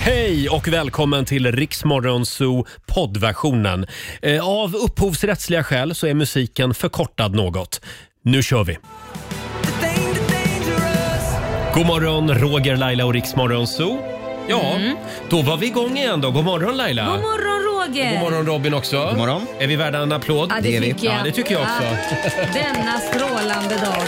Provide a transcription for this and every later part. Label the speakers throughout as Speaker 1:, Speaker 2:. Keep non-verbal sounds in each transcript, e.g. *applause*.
Speaker 1: Hej och välkommen till Riksmorgonzoo poddversionen. Eh, Av upphovsrättsliga skäl så är musiken förkortad något. Nu kör vi! God morgon, Roger, Laila och Riksmorgonzoo. Ja, då var vi igång igen då. God morgon Laila!
Speaker 2: Mm. God morgon Roger!
Speaker 1: God morgon Robin också. God morgon. Är vi värda en applåd?
Speaker 2: Ja, det, tycker jag.
Speaker 1: Ja, det tycker jag också.
Speaker 2: Ja, *laughs* denna strålande dag.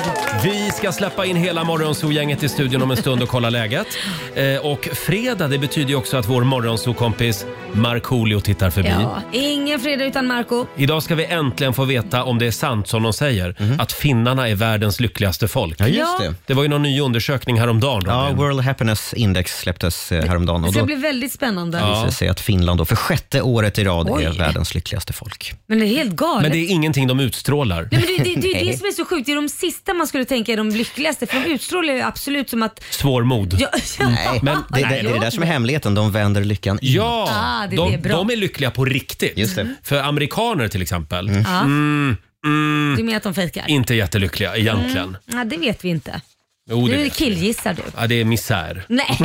Speaker 1: Vi ska släppa in hela Morgonzoo-gänget i studion om en stund och kolla
Speaker 2: *laughs*
Speaker 1: läget. Eh, och fredag, det betyder ju också att vår Morgonzoo-kompis Markoolio tittar förbi.
Speaker 2: Ja, ingen fredag utan Marco.
Speaker 1: Idag ska vi äntligen få veta om det är sant som de säger, att finnarna är världens lyckligaste folk.
Speaker 3: Mhm. Ja, just
Speaker 2: Ja.
Speaker 3: det.
Speaker 1: Det var ju någon ny undersökning häromdagen,
Speaker 3: Ja,
Speaker 1: Robin.
Speaker 3: World Happiness Index släpptes eh, häromdagen
Speaker 2: Det
Speaker 3: och
Speaker 2: ska
Speaker 3: då
Speaker 2: bli väldigt spännande.
Speaker 3: visade det sig att Finland då för sjätte året i rad
Speaker 2: Oj.
Speaker 3: är världens lyckligaste folk.
Speaker 2: Men det är helt galet.
Speaker 1: Men det är ingenting de utstrålar.
Speaker 2: Nej, men det, det, det är ju det som är så sjukt. Det är de sista man skulle tänka är de lyckligaste för de utstrålar ju absolut som att...
Speaker 1: Svårmod.
Speaker 2: Ja, *laughs*
Speaker 3: Nej,
Speaker 1: Men-
Speaker 3: det, det, det är det där som är hemligheten. De vänder lyckan in.
Speaker 1: Ja,
Speaker 2: Ah, det är
Speaker 1: de,
Speaker 2: det, bra.
Speaker 1: de är lyckliga på riktigt.
Speaker 3: Just det. Mm.
Speaker 1: För amerikaner till exempel, Mm,
Speaker 2: Ja. Du menar Mm. att de fejkar?
Speaker 1: inte jättelyckliga egentligen.
Speaker 2: Ja, det vet vi inte.
Speaker 1: Jo, det
Speaker 2: Nu
Speaker 1: vet vi.
Speaker 2: killgissar du.
Speaker 1: Ja, det är misär *laughs*
Speaker 2: Nej,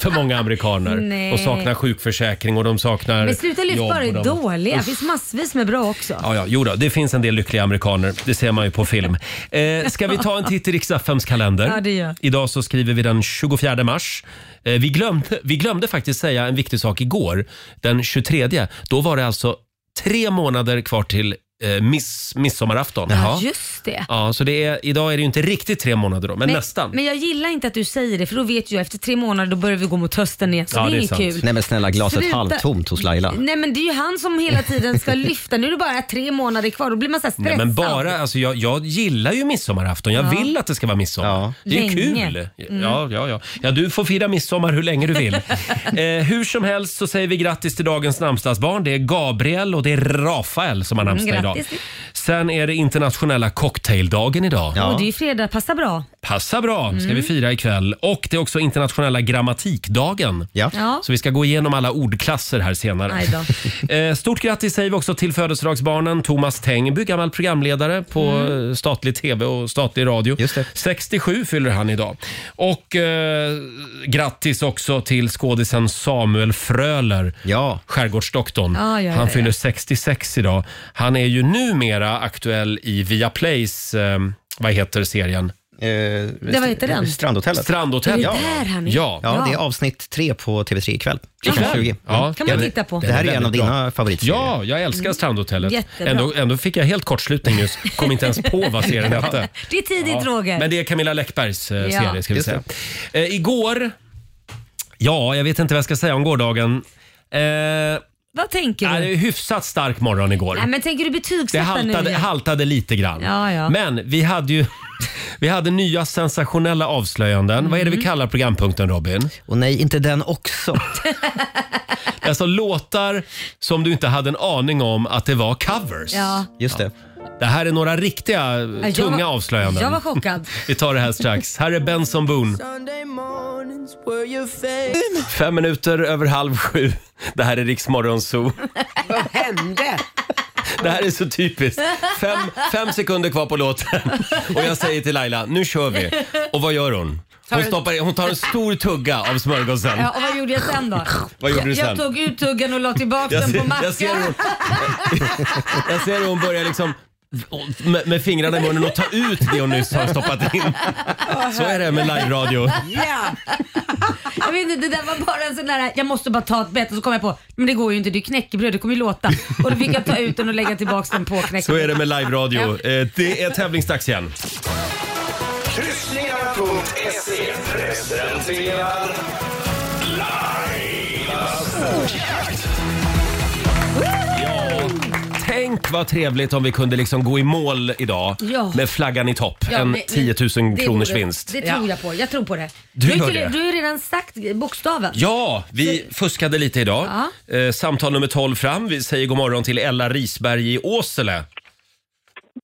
Speaker 1: för många amerikaner.
Speaker 2: Nej.
Speaker 1: De saknar sjukförsäkring och de saknar
Speaker 2: men sluta lyfta
Speaker 1: jobb
Speaker 2: bara
Speaker 1: och
Speaker 2: det
Speaker 1: de-
Speaker 2: dåliga. Det finns massvis med bra också.
Speaker 1: Ja, ja, jo då, det finns en del lyckliga amerikaner. Det ser man ju på film.
Speaker 2: *laughs*
Speaker 1: Eh, ska vi ta en titt i Riks-FMs kalender?
Speaker 2: Ja, det gör.
Speaker 1: Idag så skriver vi den 24 mars. Eh, vi, glömde, vi glömde faktiskt säga en viktig sak igår. Den 23, då var det alltså tre månader kvar till eh, miss, midsommarafton.
Speaker 2: Ja, just det.
Speaker 1: Ja, så det är, idag är det ju inte riktigt tre månader då, men,
Speaker 2: Men-
Speaker 1: nästan.
Speaker 2: Men jag gillar inte att du säger det för då vet ju jag efter tre månader då börjar vi gå mot hösten igen. Så
Speaker 1: Ja,
Speaker 2: det är,
Speaker 1: det är
Speaker 2: inget
Speaker 1: sant.
Speaker 2: kul.
Speaker 3: Nej men snälla, glaset
Speaker 2: Sluta.
Speaker 3: halvtomt hos Laila.
Speaker 2: Nej men det är ju han som hela
Speaker 1: *laughs*
Speaker 2: tiden ska lyfta. Nu är det bara tre månader kvar. Då blir man så här
Speaker 1: Nej,
Speaker 2: stressad.
Speaker 1: men bara, alltså jag, jag gillar ju midsommarafton. Jag vill att det ska vara midsommar.
Speaker 3: Ja.
Speaker 1: Det är ju
Speaker 2: Länge. Mm.
Speaker 1: kul. Ja, ja, ja. ja, du får fira midsommar hur länge du
Speaker 2: *laughs*
Speaker 1: vill. eh, hur som helst så säger vi grattis till dagens namnsdagsbarn. Det är Gabriel och det är Rafael som har namnsdag
Speaker 2: Mm,
Speaker 1: idag.
Speaker 2: grattis.
Speaker 1: Sen är det internationella cocktaildagen idag.
Speaker 3: Ja.
Speaker 2: Och det är ju fredag, passa bra.
Speaker 1: Passa bra, ska
Speaker 2: Mm.
Speaker 1: vi fira ikväll. Och det är också internationella grammatikdagen.
Speaker 3: Ja.
Speaker 2: Ja.
Speaker 1: Så vi ska gå igenom alla ordklasser här senare.
Speaker 2: Aj
Speaker 1: *laughs* Eh, Stort grattis säger vi också till födelsedagsbarnen Thomas Tengby, gammal programledare på eh, statlig tv och statlig radio.
Speaker 3: Mm. Just det.
Speaker 1: 67 fyller han idag. Och eh, grattis också till skådisen Samuel Fröler.
Speaker 3: Ja.
Speaker 1: Skärgårdsdoktorn.
Speaker 2: Ja, ja, ja,
Speaker 1: han
Speaker 2: ja.
Speaker 1: fyller 66 idag. Han är ju numera aktuell i Viaplays, eh, vad heter serien?
Speaker 3: Eh,
Speaker 2: vad heter den?
Speaker 3: Strandhotellet.
Speaker 1: Strandhotellet.
Speaker 2: Det är där han är.
Speaker 1: Ja.
Speaker 3: ja, det är
Speaker 2: Ja.
Speaker 3: avsnitt tre på TV3 ikväll.
Speaker 1: Ikväll?
Speaker 3: Klockan 20.
Speaker 1: Ja.
Speaker 2: kan man
Speaker 3: Ja,
Speaker 2: titta på. Mm.
Speaker 3: Det här är en av
Speaker 1: Väldigt bra.
Speaker 3: dina favoritserier.
Speaker 1: Ja, jag älskar Strandhotellet.
Speaker 2: Jättebra.
Speaker 1: Ändå, ändå fick jag helt kortslutning just. Kom inte ens på vad
Speaker 2: *laughs*
Speaker 1: serien hette.
Speaker 2: Det är tidigt Roger.
Speaker 1: Men det är Camilla Läckbergs eh,
Speaker 2: Ja.
Speaker 1: serie ska vi
Speaker 3: Just
Speaker 1: säga. Eh, igår, ja jag vet inte vad jag ska säga om gårdagen. Eh, nej,
Speaker 2: Vad tänker
Speaker 1: det
Speaker 2: du?
Speaker 1: är hyfsat stark morgon igår.
Speaker 2: Nej, men tänker du
Speaker 1: Det
Speaker 2: betygsätta nu?
Speaker 1: haltade,
Speaker 2: igen?
Speaker 1: haltade lite grann.
Speaker 2: Ja, ja.
Speaker 1: Men vi hade ju *laughs* vi hade nya sensationella avslöjanden. Vad är
Speaker 2: Mm.
Speaker 1: det vi kallar programpunkten Robin?
Speaker 3: Och nej, inte den också.
Speaker 1: *laughs* Alltså låtar som du inte hade en aning om att det var covers.
Speaker 2: Ja.
Speaker 3: Just det.
Speaker 1: Det här är några riktiga eh,
Speaker 2: Jag
Speaker 1: tunga
Speaker 2: var-
Speaker 1: avslöjanden.
Speaker 2: Jag var chockad.
Speaker 1: *laughs* Vi tar det här strax. Här är Benson Boone.
Speaker 2: *laughs*
Speaker 1: Fem minuter över halv sju. Det här är Riks Morgonzoo.
Speaker 4: Vad hände?
Speaker 1: Det här är så typiskt. Fem, fem sekunder kvar på
Speaker 2: *laughs*
Speaker 1: låten. Och jag säger till Laila, nu kör vi. Och vad gör hon? Hon, stoppar, i- hon tar en stor tugga av smörgåsen.
Speaker 2: Ja, och vad gjorde jag sen då?
Speaker 1: *laughs* Vad gjorde du sen?
Speaker 2: Jag tog ut tuggan och la tillbaka
Speaker 1: Jag
Speaker 2: den
Speaker 1: ser,
Speaker 2: på
Speaker 1: jag ser hur
Speaker 2: mackan.
Speaker 1: hon, jag ser hur hon börjar liksom med, med fingrarna i munnen och ta ut det hon nyss har stoppat in. Så är det med live-radio.
Speaker 4: Ja,
Speaker 2: Jag vet inte, det där var bara en sån där, jag måste bara ta ett bett och så kom jag på, men det går ju inte, det är knäckebröd, det kommer ju låta. Och då fick jag ta ut den och lägga tillbaka den på knäckebrödet.
Speaker 1: Så är det med live-radio. Eh, Det är tävlingsdags igen.
Speaker 5: Kryssningar.se presenterar Lailas ordjakt.
Speaker 1: Ja, tänk vad trevligt om vi kunde liksom gå i mål idag
Speaker 2: Ja.
Speaker 1: med flaggan i topp.
Speaker 2: Ja,
Speaker 1: en
Speaker 2: men-
Speaker 1: 10 000
Speaker 2: det
Speaker 1: kronors
Speaker 2: vore-
Speaker 1: vinst.
Speaker 2: Det tror jag på. Jag tror på det.
Speaker 1: Du
Speaker 2: har
Speaker 1: gör
Speaker 2: ju-
Speaker 1: det.
Speaker 2: Du har ju redan sagt bokstaven.
Speaker 1: Ja, vi fuskade lite idag. Eh, samtal nummer 12 fram. Vi säger god morgon till Ella Risberg i Åsele.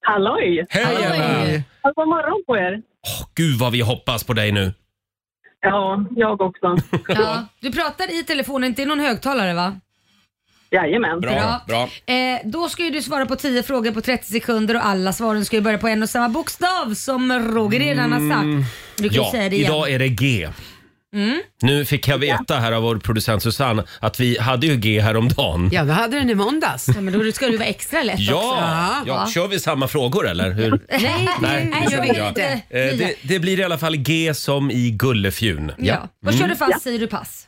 Speaker 6: Halloj!
Speaker 1: Hej Ella!
Speaker 6: Ja, God morgon på er!
Speaker 1: Åh, Gud vad vi hoppas på dig nu.
Speaker 6: Ja, jag också.
Speaker 2: Ja. Du pratar i telefonen, inte i någon högtalare va?
Speaker 6: Jajamän.
Speaker 1: Bra, bra.
Speaker 2: Eh, då ska ju du svara på 10 frågor på 30 sekunder och alla svaren ska ju börja på en och samma bokstav som Roger redan har sagt. Du kan ju
Speaker 1: Mm. Ja,
Speaker 2: säga det igen.
Speaker 1: idag är det G.
Speaker 2: Mm,
Speaker 1: Nu fick jag veta här av vår producent Susanne att vi hade ju G häromdagen.
Speaker 4: Ja, vi hade den i måndags.
Speaker 2: Ja, men då ska du vara extra lätt också.
Speaker 1: Ja, ja, kör vi samma frågor eller? Hur?
Speaker 2: Nej,
Speaker 1: Nej,
Speaker 2: nej,
Speaker 1: det
Speaker 2: jag
Speaker 1: gör vi
Speaker 2: vet
Speaker 1: inte.
Speaker 2: inte.
Speaker 1: Eh, det, det blir i alla fall G som i Gullefjun.
Speaker 2: Ja. Vad
Speaker 1: Mm.
Speaker 2: kör du fast säger du pass.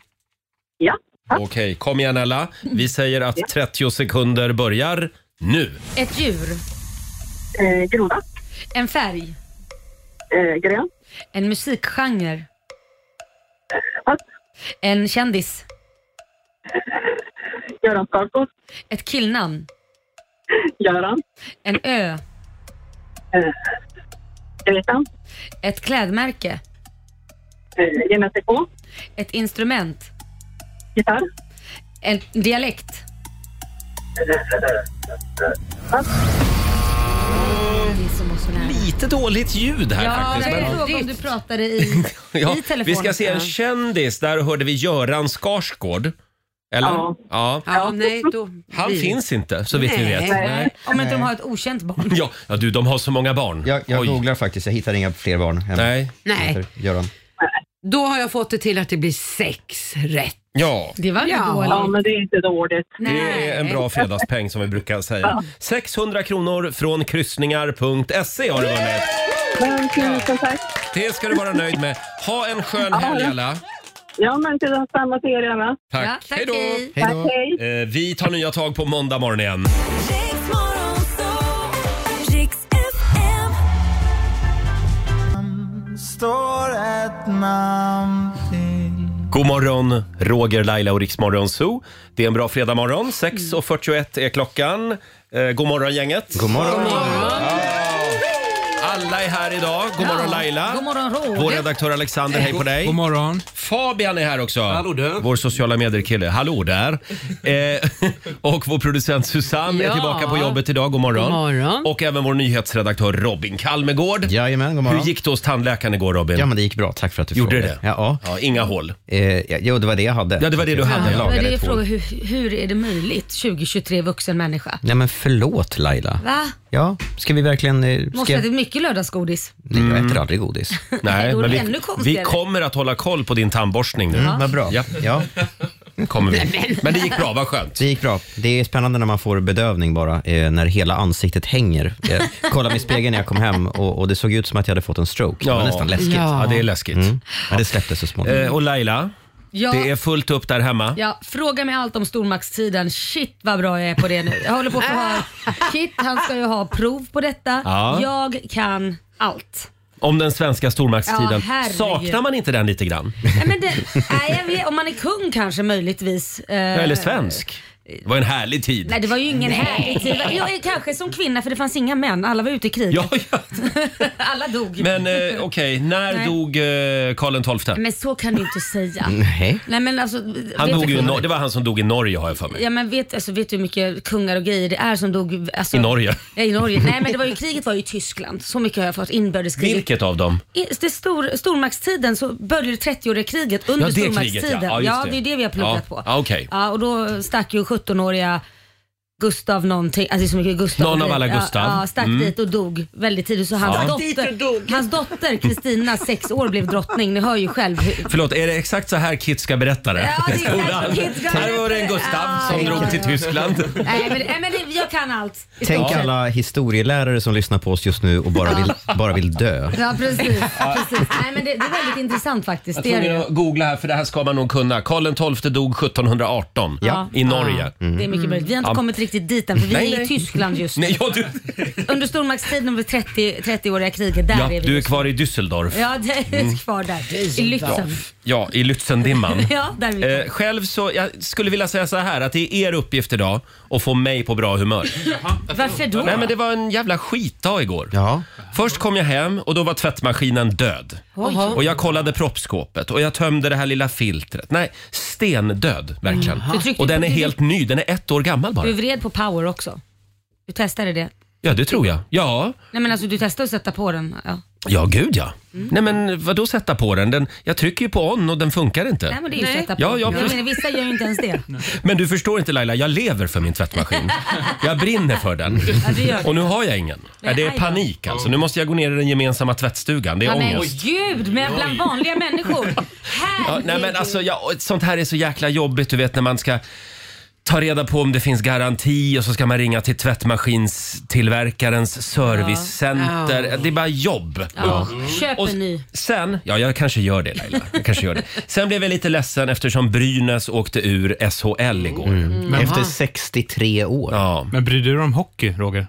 Speaker 6: Ja,
Speaker 1: Okej, kom igen Ella. Vi säger att 30 sekunder börjar nu.
Speaker 2: Ett djur,
Speaker 6: eh, groda,
Speaker 2: en färg,
Speaker 6: eh, grön,
Speaker 2: en musikgenre,
Speaker 6: pass,
Speaker 2: en kändis,
Speaker 6: Göran Skarsgård,
Speaker 2: ett killnamn,
Speaker 6: Göran, Eh,
Speaker 2: en ö,
Speaker 6: Gretan,
Speaker 2: ett klädmärke,
Speaker 6: eh, Genetic K,
Speaker 2: ett instrument,
Speaker 6: gitarr,
Speaker 2: en dialekt. Det är så måste nära.
Speaker 1: Lite dåligt ljud här
Speaker 2: Ja,
Speaker 1: faktiskt.
Speaker 2: jag
Speaker 1: men-
Speaker 2: vill fråga om du pratade i,
Speaker 1: *laughs* Ja,
Speaker 2: i telefonen.
Speaker 1: vi ska se en kändis. Där hörde vi Göran Skarsgård. Eller?
Speaker 6: Ja.
Speaker 1: Ja.
Speaker 4: Ja, nej, då
Speaker 1: Han
Speaker 4: blir-
Speaker 1: finns inte, så vitt vi
Speaker 4: Nej.
Speaker 1: vet.
Speaker 4: Nej.
Speaker 2: Om inte de har ett okänt barn.
Speaker 1: *laughs* Ja, ja, du, de har så många barn.
Speaker 3: Jag, jag
Speaker 1: Oj.
Speaker 3: googlar faktiskt, jag hittar inga fler barn. än-
Speaker 1: Nej.
Speaker 4: Nej,
Speaker 3: Göran.
Speaker 4: då har jag fått det till att det blir sex rätt.
Speaker 1: Ja.
Speaker 2: Det var ju
Speaker 4: Ja.
Speaker 6: ja
Speaker 2: dåligt.
Speaker 6: men det är inte dåligt.
Speaker 1: Det är en bra fredagspeng som vi brukar säga. 600 kronor från kryssningar.se har du vunnit.
Speaker 6: Men tusen tack.
Speaker 1: Det ska du vara nöjd med. Ha en skön helg alla.
Speaker 6: Ja men till detsamma till er gärna.
Speaker 1: Tack.
Speaker 2: Ja, tack,
Speaker 1: Hej då.
Speaker 2: hej.
Speaker 3: Hej då.
Speaker 6: Hej.
Speaker 1: Eh, Vi tar nya tag på måndag morgon igen.
Speaker 7: Riks Morgonzoo, Riks FM.
Speaker 1: God morgon, Roger, Laila och Riksmorgon Zoo. Det är en bra fredagmorgon. 6.41 är klockan. Eh, god morgon gänget.
Speaker 3: Mm. God morgon.
Speaker 1: Alla är här idag. God morgon Laila.
Speaker 2: God morgon Roger.
Speaker 1: Vår redaktör Alexander, hej på dig.
Speaker 8: God morgon.
Speaker 1: Fabian är här också.
Speaker 8: Hallå, du.
Speaker 1: Vår sociala medier-kille. Hallå där. Eh, *laughs* och vår producent Susanne är
Speaker 4: Ja.
Speaker 1: tillbaka på jobbet idag. God morgon.
Speaker 4: God morgon.
Speaker 1: Och även vår nyhetsredaktör Robin Kalmegård.
Speaker 3: Jajamän, god morgon.
Speaker 1: Hur gick det hos tandläkaren igår Robin?
Speaker 3: Ja, men det gick bra. Tack för att du
Speaker 1: Gjorde
Speaker 3: frågade.
Speaker 1: det?
Speaker 3: Ja, ja.
Speaker 1: Ja, inga hål.
Speaker 3: Eh, ja, jo, det var det jag hade.
Speaker 1: Ja, det var det du hade.
Speaker 3: Jag
Speaker 2: Ja, men
Speaker 3: lagade
Speaker 2: det är
Speaker 3: två.
Speaker 2: frågan hur, hur är det möjligt 2023 vuxen människa?
Speaker 3: Nej, men förlåt Laila.
Speaker 2: Va?
Speaker 3: Ja, ska vi verkligen... eh,
Speaker 1: Typ
Speaker 3: Ska...
Speaker 2: Måste jag... det mycket lördagsgodis?
Speaker 3: Nej, jag äter aldrig godis.
Speaker 1: Nej,
Speaker 2: Då
Speaker 1: men
Speaker 2: är det
Speaker 1: vi,
Speaker 2: ännu konstigare.
Speaker 1: vi kommer att hålla koll på din tandborstning nu.
Speaker 3: Mm, Vad bra.
Speaker 1: Ja.
Speaker 3: Ja,
Speaker 1: Kommer vi. Men det gick bra, vad skönt.
Speaker 3: det gick bra. Det är spännande när man får bedövning bara, eh, när hela ansiktet hänger. Jag kollade mig i spegeln när jag kom hem och, och det såg ut som att jag hade fått en stroke. Det
Speaker 1: Ja.
Speaker 3: var nästan läskigt.
Speaker 4: Ja.
Speaker 1: Ja, det är läskigt.
Speaker 3: Men det släppte så småningom.
Speaker 1: Eh, och Laila,
Speaker 2: Ja,
Speaker 1: det är fullt upp där hemma.
Speaker 2: ja, fråga mig allt om stormaktstiden. Shit vad bra jag är på det nu. Jag håller på att
Speaker 4: *laughs*
Speaker 2: förhöra. Kit han ska ju ha prov på detta.
Speaker 1: Ja.
Speaker 2: Jag kan allt.
Speaker 1: Om den svenska stormaktstiden.
Speaker 2: Ja, herregud. Eh,
Speaker 1: Saknar man inte den lite grann?
Speaker 2: Nej, men det,
Speaker 1: *laughs*
Speaker 2: nej, jag vet, om man är kung kanske möjligtvis. Eh,
Speaker 1: Eller svensk? Det var en härlig tid.
Speaker 2: Nej det var ju ingen härlig tid. Jag är kanske som kvinna för det fanns inga män. Alla var ute i krig.
Speaker 1: Ja, ja.
Speaker 2: *laughs* Alla dog.
Speaker 1: Men eh, okej, när
Speaker 2: Nej.
Speaker 1: dog eh, Karl XII?
Speaker 2: Men så kan du inte säga.
Speaker 3: Nej.
Speaker 2: Nej men alltså,
Speaker 1: Mm. Han
Speaker 2: vet
Speaker 1: dog ju
Speaker 2: du,
Speaker 1: i Nor- det var han som dog i Norge har jag för mig.
Speaker 2: Ja men vet, alltså, vet du hur mycket kungar och grejer det är som dog? Alltså,
Speaker 1: I Norge.
Speaker 2: Ja, i Norge. Nej men det var ju, kriget var ju i Tyskland. Så mycket har jag fått. Inbördeskriget.
Speaker 1: Vilket av dem?
Speaker 2: I, det stor, stormaktstiden så började det 30-åriga kriget under
Speaker 1: Ja, det kriget,
Speaker 2: stormaktstiden.
Speaker 1: ja. Ja, just
Speaker 2: det
Speaker 1: det.
Speaker 2: är ju det vi har pluggat
Speaker 1: Ja.
Speaker 2: på.
Speaker 1: Ja, okej.
Speaker 2: ja, och då stack ju 17-åriga Gustav någonting, alltså det är så mycket Gustav.
Speaker 1: Någon av alla
Speaker 2: Ja,
Speaker 1: Gustav. Mm.
Speaker 2: Ja, stack dit och dog väldigt tidigt. Så hans,
Speaker 1: Ja.
Speaker 2: dotter, hans dotter Kristina, sex år, blev drottning. Ni hör ju själv hur,
Speaker 1: Förlåt, är det exakt så här Kit ska berätta det?
Speaker 2: Ja, det är exakt
Speaker 1: Skolan.
Speaker 2: så Kit ska
Speaker 1: Här var det en
Speaker 2: berätta.
Speaker 1: Gustav
Speaker 2: Ja,
Speaker 1: som
Speaker 2: ja,
Speaker 1: drog
Speaker 2: ja,
Speaker 1: till
Speaker 2: ja.
Speaker 1: Tyskland.
Speaker 2: Nej men, nej, men det, jag kan allt. I
Speaker 3: Tänk
Speaker 2: stort sett.
Speaker 3: alla historielärare som lyssnar på oss just nu och bara vill, bara vill dö.
Speaker 2: Ja
Speaker 1: *laughs*
Speaker 2: precis. precis. Nej, men det, det är väldigt intressant faktiskt.
Speaker 1: Jag
Speaker 2: Det
Speaker 1: tror
Speaker 2: är det.
Speaker 1: vi
Speaker 2: ju.
Speaker 1: att googla här för det här ska man nog kunna. Karl XII dog 1718 i Norge.
Speaker 2: Ja, Mm. Det är mycket möjligt. Vi har inte kommit riktigt dit än för vi
Speaker 1: Mm. Nej,
Speaker 2: är i
Speaker 1: nej.
Speaker 2: Tyskland just nu.
Speaker 1: Nej, ja, du,
Speaker 2: *laughs* Under stormaktstiden under 30, 30-åriga kriget, där
Speaker 1: ja,
Speaker 2: är
Speaker 1: du
Speaker 2: vi.
Speaker 1: är
Speaker 2: just nu.
Speaker 1: kvar i Düsseldorf.
Speaker 2: Ja, det är kvar där. I Lützen.
Speaker 1: Ja, i Lützendimman.
Speaker 2: *laughs* Ja, där är vi kvar.
Speaker 1: Eh, själv så, jag skulle vilja säga så här att det är er uppgift idag att få mig på bra humör.
Speaker 2: Varför då?
Speaker 1: Nej men det var en jävla skitdag igår.
Speaker 3: Ja.
Speaker 1: Först kom jag hem och då var tvättmaskinen död.
Speaker 2: Oj.
Speaker 1: Och jag kollade proppskåpet och jag tömde det här lilla filtret. Nej, stendöd verkligen.
Speaker 2: Mm. Du tryckte
Speaker 1: Och den
Speaker 2: på-
Speaker 1: är helt ny, den är ett år gammal bara.
Speaker 2: Du vred på power också. Du testade det.
Speaker 1: Ja, det tror jag. Ja,
Speaker 2: Nej men alltså du testade att sätta på den. Ja.
Speaker 1: ja gud ja.
Speaker 2: Mm.
Speaker 1: Nej men vadå sätta på den? den? Jag trycker ju på on och den funkar inte.
Speaker 2: Nej men det är ju att sätta på.
Speaker 1: Ja, ja,
Speaker 2: jag
Speaker 1: precis.
Speaker 2: menar, vissa gör ju inte
Speaker 1: *laughs*
Speaker 2: ens det.
Speaker 1: Men du förstår inte Laila, jag lever för min tvättmaskin. Jag brinner för den.
Speaker 2: det gör du.
Speaker 1: Och nu har jag ingen. Nej, det är
Speaker 2: aj då.
Speaker 1: panik alltså. Nu måste jag gå ner i den gemensamma tvättstugan. Det är
Speaker 2: Ja, men
Speaker 1: ångest.
Speaker 2: gud, men bland vanliga människor. här
Speaker 1: Ja, nej, men alltså, ja, och sånt här är så jäkla jobbigt, du vet när man ska ta reda på om det finns garanti och så ska man ringa till tillverkarens servicecenter.
Speaker 4: Ja.
Speaker 1: Det är bara jobb.
Speaker 2: Ja. Köp
Speaker 1: Och
Speaker 2: en ny.
Speaker 1: sen, ja jag kanske gör det Laila. Jag kanske gör det. Sen blev jag lite ledsen eftersom Brynäs åkte ur SHL igår.
Speaker 3: Mm. Efter 63 år.
Speaker 1: Ja.
Speaker 8: Mm. Men bryr du dig om hockey, Roger?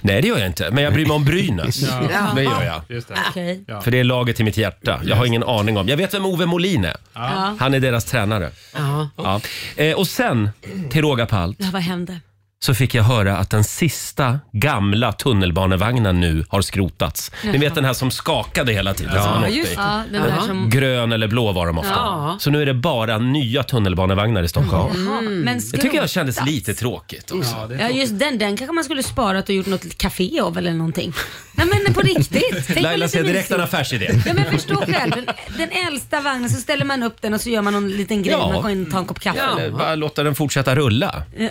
Speaker 1: Nej det gör jag inte, men jag bryr mig om Brynäs.
Speaker 8: Ja.
Speaker 1: Det gör jag.
Speaker 8: Just det.
Speaker 2: Okej.
Speaker 1: För det är laget i mitt hjärta. Jag har ingen aning om. Jag vet vem Ove Molin är.
Speaker 2: Ja.
Speaker 1: Han är deras tränare.
Speaker 4: Ja.
Speaker 1: *laughs* Ja. Eh, och sen, till råga på allt,
Speaker 2: Ja, vad hände?
Speaker 1: så fick jag höra att den sista gamla tunnelbanevagnen nu har skrotats. Ni vet den här som skakade hela tiden. som man åkte i.
Speaker 4: just det.
Speaker 2: Ja, den där som...
Speaker 1: Grön eller blå var de ofta.
Speaker 4: Ja.
Speaker 1: Så nu är det bara nya tunnelbanevagnar i Stockholm.
Speaker 2: Ja, men
Speaker 1: Mm. Det
Speaker 2: skrot.
Speaker 1: tycker jag kändes lite tråkigt också.
Speaker 2: Mm. Ja just den, den kanske man skulle sparat och gjort något litet café av eller någonting. Nej men på riktigt. Tänk vad
Speaker 1: Laila
Speaker 2: lite
Speaker 1: ser direkt
Speaker 2: mysigt.
Speaker 1: en affärsidé.
Speaker 2: Ja men förstå själv, den, den äldsta vagnen så ställer man upp den och så gör man någon liten grej.
Speaker 1: Ja.
Speaker 2: Man går in och tar en kopp kaffe.
Speaker 1: *laughs* Eller bara låta den fortsätta rulla.
Speaker 2: Ja,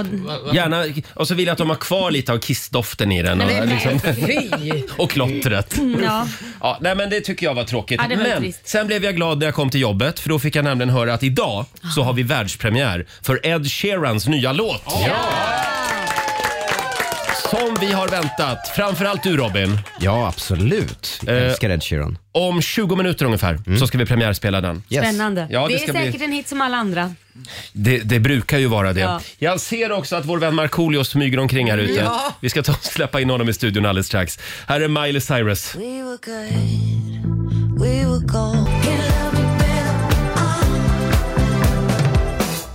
Speaker 2: Eh, ja,
Speaker 1: Gärna, och så vill jag att de har kvar lite av kissdoften i den. Och, liksom,
Speaker 4: Fy!
Speaker 1: *laughs* och klottret.
Speaker 2: Mm, ja.
Speaker 1: Ja, nej, men det tycker jag var tråkigt.
Speaker 2: Ja, det var
Speaker 1: men
Speaker 2: trist.
Speaker 1: sen blev jag glad när jag kom till jobbet för då fick jag nämligen höra att idag
Speaker 2: Ah.
Speaker 1: så har vi världspremiär för Ed Sheerans nya låt. Som vi har väntat, framförallt du Robin.
Speaker 3: Ja, absolut. Jag
Speaker 1: Eh.
Speaker 3: älskar Ed Sheeran. Mm.
Speaker 1: Om 20 minuter ungefär så ska vi premiärspela den.
Speaker 3: Yes.
Speaker 2: Spännande.
Speaker 1: Ja, det
Speaker 2: det,
Speaker 1: ska
Speaker 2: är
Speaker 1: bli-
Speaker 2: säkert en hit som alla andra.
Speaker 1: Det, det brukar ju vara det.
Speaker 2: Ja.
Speaker 1: Jag ser också att vår vän Markoolio smyger omkring här ute. Vi ska ta och släppa in honom i studion alldeles strax. Här är Miley Cyrus.
Speaker 7: We were good, we were gold. You love me better. Oh,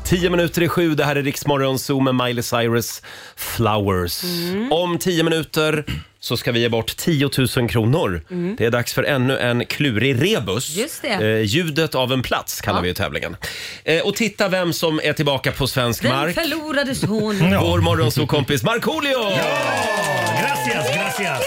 Speaker 1: 10 minuter i sju, det här är Riksmorgon Zoo med Miley Cyrus Flowers.
Speaker 2: Mm.
Speaker 1: Om 10 minuter så ska vi ge bort 10 000 kronor. Det är dags för ännu en klurig rebus.
Speaker 2: Mm. Just det.
Speaker 1: Eh, ljudet av en plats kallar vi ju tävlingen. Eh, och titta vem som är tillbaka på svensk
Speaker 2: Den
Speaker 1: mark. *laughs*
Speaker 2: förlorade sonen.
Speaker 1: Vår morgonsokompis Markoolio!
Speaker 9: Gracias, gracias.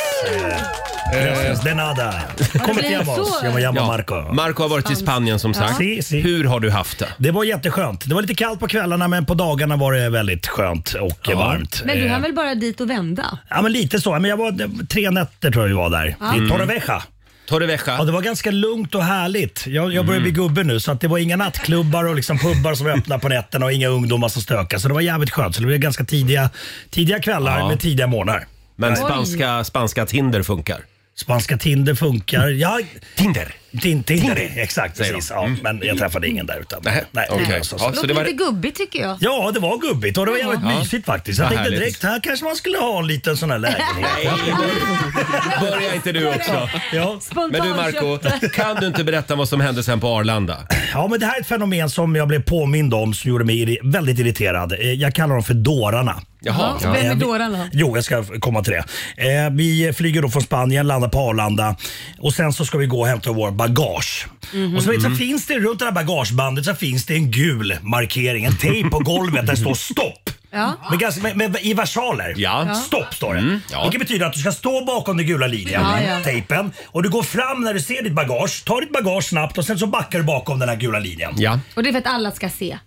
Speaker 9: Eh, Gracias, de nada. Como te
Speaker 2: blev
Speaker 9: llamas?
Speaker 2: så.
Speaker 9: Jag me llamo
Speaker 1: Ja,
Speaker 9: Marco.
Speaker 1: Marco har varit i Spanien som sagt.
Speaker 9: Si, si.
Speaker 1: Hur har du haft det?
Speaker 9: Det var jätteskönt. Det var lite kallt på kvällarna men på dagarna var det väldigt skönt och eh, varmt.
Speaker 2: Men du
Speaker 9: Eh,
Speaker 2: hann väl bara dit och vända?
Speaker 9: Ja men lite så. Men jag var tre nätter tror jag vi var där. I Torrevieja. Ja,
Speaker 1: Mm. Torrevieja? Mm.
Speaker 9: det var ganska lugnt och härligt. Jag, jag börjar bli gubbe nu så att det var inga nattklubbar och liksom pubbar som var öppna på nätterna och inga ungdomar som stökade. Så det var jävligt skönt. Så det blev ganska tidiga, tidiga kvällar
Speaker 1: Ja.
Speaker 9: med tidiga morgnar.
Speaker 1: Men spanska, spanska Tinder funkar.
Speaker 9: Spanska Tinder funkar. Jag,
Speaker 1: Tinder?
Speaker 9: Tin- Tinder, exakt.
Speaker 1: Säger
Speaker 9: Precis. Ja, men jag träffade ingen där. Utan,
Speaker 1: Nej, okej.
Speaker 9: så-
Speaker 1: Ja,
Speaker 9: så-
Speaker 1: så
Speaker 2: Låter
Speaker 1: det var...
Speaker 2: lite gubbigt tycker jag.
Speaker 9: Ja, det var gubbigt och det var jävligt
Speaker 1: Ja.
Speaker 9: mysigt faktiskt. Jag
Speaker 1: Vad
Speaker 9: tänkte
Speaker 1: härligt.
Speaker 9: direkt, här kanske man skulle ha en liten sån här lägenhet.
Speaker 1: Börja inte du också.
Speaker 9: ja.
Speaker 1: Men du Marco, kan du inte berätta vad som hände sen på Arlanda?
Speaker 9: ja, men det här är ett fenomen som jag blev påmind om som gjorde mig irri- väldigt irriterad. Eh, Jag kallar dem för dårarna.
Speaker 1: Jaha.
Speaker 2: Vem
Speaker 9: Eh,
Speaker 2: är
Speaker 9: vi-
Speaker 2: dårarna?
Speaker 9: Jo, jag ska komma till det. Eh, vi flyger då från Spanien, landar på Arlanda och sen så ska vi gå och hämta vår bagage.
Speaker 2: Mm-hmm.
Speaker 9: Och så, vet, så finns det runt det här bagagebandet så finns det en gul markering, en tejp på golvet där det står stopp.
Speaker 2: Ja.
Speaker 9: Med, ganska- med, med, I versaler.
Speaker 1: Ja. Ja.
Speaker 9: Stopp står det.
Speaker 1: ja.
Speaker 9: Vilket betyder att du ska stå bakom den gula linjen,
Speaker 2: Ja, ja.
Speaker 9: tejpen. Och du går fram när du ser ditt bagage. Ta ditt bagage snabbt och sen så backar du bakom den här gula linjen.
Speaker 1: Ja.
Speaker 2: Och det är för att alla ska se.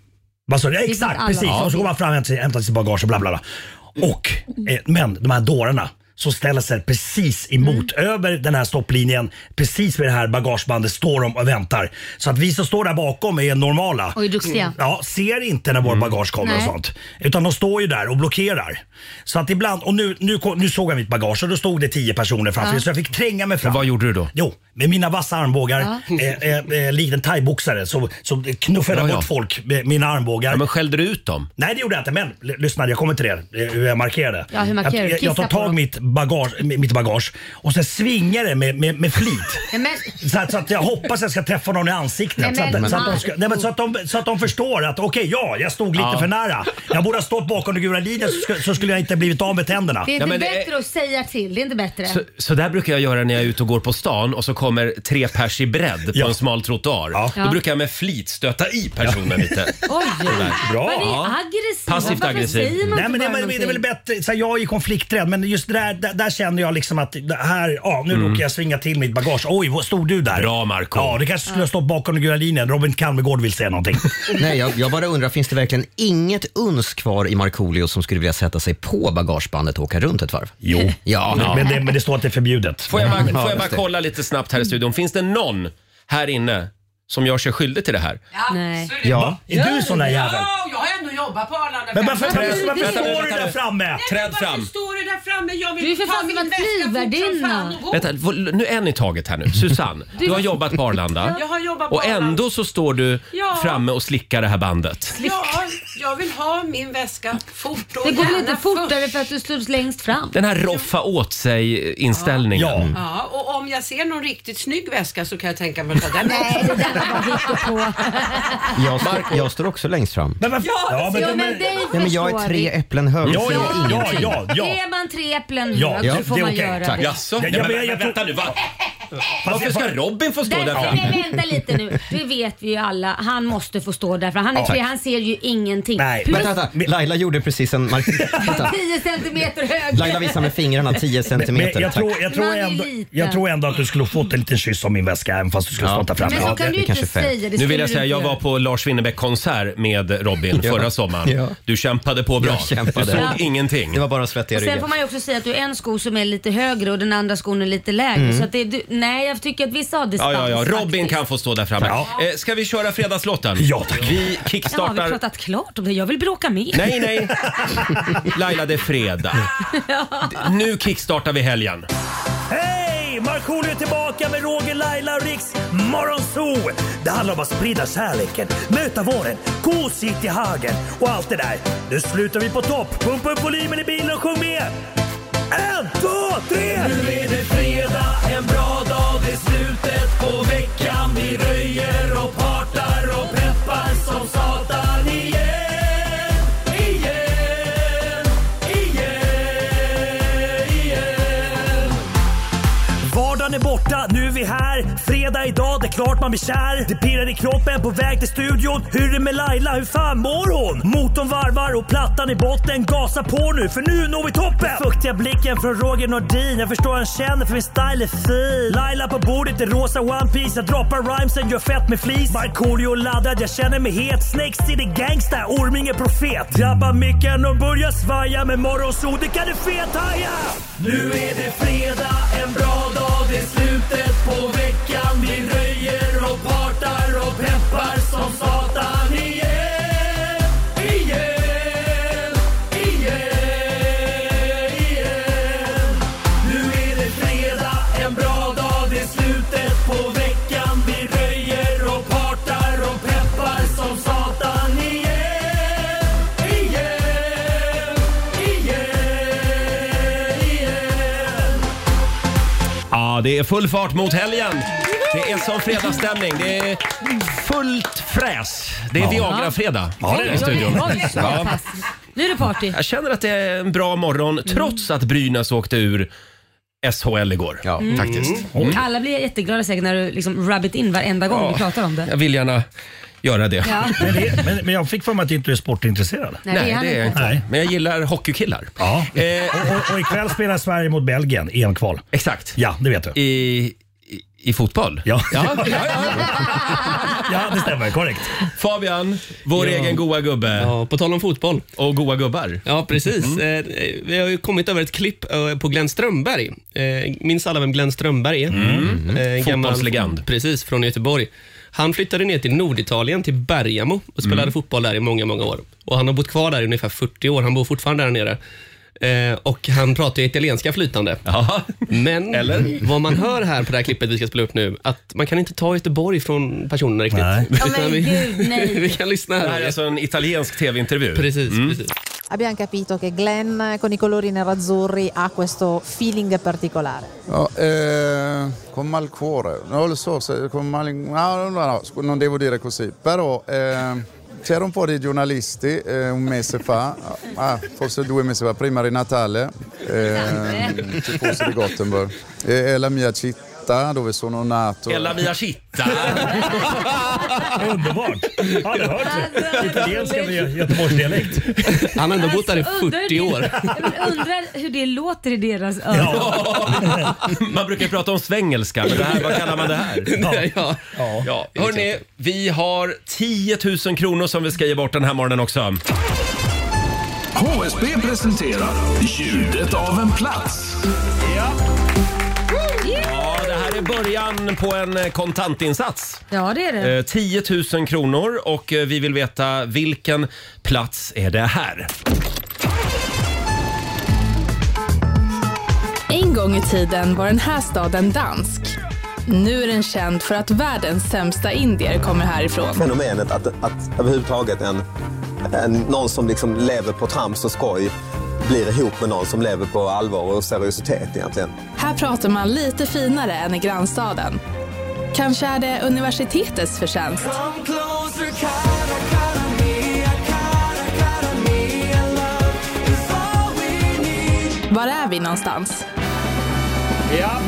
Speaker 9: Vad sa du? Ja,
Speaker 2: är
Speaker 9: Exakt,
Speaker 2: alla.
Speaker 9: precis.
Speaker 2: Ja.
Speaker 9: Och så går man fram och hämtar- hämtar sitt bagage och bla bla bla. Och, eh, men de här dårarna som ställer sig precis emot
Speaker 2: Mm.
Speaker 9: över den här stopplinjen. Precis vid det här bagagebandet står de och väntar. Så att vi som står där bakom är normala. Mm.
Speaker 2: Och är duktiga.
Speaker 9: Ja, ser inte
Speaker 1: Mm.
Speaker 9: när vår bagage kommer och
Speaker 2: Nej.
Speaker 9: sånt. Utan de står ju där och blockerar. Så att ibland, och nu, nu, kom- nu såg jag mitt bagage och då stod det tio personer framför så jag fick tränga mig fram.
Speaker 1: Vad gjorde du då?
Speaker 9: Jo, med mina vassa armbågar, eh, eh, eh, likt en thaiboxare, så, så knuffade jag
Speaker 1: Ja, ja.
Speaker 9: bort folk med mina armbågar.
Speaker 1: Ja, men skällde du ut dem?
Speaker 9: Nej, det gjorde jag inte. Men l- lyssna, jag kommer till det. eh, Hur jag markerade.
Speaker 2: Ja, hur markerar du?
Speaker 9: jag, jag, jag tar
Speaker 2: Kissa på
Speaker 9: tag
Speaker 2: dem.
Speaker 9: mitt bagage, m- mitt bagage och sen svingar det med, med, med flit. *laughs*
Speaker 2: Men,
Speaker 9: Så att, så att jag hoppas jag ska träffa någon i ansiktet.
Speaker 2: Nej,
Speaker 9: så, att,
Speaker 2: men
Speaker 9: så, att de
Speaker 2: Marco.
Speaker 9: ska, nej, men så, att de, så att de förstår att okej, ja, jag stod lite
Speaker 1: Ja.
Speaker 9: för nära. Jag borde ha stått bakom den gula linjen så, skulle- så skulle jag inte blivit av med tänderna.
Speaker 2: det är
Speaker 1: Ja,
Speaker 2: inte
Speaker 1: men det är-
Speaker 2: bättre att säga till. Det är inte bättre.
Speaker 1: Så, så där brukar jag göra när jag är ute och går på stan och så kommer tre pers i bredd på
Speaker 9: Ja.
Speaker 1: en smal trottoar.
Speaker 9: Ja.
Speaker 1: Då brukar jag med flit stöta i personen lite.
Speaker 2: Oj!
Speaker 9: Bra.
Speaker 2: Vad ni
Speaker 1: Ja.
Speaker 2: är aggressiva.
Speaker 1: Passivt
Speaker 2: Varför
Speaker 1: aggressiv.
Speaker 2: säger man
Speaker 9: Nej,
Speaker 2: inte
Speaker 9: men det,
Speaker 2: bara
Speaker 9: är väl- det är väl
Speaker 2: någonting?
Speaker 9: bättre. Så här, jag är ju konflikträdd men just det där, där, där känner jag liksom att det här, ja, nu råkar jag svinga till mitt bagage. Oj, vad stod du där?
Speaker 1: Mm. Bra, Marco.
Speaker 9: Ja, du kanske skulle ha stått bakom den gula linjen. Robin Kalmegård vill säga
Speaker 1: *laughs*
Speaker 9: någonting.
Speaker 3: Nej, jag, jag bara undrar, finns det verkligen inget uns kvar i Markoolio som skulle vilja sätta sig på bagagebandet och åka runt ett varv?
Speaker 9: Jo.
Speaker 3: Ja.
Speaker 9: Men, det, *laughs* men det står att det är förbjudet.
Speaker 1: Får jag bara, får jag
Speaker 3: just
Speaker 1: bara
Speaker 3: det.
Speaker 1: kolla lite snabbt här i studion. Finns det någon här inne som gör sig skyldig till det här.
Speaker 2: Nej.
Speaker 3: Ja.
Speaker 9: Är du sån där jävel?
Speaker 8: Ja, jag har ändå jobbat på Arlanda.
Speaker 9: Men varför,
Speaker 8: Nej,
Speaker 9: varför, varför
Speaker 2: det-
Speaker 9: står du där framme?
Speaker 1: Träd
Speaker 8: varför
Speaker 1: fram.
Speaker 8: står du där framme? Jag vill
Speaker 2: Du är för
Speaker 8: ta
Speaker 2: fan
Speaker 8: min
Speaker 2: som en
Speaker 8: väska fort som
Speaker 2: flygvärdinna.
Speaker 8: fan och gå.
Speaker 1: Vänta, v- nu en i taget här nu. Susanne, du har jobbat på Arlanda.
Speaker 8: Jag har jobbat på
Speaker 1: Och ändå så står du
Speaker 8: Ja.
Speaker 1: framme och slickar det här bandet.
Speaker 8: Ja, jag vill ha min väska fort och
Speaker 2: Det går väl
Speaker 8: gärna
Speaker 2: inte fortare för att du står längst fram?
Speaker 1: Den här roffa åt sig-inställningen.
Speaker 9: Ja.
Speaker 8: Ja, och om jag ser någon riktigt snygg väska så kan jag tänka mig att ta den. Nej,
Speaker 2: Det där var bara på.
Speaker 3: Jag, står, jag står också längst fram.
Speaker 9: Men varför? Ja, men,
Speaker 2: Ja,
Speaker 9: de
Speaker 2: men
Speaker 9: är-
Speaker 2: dig
Speaker 3: Nej, men jag
Speaker 2: förstår
Speaker 3: är tre
Speaker 2: vi.
Speaker 3: äpplen hög.
Speaker 9: ja,
Speaker 3: Jag
Speaker 9: ja,
Speaker 3: säger
Speaker 9: ja,
Speaker 3: ingenting.
Speaker 9: ja, ja.
Speaker 2: Ger man tre äpplen
Speaker 9: Ja,
Speaker 2: hög så
Speaker 9: ja,
Speaker 2: får
Speaker 9: det är
Speaker 2: man
Speaker 9: okej.
Speaker 2: göra
Speaker 3: Tack.
Speaker 2: det.
Speaker 1: Jaså?
Speaker 9: Ja,
Speaker 1: Nej,
Speaker 9: jag-
Speaker 1: men,
Speaker 9: jag- jag-
Speaker 1: vänta nu, va?
Speaker 9: Fast
Speaker 1: varför
Speaker 9: jag-
Speaker 1: ska Robin få stå där
Speaker 2: Därför,
Speaker 1: framme?
Speaker 2: nej, vänta lite nu. Det vet vi ju alla. Han måste få stå där för han är tre, han ser ju ingenting.
Speaker 9: Nej.
Speaker 2: Plus
Speaker 3: Vänta, vänta. Laila gjorde precis en mark... *laughs* Vänta.
Speaker 2: 10 centimeter hög.
Speaker 3: Laila visar med fingrarna 10
Speaker 9: Men
Speaker 3: centimeter.
Speaker 9: jag,
Speaker 3: Tack.
Speaker 9: tror, jag, tror
Speaker 2: Man är
Speaker 9: ändå,
Speaker 2: liten.
Speaker 9: jag tror ändå att du skulle fått en liten kyss om min väska även fast du skulle
Speaker 3: Ja.
Speaker 2: *laughs*
Speaker 9: stått där framme.
Speaker 2: Men så
Speaker 3: Ja,
Speaker 2: kan
Speaker 3: det-
Speaker 2: du
Speaker 3: det
Speaker 2: ju
Speaker 3: kanske
Speaker 2: inte
Speaker 3: är fel.
Speaker 2: säga. Det
Speaker 1: Nu
Speaker 2: skulle
Speaker 1: vill
Speaker 2: du
Speaker 1: jag säga,
Speaker 2: inte
Speaker 1: jag
Speaker 2: göra.
Speaker 1: var på Lars Winnerbäck-konsert med Robin förra sommaren.
Speaker 3: Ja.
Speaker 1: Du kämpade på bra.
Speaker 3: Jag kämpade.
Speaker 1: Du såg
Speaker 3: Ja.
Speaker 1: ingenting.
Speaker 3: Det var bara svettiga
Speaker 2: Och sen
Speaker 3: ryggar.
Speaker 2: får man ju också säga att du har en sko som är lite högre och den andra skon är lite lägre. Så att det, är du, nej, jag tycker att vissa har
Speaker 1: Mm. Ja, ja,
Speaker 2: distans.
Speaker 1: ja. Robin
Speaker 2: faktiskt.
Speaker 1: kan få stå där framme.
Speaker 9: Ja.
Speaker 1: Eh, ska vi köra fredagslåten?
Speaker 9: Ja, tack.
Speaker 1: Vi
Speaker 2: Ja, har vi
Speaker 1: kickstartar...
Speaker 2: pratat klart om det? Jag vill bråka mer. Mm.
Speaker 1: Nej,
Speaker 2: *laughs*
Speaker 1: nej. Laila, det är fredag. D- Nu kickstartar vi helgen.
Speaker 9: Hej! Markoolio är tillbaka med Roger, Laila och Riks Morgonzoo! Det handlar om att sprida kärleken, möta våren, gosigt i hagen och allt det där. Nu slutar vi på topp! Pumpa upp volymen i bilen och sjung med! En, två, tre! Nu är det fredag, en bra dag, det är slutet på veckan. Vi röjer och partar och peppar som satan igen, igen, igen, igen. Vardagen är borta, nu är vi här. Fredag idag, det är klart man blir kär. Det pirrar i kroppen på väg till studion. Hur är det med Laila, hur fan mår hon? Motorn varvar och plattan i botten. Gasa på nu, för nu når vi toppen! Den fuktiga blicken från Roger Nordin. Jag förstår han känner, för min style är fin. Laila på bordet i rosa One Piece Jag droppar rhymesen, gör fett med flis. Markoolio laddad, jag känner mig het. Snake City Gangsta, Orming är profet. Drabbar micken och börjar svaja. Med morgonsol, det kan du fethaja! Nu är det fredag, en bra dag, det är slutet på veckan. Vi röjer och partar och peppar som satan igen, igen, igen, igen. Nu är det fredag, en bra dag, det är slutet på veckan. Vi röjer och partar och peppar som satan igen, igen, igen, igen.
Speaker 1: Ja, det är full fart mot helgen. Det är sån fredagsstämning. Det är fullt fräs. Det är Viagra-fredag
Speaker 2: Oj,
Speaker 1: i studion.
Speaker 2: oj, oj, så pass. Nu är det party.
Speaker 1: Jag känner att det är en bra morgon
Speaker 2: Mm.
Speaker 1: trots att Brynäs åkte ur SHL igår. Mm.
Speaker 3: Ja,
Speaker 2: Mm.
Speaker 3: faktiskt.
Speaker 2: Alla blir jätteglada säkert när du liksom rub it in varenda gång vi pratar om det.
Speaker 1: Jag vill gärna göra det.
Speaker 2: Ja.
Speaker 9: Men, det, men, men jag fick för mig att du inte är sportintresserad.
Speaker 2: Nej,
Speaker 1: Nej,
Speaker 2: är han
Speaker 1: det är jag
Speaker 2: inte.
Speaker 1: inte.
Speaker 9: Nej.
Speaker 1: Men jag gillar hockeykillar.
Speaker 9: Ja.
Speaker 1: Eh,
Speaker 9: Och, och, och ikväll spelar Sverige mot Belgien EM-kval.
Speaker 1: exakt.
Speaker 9: Ja, det vet du.
Speaker 1: I, i, I fotboll?
Speaker 9: Ja.
Speaker 1: ja, ja, ja.
Speaker 9: *laughs* Ja, det stämmer. Korrekt.
Speaker 1: Fabian, vår egen goa gubbe
Speaker 10: Ja, på tal om fotboll.
Speaker 1: Eh, och goa gubbar. Mm.
Speaker 10: Ja, precis. Eh, vi har ju kommit över ett klipp eh, på Glenn Strömberg. Eh, minns alla vem Glenn Strömberg är? Eh, en gammal-
Speaker 1: Mm. Fotbollslegend.
Speaker 10: Precis, från Göteborg. Han flyttade ner till Norditalien, till Bergamo och spelade
Speaker 1: Mm.
Speaker 10: fotboll där i många, många år. Och Han har bott kvar där i ungefär 40 år. Han bor fortfarande där nere. Eh, och Han pratar ju italienska flytande.
Speaker 1: Ja. *laughs*
Speaker 10: Men vad man hör här på det här klippet vi ska spela upp nu, att man kan inte ta Göteborg från personerna riktigt.
Speaker 9: Nej.
Speaker 10: Utan
Speaker 2: Ja, men
Speaker 10: vi,
Speaker 2: gud, nej.
Speaker 10: *laughs* vi kan lyssna
Speaker 1: Det här
Speaker 10: här.
Speaker 1: är alltså en italiensk tv-intervju. Mm.
Speaker 10: Precis, precis.
Speaker 7: Abbiamo capito che Glenn con i colori nerazzurri ha questo feeling particolare.
Speaker 11: Ja, eh, con malcuore, non lo so se con mal... No, no, no, scu- non devo dire così, però eh, c'era un po' di giornalisti eh, un mese fa, ah, forse due mesi fa, prima di Natale, eh, tifosi di Gothenburg, e è la mia città dove sono nato.
Speaker 1: Ella Mia Chitta.
Speaker 9: *laughs* Underbart. Ja, du hörde
Speaker 2: Alltså,
Speaker 9: Italienska med Göteborgsdialekt.
Speaker 10: Han har ändå bott där i
Speaker 2: Alltså, undrar
Speaker 10: 40
Speaker 2: det- *laughs*
Speaker 10: år.
Speaker 2: Men Undrar hur det låter i deras öron.
Speaker 1: Man brukar ju prata om svengelska, men det här, vad kallar man det här?
Speaker 10: Nej, *laughs* ja.
Speaker 1: Ja, hörni, vi har 10 000 kronor som vi ska ge bort den här morgonen också.
Speaker 5: HSB presenterar Ljudet av en plats.
Speaker 1: Ja, det här här är början på en eh, kontantinsats.
Speaker 2: Ja, det är det.
Speaker 1: Eh, 10 000 kronor och eh, vi vill veta vilken plats är det här?
Speaker 12: En gång i tiden var den här staden dansk. Nu är den känd för att världens sämsta indier kommer härifrån.
Speaker 13: Fenomenet att, att överhuvudtaget en, en, någon som liksom lever på trams och skoj blir ihop med någon som lever på allvar och seriositet egentligen.
Speaker 12: Här pratar man lite finare än i grannstaden. Kanske är det universitetets förtjänst. Var är vi någonstans?
Speaker 1: Ja.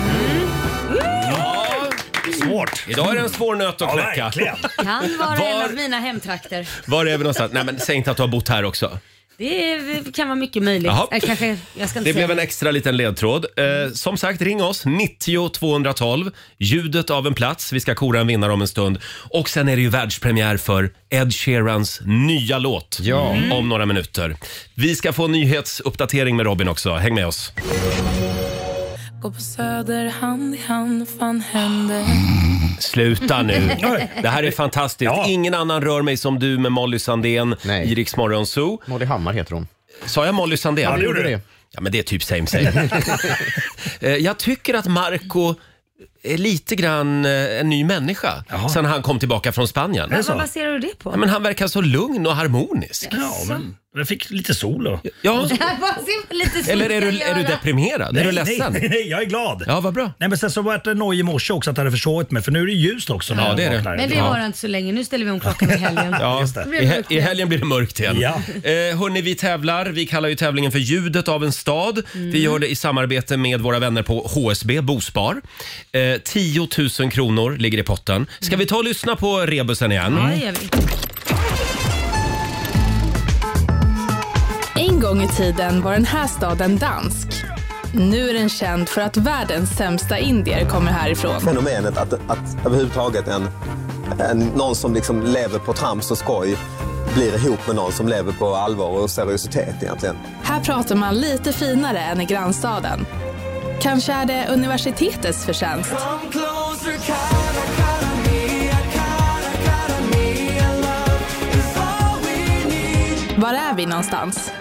Speaker 1: Svårt. Idag är det en svår nöt att knäcka.
Speaker 2: Kan vara en
Speaker 1: Var-
Speaker 2: av mina hemtrakter.
Speaker 1: Var är vi någonstans? Nej men säg inte att du har bott här också.
Speaker 2: Det är- kan vara mycket möjligt.
Speaker 1: Jaha.
Speaker 2: Eller kanske, jag ska inte
Speaker 1: Det
Speaker 2: säga.
Speaker 1: blev en extra liten ledtråd. Eh, som sagt, ring oss. 90 212. Ljudet av en plats. Vi ska kora en vinnare om en stund. Och sen är det ju världspremiär för Ed Sheerans nya låt
Speaker 3: Mm.
Speaker 1: om några minuter. Vi ska få en nyhetsuppdatering med Robin också. Häng med oss.
Speaker 12: Gå på Söder hand i hand, fan händer?
Speaker 1: Sluta nu.
Speaker 12: Nej.
Speaker 1: *laughs* Det här är fantastiskt. Ingen annan rör mig som du med Molly Sandén i Rix Morgon Zoo. Molly Hammar heter hon. Sa jag Molly Sandén?
Speaker 3: Ja, det gjorde du.
Speaker 1: Ja, men det är typ same *laughs* same. Eh, jag tycker att Marco är lite grann eh, en ny människa sen han kom tillbaka från Spanien.
Speaker 2: Men vad baserar du det på?
Speaker 1: Ja, men han verkar så lugn och harmonisk.
Speaker 2: Ja, men
Speaker 1: jag fick lite sol och...
Speaker 2: *laughs*
Speaker 1: Ja.
Speaker 2: Vad ser man lite
Speaker 1: Eller är du, är du
Speaker 2: solglasögon?
Speaker 1: deprimerad? är du
Speaker 9: *laughs*
Speaker 1: ledsen?
Speaker 9: Nej, nej, jag är glad.
Speaker 1: Ja, vad bra.
Speaker 9: Nej, men sen så vart det noj i morse också att det hade försovit mig, för nu är det ljust också. När
Speaker 1: Ja,
Speaker 9: jag
Speaker 1: det är det.
Speaker 9: vaknar.
Speaker 2: Men det var inte så länge. Nu ställer vi om
Speaker 1: *laughs*
Speaker 2: klockan i helgen.
Speaker 1: Ja,
Speaker 2: Det
Speaker 1: i,
Speaker 2: blev
Speaker 1: he-
Speaker 2: mörkt.
Speaker 1: I helgen blir det mörkt igen.
Speaker 9: Ja.
Speaker 1: Eh, hörni, vi tävlar. Vi kallar ju tävlingen för Ljudet av en stad. Vi gör det i samarbete med våra vänner på HSB Bospar. Eh, 10 000 kronor ligger i potten. Ska vi ta och lyssna på rebusen igen?
Speaker 2: Mm.
Speaker 12: Ja, det gör En gång i tiden var den här staden dansk. Nu är den känd för att världens sämsta indier kommer härifrån.
Speaker 13: Fenomenet att, att överhuvudtaget en, en, någon som liksom lever på trams och skoj blir ihop med någon som lever på allvar och seriositet egentligen.
Speaker 12: Här pratar man lite finare än i grannstaden. Kanske är det universitetets förtjänst. Var är vi någonstans?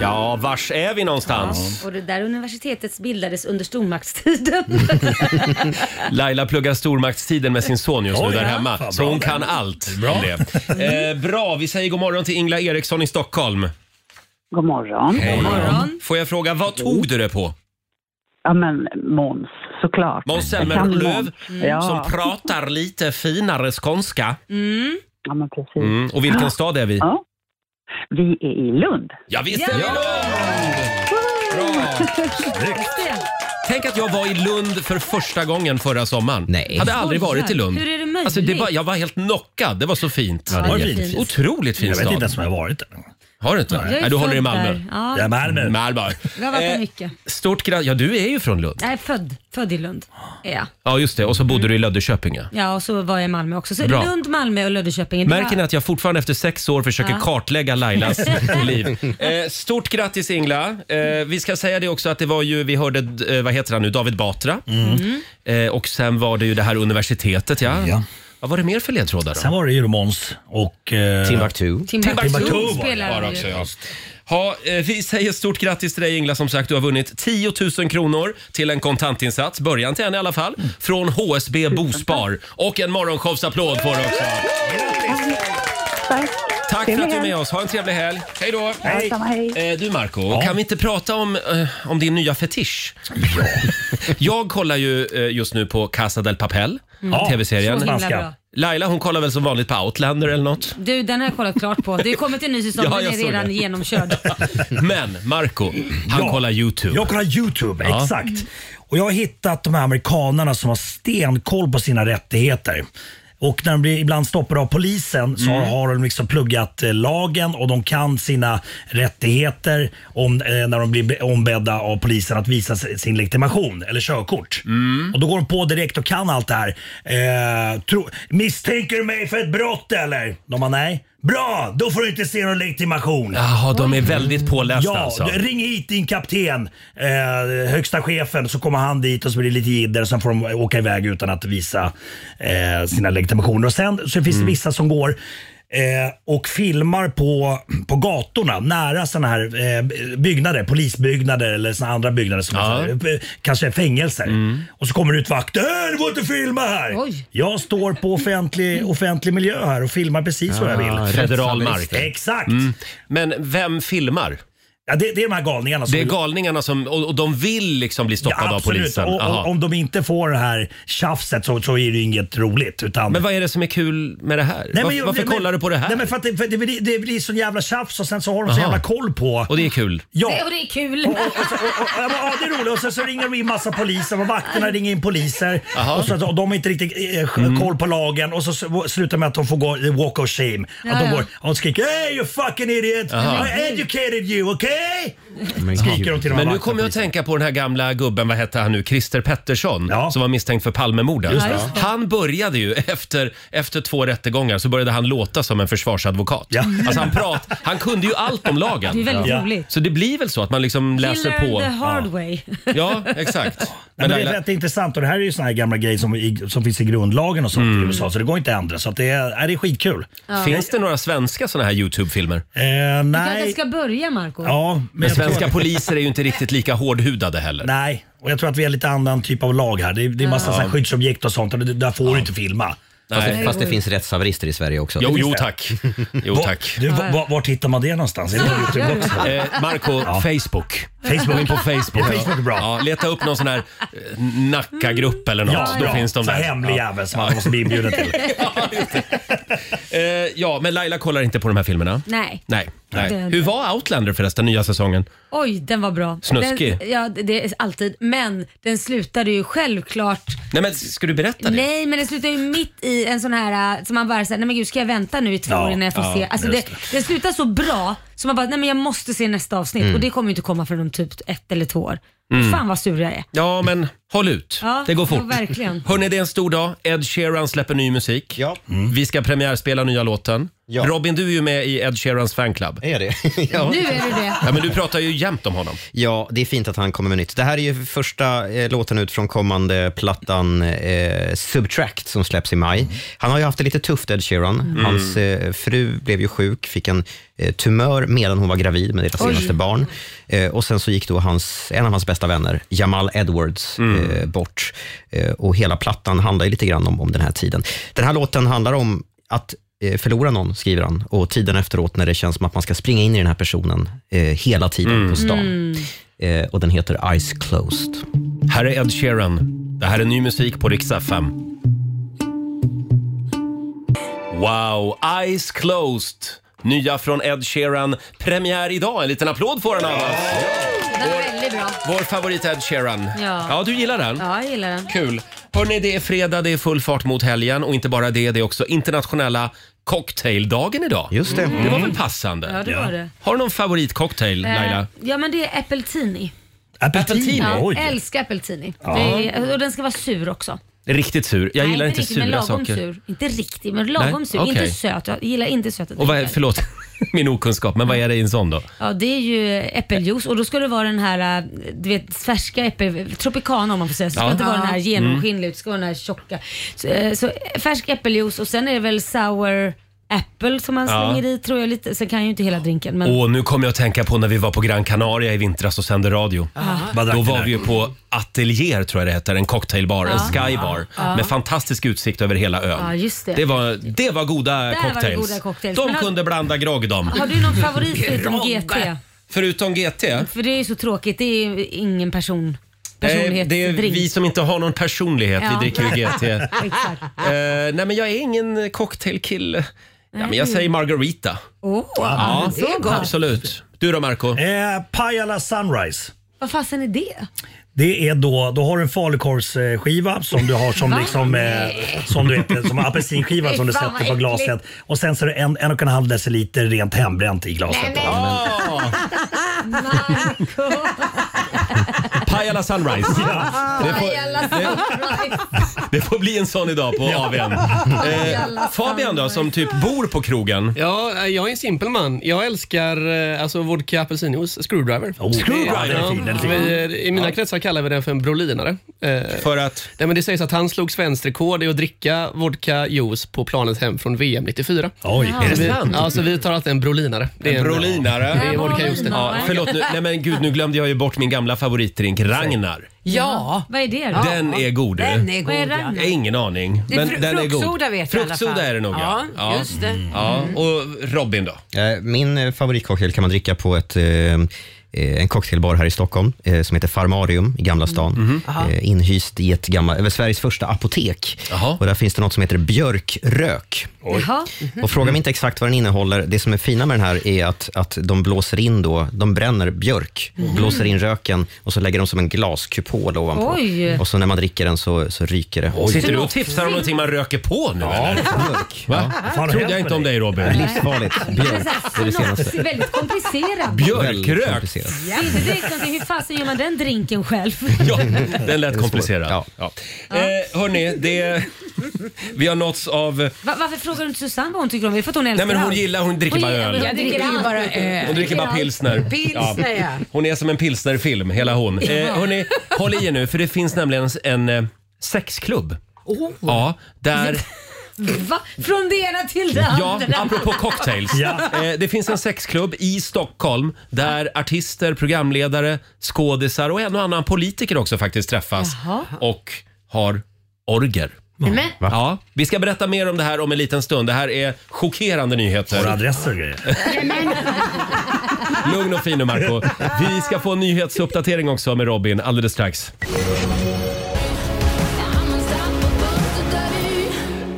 Speaker 1: Ja, vars är vi någonstans?
Speaker 2: Och det där universitetet bildades under stormaktstiden.
Speaker 1: Mm. Laila pluggar stormaktstiden med sin son just nu
Speaker 2: Oj,
Speaker 1: där
Speaker 2: ja.
Speaker 1: hemma.
Speaker 2: Fan,
Speaker 1: så
Speaker 2: bra
Speaker 1: hon
Speaker 2: där.
Speaker 1: kan allt.
Speaker 2: Bra.
Speaker 1: Bra. Det. Eh, bra, vi säger god morgon till Ingla Eriksson i Stockholm.
Speaker 14: God morgon.
Speaker 1: Hej. Får jag fråga, vad tog du det på?
Speaker 14: Ja, men Måns, såklart.
Speaker 1: Måns
Speaker 14: Jag kan
Speaker 1: Zelmerlöw
Speaker 14: Måns.
Speaker 2: Mm.
Speaker 14: Ja.
Speaker 1: som pratar lite finare skånska.
Speaker 12: Mm.
Speaker 14: Ja, men precis.
Speaker 1: Mm. Och vilken stad är vi?
Speaker 14: Ja. Vi är i Lund.
Speaker 1: Ja, visst är vi i Lund! Bra! Snyggt. Tänk att jag var i Lund för första gången förra sommaren. Nej. Hade aldrig
Speaker 2: Skojar.
Speaker 1: varit i Lund.
Speaker 2: Hur är det möjligt?
Speaker 1: Alltså, det var, jag var helt knockad. Det var så fint.
Speaker 2: Ja, det är Var det jättefint? fint?
Speaker 1: Otroligt fin
Speaker 9: Jag vet
Speaker 1: stad.
Speaker 9: inte ens om jag har varit
Speaker 1: där. Har du inte?
Speaker 2: Jag är
Speaker 1: Nej, du håller i
Speaker 2: född
Speaker 1: Malmö.
Speaker 2: där. Ja. Jag är
Speaker 1: Malmö.
Speaker 2: Jag har varit
Speaker 1: Eh,
Speaker 2: på mycket.
Speaker 1: Stort grattis. Ja, du är ju från Lund.
Speaker 2: Jag är född, född i Lund. Är jag.
Speaker 1: Ja, just det. Och så bodde du i Löddeköpinge.
Speaker 2: Ja, och så var jag i Malmö också. Så
Speaker 1: Bra.
Speaker 2: Lund, Malmö och Löddeköping. Det
Speaker 1: Märker
Speaker 2: var-
Speaker 1: ni att jag fortfarande efter sex år försöker
Speaker 2: Ja.
Speaker 1: kartlägga Lailas liv? Eh, stort grattis Ingla. Eh, vi ska säga det också att det var ju, vi hörde, eh, vad heter han nu, David Batra.
Speaker 9: Mm.
Speaker 12: Mm.
Speaker 1: Eh, och sen var det ju det här universitetet ja. Vad var det mer för ledtrådar då?
Speaker 9: Sen var det ju Romans och... Eh...
Speaker 1: Timbuktu.
Speaker 9: Timbuktu,
Speaker 1: Timbuktu
Speaker 9: var det.
Speaker 1: var det också ja. Ha, eh, vi säger stort grattis till dig Ingla som sagt. Du har vunnit 10 000 kronor till en kontantinsats, början till en i alla fall,
Speaker 9: Mm.
Speaker 1: från HSB Bospar. Och en morgonshowsapplåd får du också.
Speaker 14: Tack.
Speaker 1: Tack för att du är med oss. Ha en trevlig helg. Hej då!
Speaker 14: Hej. Ja, samma, hej.
Speaker 1: Eh, Du Marco, kan vi inte prata om, eh, om din nya fetisch? *laughs* Jag kollar ju eh, just nu på Casa del Papel,
Speaker 2: Mm. Ja,
Speaker 1: tv-serien.
Speaker 2: så himla Spanska. bra.
Speaker 1: Laila hon kollar väl som vanligt på Outlander eller något.
Speaker 9: *laughs*
Speaker 2: Du, den har jag kollat klart på. Det har kommit en ny säsong,
Speaker 1: *laughs* Ja,
Speaker 2: den
Speaker 1: jag
Speaker 2: är
Speaker 1: såg
Speaker 2: redan
Speaker 1: det.
Speaker 2: genomkörd.
Speaker 1: Men Marco, han
Speaker 9: Ja.
Speaker 1: kollar YouTube.
Speaker 9: Jag kollar YouTube,
Speaker 1: Ja.
Speaker 9: exakt. Och jag har hittat de här amerikanerna som har stenkoll på sina rättigheter. Och när de blir ibland stoppade av polisen så
Speaker 15: Mm.
Speaker 9: har de liksom pluggat eh, lagen och de kan sina rättigheter om, eh, när de blir be- ombedda av polisen att visa s- sin legitimation eller körkort.
Speaker 1: Mm.
Speaker 9: Och då går de på direkt och kan allt det här. Eh, tro, misstänker du mig för ett brott eller? De bara nej. Bra, då får du inte se någon legitimation. Mm.
Speaker 1: Jaha, de är väldigt pålästa
Speaker 9: ja,
Speaker 1: alltså.
Speaker 9: du- Ring hit din kapten, eh, högsta chefen, så kommer han dit och så blir det lite jidder. Sen får de åka iväg utan att visa eh, sina legitimationer. Och sen så finns
Speaker 1: Mm.
Speaker 9: det vissa som går eh, och filmar på, på gatorna nära sådana här eh, byggnader, polisbyggnader eller såna andra byggnader som är såna här, eh, kanske är fängelser.
Speaker 1: Mm.
Speaker 9: Och så kommer det ut vakter. "Äh, Du får inte filma här! Jag står på offentlig, offentlig miljö här och filmar precis vad jag
Speaker 1: Ah,
Speaker 9: vill.
Speaker 1: federal mark.
Speaker 9: Exakt.
Speaker 1: Mm. Men vem filmar?
Speaker 9: Ja, det, det är de här galningarna. Som
Speaker 1: Det är galningarna som, och, och de vill liksom bli stoppade av polisen.
Speaker 9: Och,
Speaker 1: Jaha.
Speaker 9: och, om de inte får det här tjafset så, så är det ju inget roligt. Utan... Men
Speaker 1: vad är det som är kul med det här? Varför- varför kollar du på det här?
Speaker 9: Nej, men för att det, för det, blir, det blir sån jävla tjafs och sen så har de så
Speaker 1: Jaha.
Speaker 9: jävla koll på...
Speaker 1: Och det är kul?
Speaker 9: Ja.
Speaker 2: Det, och det är kul.
Speaker 9: Ja, men, ja, det är roligt. Och sen så ringer de in massa poliser och vakterna ringer in poliser.
Speaker 1: Jaha.
Speaker 9: Och så, att de har inte riktigt eh, sk-
Speaker 1: Mm.
Speaker 9: koll på lagen och så s- slutar med att de får gå eh, walk of shame.
Speaker 1: Ja,
Speaker 9: att de,
Speaker 1: ja.
Speaker 9: går, och de skriker “Hey you fucking idiot!
Speaker 1: Jaha.
Speaker 9: I educated you, okay?”
Speaker 1: Men,
Speaker 9: Skriker de till de här
Speaker 1: nu
Speaker 9: vakterna.
Speaker 1: kommer jag att tänka på den här gamla gubben, vad hette han nu, Christer Pettersson, som var misstänkt för Palmemordet.
Speaker 9: Just det. Ja, just det.
Speaker 1: Han började ju, efter, efter två rättegångar, så började han låta som en försvarsadvokat. Alltså han, prat, han kunde ju allt om lagen.
Speaker 2: Det är väldigt Ja. roligt.
Speaker 1: Så det blir väl så att man liksom läser
Speaker 2: Killer
Speaker 1: på.
Speaker 2: the hard way.
Speaker 1: Ja, exakt.
Speaker 9: Men
Speaker 1: Men
Speaker 9: det är
Speaker 1: Laila-
Speaker 9: rätt intressant och det här är ju såna här gamla grejer som, i- som finns i grundlagen och sånt i USA så det går inte att ändra. Så att det, är, nej, det är skitkul.
Speaker 2: Ja.
Speaker 1: Mm. Finns det några svenska såna här YouTube-filmer?
Speaker 9: Eh,
Speaker 2: *laughs* Du kanske
Speaker 9: nej.
Speaker 2: ska börja Marco
Speaker 1: men, svenska poliser är ju inte riktigt lika hårdhudade heller.
Speaker 9: Nej, och jag tror att vi är lite annan typ av lag här. Det är, det är massa
Speaker 1: Ja.
Speaker 9: så här skyddsobjekt och sånt och det, där får du inte filma. Alltså,
Speaker 3: Fast, det, fast det finns rättshaverister i Sverige också.
Speaker 9: Jo, jo, tack.
Speaker 1: Jo,
Speaker 9: Va-
Speaker 1: tack.
Speaker 9: Du, va- va- vart hittar man det någonstans? Är det på YouTube också?
Speaker 1: Eh, Marco, Facebook.
Speaker 9: Facebook.
Speaker 1: Gå in på Facebook.
Speaker 9: *laughs* Ja, Facebook är bra.
Speaker 1: Ja, leta upp någon sån här eh, Nacka-grupp eller något.
Speaker 9: Ja,
Speaker 1: Då
Speaker 9: bra.
Speaker 1: finns de
Speaker 9: Så
Speaker 1: där.
Speaker 9: här hemlig jävel som man måste bli inbjuden till.
Speaker 1: ja, just det. *laughs* eh, ja, men Laila kollar inte på de här filmerna.
Speaker 2: Nej.
Speaker 1: Nej. nej.
Speaker 2: Det-
Speaker 1: Hur var Outlander förresten, nya säsongen?
Speaker 2: Oj, den var bra.
Speaker 1: Snuskig.
Speaker 2: Den, ja, det- det är alltid. Men den slutade ju självklart
Speaker 1: Nej men ska du berätta det?
Speaker 2: Nej, men det slutar ju mitt i en sån här äh, som man bara säger, nej men gud ska jag vänta nu i två
Speaker 1: Ja,
Speaker 2: år innan jag får
Speaker 1: ja,
Speaker 2: se? Alltså det,
Speaker 1: just
Speaker 2: det slutar så bra så man bara, nej men jag måste se nästa avsnitt
Speaker 1: Mm.
Speaker 2: och det kommer ju inte komma förrän om typ ett eller två år.
Speaker 1: Mm.
Speaker 2: Fan vad sur jag är.
Speaker 1: Ja, men håll ut.
Speaker 2: Ja,
Speaker 1: det går
Speaker 2: ja,
Speaker 1: fort. *laughs*
Speaker 2: verkligen.
Speaker 1: Hörrni, det är en stor dag. Ed Sheeran släpper ny musik.
Speaker 3: Ja.
Speaker 9: Mm.
Speaker 1: Vi ska premiärspela nya låten.
Speaker 3: Ja.
Speaker 1: Robin, du är ju med i Ed Sheerans fanclub.
Speaker 3: Är det? ja.
Speaker 2: Nu är du det.
Speaker 1: *laughs* Ja, men du pratar ju jämt om honom.
Speaker 3: Ja, det är fint att han kommer med nytt. Det här är ju första eh, låten ut från kommande plattan eh, Subtract som släpps i maj. Han har ju haft det lite tufft, Ed Sheeran.
Speaker 15: Mm.
Speaker 3: Hans eh, fru blev ju sjuk, fick en eh, tumör medan hon var gravid med deras
Speaker 15: Oj.
Speaker 3: senaste barn. Eh, och sen så gick då hans, en av hans bästa vänner, Jamal Edwards, eh, bort. Eh, och hela plattan handlar ju lite grann om, om den här tiden. Den här låten handlar om att eh, förlora någon, skriver han, och tiden efteråt när det känns som att man ska springa in i den här personen eh, hela tiden
Speaker 6: Mm.
Speaker 3: på stan.
Speaker 2: Mm.
Speaker 3: Eh, och den heter Eyes Closed.
Speaker 1: Här är Ed Sheeran. Det här är ny musik på Riksa 5. Wow, Eyes Closed. Nya från Ed Sheeran. Premiär idag. En liten applåd får han av oss.
Speaker 2: Den var väldigt bra.
Speaker 1: Vår favorit Ed Sheeran.
Speaker 2: Ja.
Speaker 1: du gillar den?
Speaker 2: Ja, jag gillar den.
Speaker 1: Kul. Hörni, det är fredag, det är full fart mot helgen och inte bara det, det är också internationella cocktaildagen idag.
Speaker 3: Just det.
Speaker 1: Det var väl passande?
Speaker 2: Ja, det var det.
Speaker 1: Har du någon favoritcocktail, Laila?
Speaker 2: Eh, Ja men det är äppeltini.
Speaker 1: Apeltini?
Speaker 2: Ja,
Speaker 1: Oj.
Speaker 2: älskar äppeltini.
Speaker 1: Ja.
Speaker 2: Det är- Och den ska vara sur också.
Speaker 1: Riktigt sur. Jag
Speaker 2: Nej,
Speaker 1: gillar inte
Speaker 2: riktigt, men
Speaker 1: sura
Speaker 2: lagom
Speaker 1: saker.
Speaker 2: Sur. Inte riktigt men lagom
Speaker 1: Nej,
Speaker 2: sur.
Speaker 1: okej.
Speaker 2: Inte söt. Jag gillar inte söta
Speaker 1: Och vad är, förlåt *laughs* min okunskap, men vad är det i en sån då?
Speaker 2: Ja, det är ju äppeljuice och då ska det vara den här, äh, du vet färska äppel, tropicana om man får säga så. Det ska
Speaker 1: Ja. Mm.
Speaker 2: inte vara
Speaker 1: Ja.
Speaker 2: den här genomskinliga, det ska vara den här tjocka. Så, äh, så äh, färsk äppeljuice och sen är det väl sour apple som man
Speaker 1: Ja.
Speaker 2: slänger i tror jag lite. Sen kan jag ju inte hela drinken men.
Speaker 1: Och nu kommer jag att tänka på när vi var på Gran Canaria i vintras och sände radio.
Speaker 2: Aha.
Speaker 9: Vad drack
Speaker 1: Då
Speaker 9: ni
Speaker 1: var
Speaker 9: där?
Speaker 1: vi ju på Atelier, tror jag det heter, en cocktailbar, en
Speaker 2: Ja.
Speaker 1: skybar
Speaker 2: Ja.
Speaker 1: med fantastisk utsikt över hela ön.
Speaker 2: Ah. Ja, just det.
Speaker 1: var, det var goda
Speaker 2: var det
Speaker 1: cocktails.
Speaker 2: goda cocktails.
Speaker 1: De
Speaker 2: Men har-
Speaker 1: kunde blanda grogg de.
Speaker 2: Har du någon favorit förutom GT?
Speaker 1: Förutom Eh, GT?
Speaker 2: För det är ju så tråkigt, det är ju ingen person,
Speaker 1: Eh, det är
Speaker 2: personlighetsdrink.
Speaker 1: vi som inte har någon personlighet,
Speaker 2: Ja.
Speaker 1: vi dricker ju GT.
Speaker 2: *laughs* Exakt.
Speaker 1: Eh, nej men jag är ingen cocktailkille. Ja, men jag
Speaker 9: Nej.
Speaker 1: säger
Speaker 2: *laughs*
Speaker 1: Margarita.
Speaker 2: Åh,
Speaker 1: ja,
Speaker 9: det är gott.
Speaker 1: absolut. Du då Marco?
Speaker 9: Eh, Pajala Sunrise.
Speaker 2: Vad fasen är det?
Speaker 9: Det är då, då har du en falukorvsskiva som du har som
Speaker 2: Va?
Speaker 9: liksom, eh,
Speaker 2: Nej.
Speaker 9: som du vet, som
Speaker 2: *laughs*
Speaker 9: apelsinskiva
Speaker 2: Nej,
Speaker 9: som du
Speaker 2: fan
Speaker 9: sätter
Speaker 2: vad
Speaker 9: på
Speaker 2: äckligt.
Speaker 9: glaset. Och sen så är det en, en och en halv deciliter rent
Speaker 2: *laughs*
Speaker 9: hembränt i glaset.
Speaker 2: Marco.
Speaker 1: Pajala Sunrise. Det får, det får bli en sån idag på
Speaker 3: *laughs*
Speaker 1: AWn. Eh,
Speaker 10: Pajala
Speaker 1: Fabian då, som typ bor på krogen.
Speaker 10: Ja, eh, jag är en simpel man. Jag älskar eh, alltså, vodka apelsinjuice, screwdriver.
Speaker 1: Oh, Screwdriver
Speaker 10: Det-
Speaker 1: är fin, den är fin.
Speaker 10: vi- eh, I mina kretsar kallar vi den för en brolinare. Eh,
Speaker 1: För att?
Speaker 10: Nej, men det sägs att han slog svenskt rekord i att dricka vodka juice på planet hem från VM 94.
Speaker 1: Oj. Är det
Speaker 10: Så vi,
Speaker 1: sant?
Speaker 10: Ja, så vi tar alltid en brolinare. Det är
Speaker 1: En brolinare.
Speaker 10: Det är vodka juice det.
Speaker 1: Ja, förlåt nu, nej men gud nu glömde jag ju bort min gamla favoritdrink, Ragnar.
Speaker 2: Ja. Vad är det då?
Speaker 1: Den är god.
Speaker 2: Den är god, Vad är
Speaker 1: Jag
Speaker 2: Ragnar?
Speaker 1: har ingen aning.
Speaker 2: Det är fru- fruktsoda vet jag i alla fall.
Speaker 1: Fruktsoda är det nog ja.
Speaker 2: Ja, just det. Mm.
Speaker 1: Ja. Och Robin då?
Speaker 3: Eh, Min eh, favoritcocktail kan man dricka på ett, eh, eh, en cocktailbar här i Stockholm eh, som heter Farmarium i Gamla stan.
Speaker 1: Mhm.
Speaker 3: Eh, Inhyst i ett gammal, eller Sveriges första apotek. Och där finns det något som heter björkrök.
Speaker 2: Jaha.
Speaker 3: Och fråga mig inte exakt vad den innehåller. Det som är fina med den här är att, att de blåser in då, de bränner björk,
Speaker 2: Mhm.
Speaker 3: blåser in röken och så lägger de som en glaskupol ovanpå.
Speaker 2: Oj.
Speaker 3: Och så när man dricker den så, så ryker det.
Speaker 1: Sitter du och tipsar om någonting man röker på nu eller?
Speaker 3: Björk.
Speaker 1: Va?
Speaker 3: Ja.
Speaker 1: Fan, Trodde jag inte om dig Robin.
Speaker 3: Livsfarligt. Björk, det är det senaste.
Speaker 2: Väldigt komplicerad.
Speaker 3: Väldigt
Speaker 1: Björkrök.
Speaker 3: komplicerat.
Speaker 2: Det är inte direkt någonting. Hur fasen gör man den drinken själv?
Speaker 1: *laughs* Ja, den lät komplicerad. Ja. Eh, hörni, det, vi har nåtts av...
Speaker 2: Va, varför frågar du inte Susanne vad hon tycker om det? För att hon älskar
Speaker 1: Nej men hon
Speaker 2: allt.
Speaker 1: gillar, hon dricker bara
Speaker 2: gillar-
Speaker 1: öl.
Speaker 2: Jag dricker
Speaker 4: Hon
Speaker 2: bara
Speaker 1: Hon dricker bara pilsner.
Speaker 4: Pilsner, ja.
Speaker 1: Hon är som en pilsnerfilm, hela hon. Eh,
Speaker 4: Ja.
Speaker 1: hörni, håll i er nu för det finns nämligen en eh, sexklubb.
Speaker 2: Oh.
Speaker 1: Ja, där...
Speaker 2: Va? Från det ena till det
Speaker 1: Ja,
Speaker 2: andra.
Speaker 1: apropå cocktails.
Speaker 2: Ja.
Speaker 1: Eh, det finns en sexklubb i Stockholm där artister, programledare, skådisar och en och annan politiker också faktiskt träffas
Speaker 2: Jaha.
Speaker 1: och har orger.
Speaker 2: Men,
Speaker 1: Ja, vi ska berätta mer om det här om en liten stund. Det här är chockerande nyheter. Våra
Speaker 9: adresser och grejer.
Speaker 1: *laughs* Lugn och fin nu Marco. Vi ska få en nyhetsuppdatering också med Robin alldeles strax.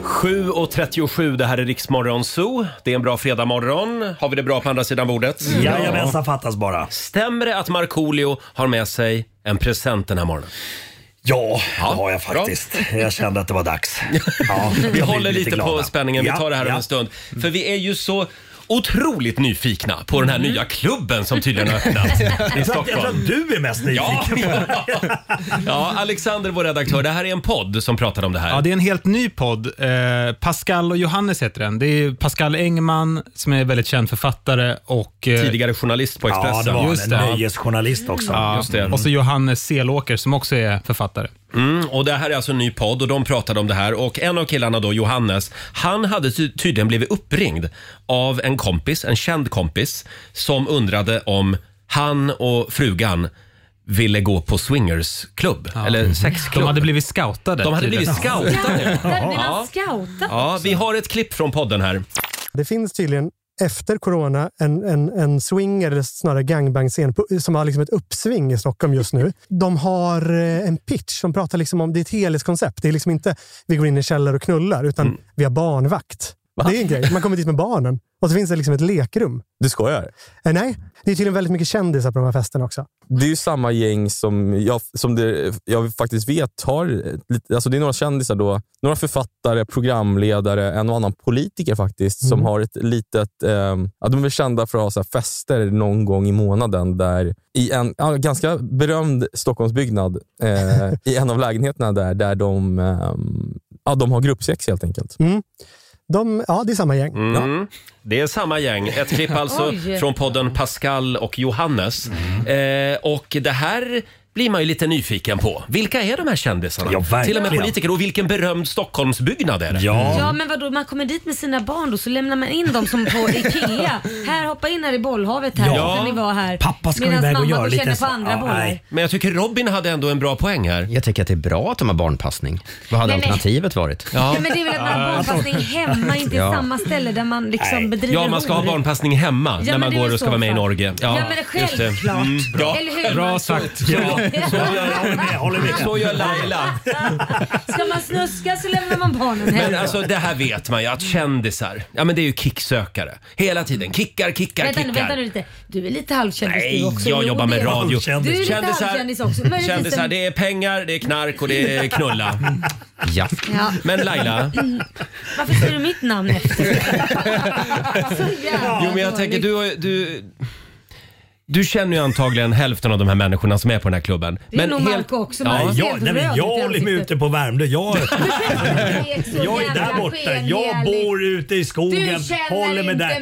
Speaker 1: 7.37, det här är Riksmorgon Zoo. Det är en bra fredagmorgon. Har vi det bra på andra sidan bordet?
Speaker 9: Jajamensan, fattas bara.
Speaker 1: Stämmer det att Markoolio har med sig en present den här morgonen?
Speaker 9: Ja, det har jag faktiskt. Jag kände att det var
Speaker 1: *laughs*
Speaker 9: dags. Ja, jag
Speaker 1: Vi
Speaker 9: blir
Speaker 1: håller lite, på
Speaker 9: glada.
Speaker 1: spänningen. Vi
Speaker 9: Ja,
Speaker 1: tar det här om
Speaker 9: ja.
Speaker 1: en stund. För vi är ju så otroligt nyfikna på den här nya klubben som tydligen har öppnat i
Speaker 9: Mm. Jag tror, att, jag tror
Speaker 1: Stockholm.
Speaker 9: att du är mest nyfiken.
Speaker 1: *laughs* Ja, Alexander, vår redaktör. Det här är en podd som pratar om det här.
Speaker 15: Ja, det är en helt ny podd. Eh, Pascal och Johannes heter den. Det är Pascal Engman som är väldigt känd författare och... eh,
Speaker 1: Tidigare journalist på
Speaker 9: Ja, det
Speaker 1: Expressen.
Speaker 9: var han, en nöjesjournalist också.
Speaker 15: Ja,
Speaker 1: Just det.
Speaker 15: Och så Johannes Selåker som också är författare.
Speaker 1: Mm, och det här är alltså en ny podd och de pratade om det här och en av killarna då, Johannes, han hade ty- tydligen blivit uppringd av en kompis, en känd kompis, som undrade om han och frugan ville gå på swingersklubb, eller sexklubb.
Speaker 15: Mm. De hade blivit scoutade.
Speaker 1: De hade
Speaker 15: tydligen.
Speaker 1: blivit scoutade.
Speaker 2: Där blir
Speaker 1: Ja.
Speaker 2: man scoutad.
Speaker 1: Ja, vi har ett klipp från podden här.
Speaker 16: Det finns tydligen efter corona en, en, en swinger, eller snarare gangbang-scen på- som har liksom ett uppsving i Stockholm just nu. De har eh, en pitch som pratar liksom om, det är ett helhetskoncept. Det är liksom inte vi går in i en källare och knullar, utan vi har barnvakt. Det är en grej. Man kommer dit med barnen. Och så finns det liksom ett lekrum.
Speaker 17: Du skojar?
Speaker 16: Eh, nej, det är tydligen väldigt mycket kändisar på de här festerna också.
Speaker 17: Det är ju samma gäng som jag, som det, jag faktiskt vet har... lite- Alltså det är några kändisar då. Några författare, programledare, en och annan politiker faktiskt, som
Speaker 16: Mm.
Speaker 17: har ett litet... Eh, ja, de är kända för att ha så här fester någon gång i månaden där i en ja, ganska berömd Stockholmsbyggnad, eh, i en av lägenheterna där, där de, eh, ja, de har gruppsex helt enkelt.
Speaker 16: De, ja, det är samma gäng.
Speaker 1: Mm. Det är samma gäng. Ett
Speaker 2: *laughs*
Speaker 1: klipp alltså
Speaker 16: Oj.
Speaker 1: från podden Pascal och Johannes.
Speaker 3: Mm.
Speaker 1: Eh, och det här blir man ju lite nyfiken på. Vilka är de här kändisarna?
Speaker 9: Ja, verkligen.
Speaker 1: Till och med politiker. Och vilken berömd Stockholmsbyggnad är det? Mm.
Speaker 2: Ja men vadå, man kommer dit med sina barn då så lämnar man in dem
Speaker 1: *laughs*
Speaker 2: som på Ikea. Här, hoppa in här i bollhavet här
Speaker 1: Ja.
Speaker 2: ja. ni var här.
Speaker 1: Pappa
Speaker 2: ska Medan iväg och mamma göra går och lite känner på så- andra ja, bollar. nej.
Speaker 1: Men jag tycker Robin hade ändå en bra poäng här.
Speaker 3: Jag tycker att det är bra att de har barnpassning. Vad hade
Speaker 2: Nej, men-
Speaker 3: alternativet varit?
Speaker 2: Ja. men det är väl att man har barnpassning hemma, inte i
Speaker 3: Ja.
Speaker 2: samma ställe där man liksom bedriver
Speaker 1: Ja, man ska ha
Speaker 2: org.
Speaker 1: barnpassning hemma
Speaker 2: Ja,
Speaker 1: när
Speaker 2: men
Speaker 1: man
Speaker 2: det är
Speaker 1: går
Speaker 2: väl
Speaker 1: och ska
Speaker 2: så
Speaker 1: vara med i
Speaker 2: fan.
Speaker 1: Norge.
Speaker 2: Ja, men det är
Speaker 1: just det.
Speaker 2: självklart.
Speaker 1: Mm, bra.
Speaker 2: Eller hur?
Speaker 1: bra
Speaker 2: Bra
Speaker 1: sagt.
Speaker 2: sagt.
Speaker 1: Ja.
Speaker 2: Ja.
Speaker 1: Så, gör, så gör Laila.
Speaker 2: Ska man snuska så lämnar man barnen hemma.
Speaker 1: Men alltså det här vet man ju att kändisar, ja men det är ju kicksökare. Hela tiden kickar, kickar,
Speaker 2: Vänta nu,
Speaker 1: kickar.
Speaker 2: vänta nu lite. Du är lite halvkändis
Speaker 1: Nej,
Speaker 2: du också.
Speaker 1: jag
Speaker 2: Jo,
Speaker 1: jobbar med
Speaker 2: det är du.
Speaker 1: radio.
Speaker 2: Du är lite
Speaker 1: Kändisar-
Speaker 2: halvkändis också. Möjligtvis
Speaker 1: Kändisar,
Speaker 2: en-
Speaker 1: det är pengar, det är knark och det är knulla.
Speaker 3: Ja.
Speaker 2: Ja.
Speaker 1: Men Laila,
Speaker 2: Mm. Varför säger du mitt
Speaker 1: *laughs*
Speaker 2: namn efter? Så jävla
Speaker 1: jo men jag
Speaker 2: dåligt.
Speaker 1: tänker du, har ju- du Du känner ju antagligen hälften av de här människorna som är på den här klubben.
Speaker 2: Det är nog Marco också, men han
Speaker 1: Ja,
Speaker 2: ser
Speaker 1: ja,
Speaker 2: helt
Speaker 1: nej, men
Speaker 2: röd ut i
Speaker 1: jag
Speaker 9: håller mig ute på Värmdö. Jag,
Speaker 2: *laughs*
Speaker 9: jag är där borta. Jag bor ute i skogen.
Speaker 2: Du känner
Speaker 9: Håller mig
Speaker 2: inte
Speaker 9: där.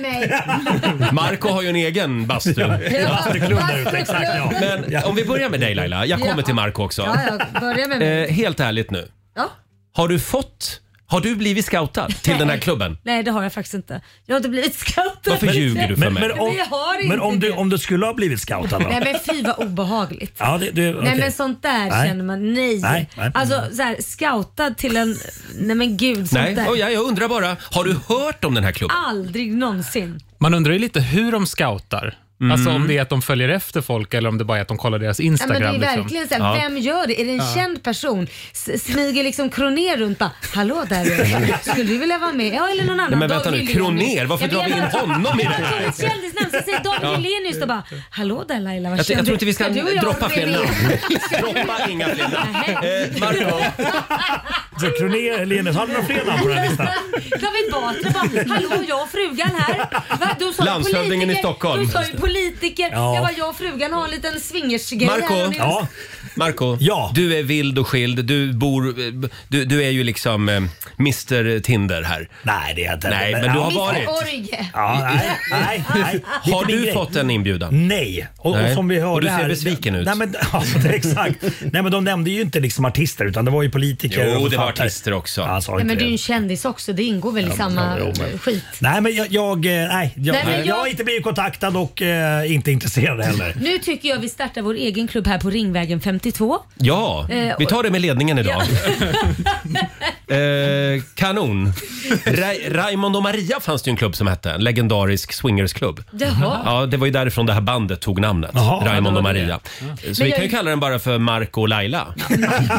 Speaker 2: mig.
Speaker 9: *laughs*
Speaker 1: Marco har ju en egen bastu.
Speaker 2: Ja,
Speaker 9: Bastuklubb där ute,
Speaker 2: exakt, ja.
Speaker 1: Men om vi börjar med dig Laila, jag kommer
Speaker 2: Ja.
Speaker 1: till Marco också.
Speaker 2: Ja, ja, börja med mig.
Speaker 1: Eh, helt ärligt nu.
Speaker 2: Ja.
Speaker 1: Har du fått, har du blivit scoutad till den här
Speaker 2: Nej.
Speaker 1: klubben?
Speaker 2: Nej, det har jag faktiskt inte. Jag har inte blivit scoutad.
Speaker 1: Varför ljuger du för
Speaker 9: Men,
Speaker 1: mig?
Speaker 9: men, om,
Speaker 2: jag har inte
Speaker 9: men om, du,
Speaker 2: det.
Speaker 9: om du skulle ha blivit scoutad då?
Speaker 2: Nej men fy vad obehagligt.
Speaker 9: Ja, det, det, okej.
Speaker 2: Nej men sånt där
Speaker 9: Nej.
Speaker 2: känner man nej.
Speaker 9: Nej, nej.
Speaker 2: Alltså så här, scoutad till en, nej men gud sånt
Speaker 1: Nej,
Speaker 2: där.
Speaker 1: oh, ja, jag undrar bara, har du hört om den här klubben?
Speaker 2: Aldrig någonsin.
Speaker 1: Alltså,
Speaker 15: Man undrar ju lite hur de scoutar.
Speaker 1: Mm.
Speaker 15: Alltså om det är att de följer efter folk eller om det bara är att de kollar deras
Speaker 2: Ja, men
Speaker 15: Instagram.
Speaker 2: det är
Speaker 15: liksom.
Speaker 2: verkligen så här,
Speaker 15: Ja.
Speaker 2: vem gör det? Är det en
Speaker 15: Ja.
Speaker 2: känd person? S- smyger liksom Kroner runt bara, hallå där är du. Skulle du vilja vara med? Ja eller någon annan.
Speaker 1: Nej, men vänta
Speaker 2: David
Speaker 1: nu,
Speaker 2: Hellenius.
Speaker 1: Kroner, varför
Speaker 2: Ja, men
Speaker 1: drar vi
Speaker 2: jag
Speaker 1: in
Speaker 2: bara-
Speaker 1: honom i det
Speaker 2: Jag
Speaker 1: här?
Speaker 2: bara, Ett kändisnamn, så säger alltså, David
Speaker 1: Ja.
Speaker 2: Hellenius och bara, hallå där Laila
Speaker 1: Jag,
Speaker 2: vad
Speaker 1: jag
Speaker 2: känner
Speaker 1: tror inte vi ska
Speaker 2: du och jag
Speaker 1: droppa
Speaker 2: vara
Speaker 1: fler
Speaker 2: med?"
Speaker 1: namn.
Speaker 2: Ska du-
Speaker 1: Droppa inga fler namn. Eh, Marco,
Speaker 9: Så Kronér, Helenius, har du några fler namn på den här
Speaker 2: *laughs*
Speaker 9: listan?
Speaker 2: David Batra bara, hallå jag och frugan här. Va? Du sa ju
Speaker 9: Landshövdingen
Speaker 2: politiker,
Speaker 9: i Stockholm.
Speaker 2: Du sa ju politiker.
Speaker 1: Ja.
Speaker 2: Jag bara, jag och frugan har en liten swingersgrej här.
Speaker 1: Marco,
Speaker 2: nu."
Speaker 1: Marco du är vild och skild. Du, bor, eh, du, du är ju liksom eh, Mr Tinder här.
Speaker 9: Nej, det är jag inte.
Speaker 1: Nej, men du har
Speaker 2: Mr.
Speaker 1: varit.
Speaker 2: Orge.
Speaker 9: Ja, nej, nej, nej. Det är
Speaker 1: Har
Speaker 9: inte min
Speaker 1: du
Speaker 9: grej.
Speaker 1: fått en inbjudan?
Speaker 9: Nej. Och, och som vi hörde
Speaker 1: och du
Speaker 9: här-
Speaker 1: ser besviken ut.
Speaker 9: Nej men, *laughs* ja, det är exakt. Nej men de nämnde ju inte liksom artister utan det var ju politiker
Speaker 1: Jo,
Speaker 9: och
Speaker 1: det var
Speaker 9: författare.
Speaker 1: artister också.
Speaker 9: Ja, sa
Speaker 2: Nej,
Speaker 9: inte
Speaker 2: men du är
Speaker 9: det.
Speaker 2: ju en kändis också. Det ingår väl i
Speaker 9: Ja,
Speaker 2: samma
Speaker 9: jo, men-
Speaker 2: skit.
Speaker 9: Nej men jag, jag, eh, nej, jag,
Speaker 2: Nej, men
Speaker 9: jag...
Speaker 2: jag-
Speaker 9: har inte blivit kontaktad och eh, inte intresserad heller.
Speaker 2: Nu tycker jag vi startar vår egen klubb här på Ringvägen 52.
Speaker 1: Ja,
Speaker 2: Eh,
Speaker 1: vi tar det med ledningen idag. eh,
Speaker 2: *laughs*
Speaker 1: kanon. Ra Raymond och Maria fanns det ju en klubb som hette. En legendarisk swingersklubb.
Speaker 2: Jaha.
Speaker 1: Ja, det var ju därifrån det här bandet tog namnet.
Speaker 2: Ja, det
Speaker 1: Raymond
Speaker 2: var
Speaker 1: och
Speaker 2: det.
Speaker 1: Maria. Mm. Så vi
Speaker 2: Men jag-
Speaker 1: kan ju kalla den bara för Marco och
Speaker 2: *laughs*
Speaker 1: Laila.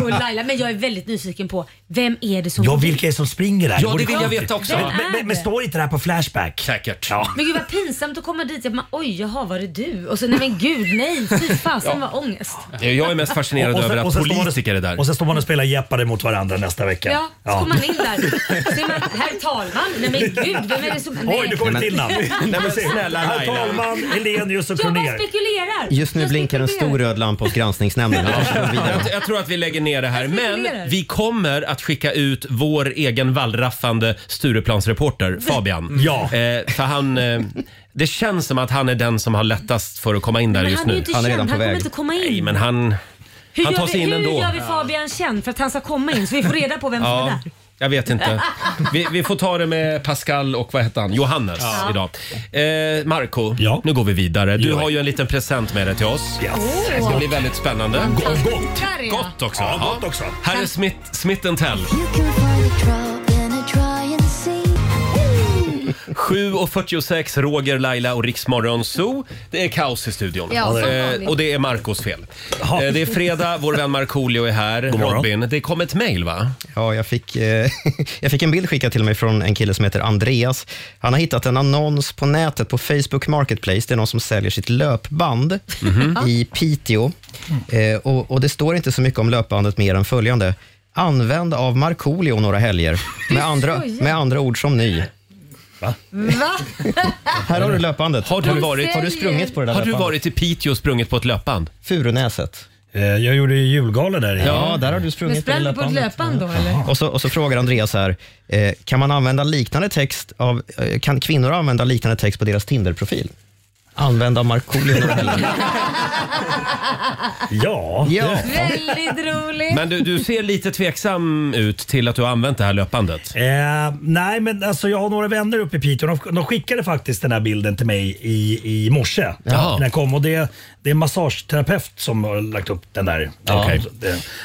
Speaker 2: Och Laila, men jag är väldigt nyfiken på vem är det som...
Speaker 9: Ja, vilka är det som springer där?
Speaker 1: Ja,
Speaker 9: Vore
Speaker 1: det vill jag
Speaker 9: konstigt.
Speaker 1: veta också.
Speaker 9: Men,
Speaker 2: Vem är
Speaker 9: men, men, men
Speaker 2: det?
Speaker 9: står inte det här på Flashback?
Speaker 1: Säkert.
Speaker 9: Ja.
Speaker 2: Men gud vad pinsamt att komma dit. Jag bara, Oj, jaha var det du? Och så nej men gud nej, fy fasen vad ångest.
Speaker 1: Jag är mest fascinerad
Speaker 9: Och- och sen-
Speaker 1: över
Speaker 9: och
Speaker 1: att
Speaker 9: sen står man och-
Speaker 1: politiker är där.
Speaker 9: Och sen står man och spelar Jeopardy mot varandra nästa vecka.
Speaker 2: Ja, så kommer man in där. Så är man, herr talman, nej men gud, vem är det som... Nej.
Speaker 9: Oj, nu kommer ett till namn.
Speaker 1: Nej, men snälla
Speaker 9: Herr
Speaker 1: Laila.
Speaker 9: talman, Helenius och
Speaker 2: Jag bara
Speaker 9: Kronér.
Speaker 2: spekulerar.
Speaker 3: Just nu
Speaker 2: Jag
Speaker 3: blinkar en
Speaker 2: spekulerar.
Speaker 3: stor röd lampa hos granskningsnämnden. Vi kanske går vidare.
Speaker 1: Jag, jag tror att vi lägger ner det här. Men
Speaker 2: spekulerar.
Speaker 1: vi kommer att skicka ut vår egen wallraffande
Speaker 2: Mm.
Speaker 1: Stureplansreporter Fabian.
Speaker 9: Ja.
Speaker 1: Eh, för han, eh, det känns som att han är den som har lättast för att komma in där
Speaker 2: Men
Speaker 1: just
Speaker 2: han
Speaker 1: nu.
Speaker 2: är ju inte känd, han kommer inte komma in.
Speaker 1: Nej, men han,
Speaker 2: Hur,
Speaker 1: han
Speaker 2: gör,
Speaker 1: tar sig
Speaker 2: vi,
Speaker 1: in
Speaker 2: hur
Speaker 1: ändå.
Speaker 2: gör vi Fabian känd för att han ska komma in så vi får reda på vem som är
Speaker 1: Ja,
Speaker 2: där?
Speaker 1: jag vet inte. Vi, vi får ta det med Pascal och vad heter han? Johannes
Speaker 2: Ja.
Speaker 1: idag. Eh, Marco, nu går vi vidare. Du har ju en liten present med dig till oss. Det ska bli väldigt spännande.
Speaker 9: Gott.
Speaker 1: Gott också.
Speaker 9: Ja,
Speaker 1: Ja.
Speaker 9: gott också.
Speaker 1: Här är Smith, Smith Tell.
Speaker 7: Ooh.
Speaker 1: 7.46, Roger, Laila och Riksmorgon Zoo. Det är kaos i studion.
Speaker 7: Ja, som vanligt.
Speaker 1: eh, och det är Marcos fel. Eh, det är fredag, vår vän Markoolio är här. Robin, det kom ett mejl va?
Speaker 3: Ja, jag fick, eh, *laughs* jag fick en bild skickad till mig från en kille som heter Andreas. Han har hittat en annons på nätet på Facebook Marketplace. Det är någon som säljer sitt löpband
Speaker 1: Mhm.
Speaker 3: i Piteå. Eh, och, och det står inte så mycket om löpbandet mer än följande. Använd av Markoolio några helger. Med andra,
Speaker 2: skojar.
Speaker 3: med andra ord som ny.
Speaker 2: Va?
Speaker 3: Här har du löpbandet.
Speaker 1: Har du, varit,
Speaker 3: har du sprungit på det där
Speaker 1: Har du
Speaker 3: löpbandet?
Speaker 1: varit i Piteå och sprungit på ett löpband?
Speaker 3: Furunäset.
Speaker 9: Eh, Jag gjorde julgala där.
Speaker 3: Ja, där har du
Speaker 2: Men
Speaker 3: sprungit på det
Speaker 2: sprang du på ett
Speaker 3: löpbandet.
Speaker 2: löpband då eller?
Speaker 3: Och så, och så frågar Andreas här, eh, kan man använda liknande text av, eh, kan kvinnor använda liknande text på deras Tinder-profil? Använda Markoolio några helger.
Speaker 9: *laughs* Ja.
Speaker 3: ja.
Speaker 2: Väldigt roligt.
Speaker 1: Men du, du ser lite tveksam ut till att du har använt det här löpbandet.
Speaker 9: Eh, nej, men alltså jag har några vänner uppe i Piteå. De, de skickade faktiskt den här bilden till mig i, i morse.
Speaker 1: Jaha.
Speaker 9: När jag kom. Och det, det är en massageterapeut som har lagt upp den där.
Speaker 1: Ja.
Speaker 9: Okej.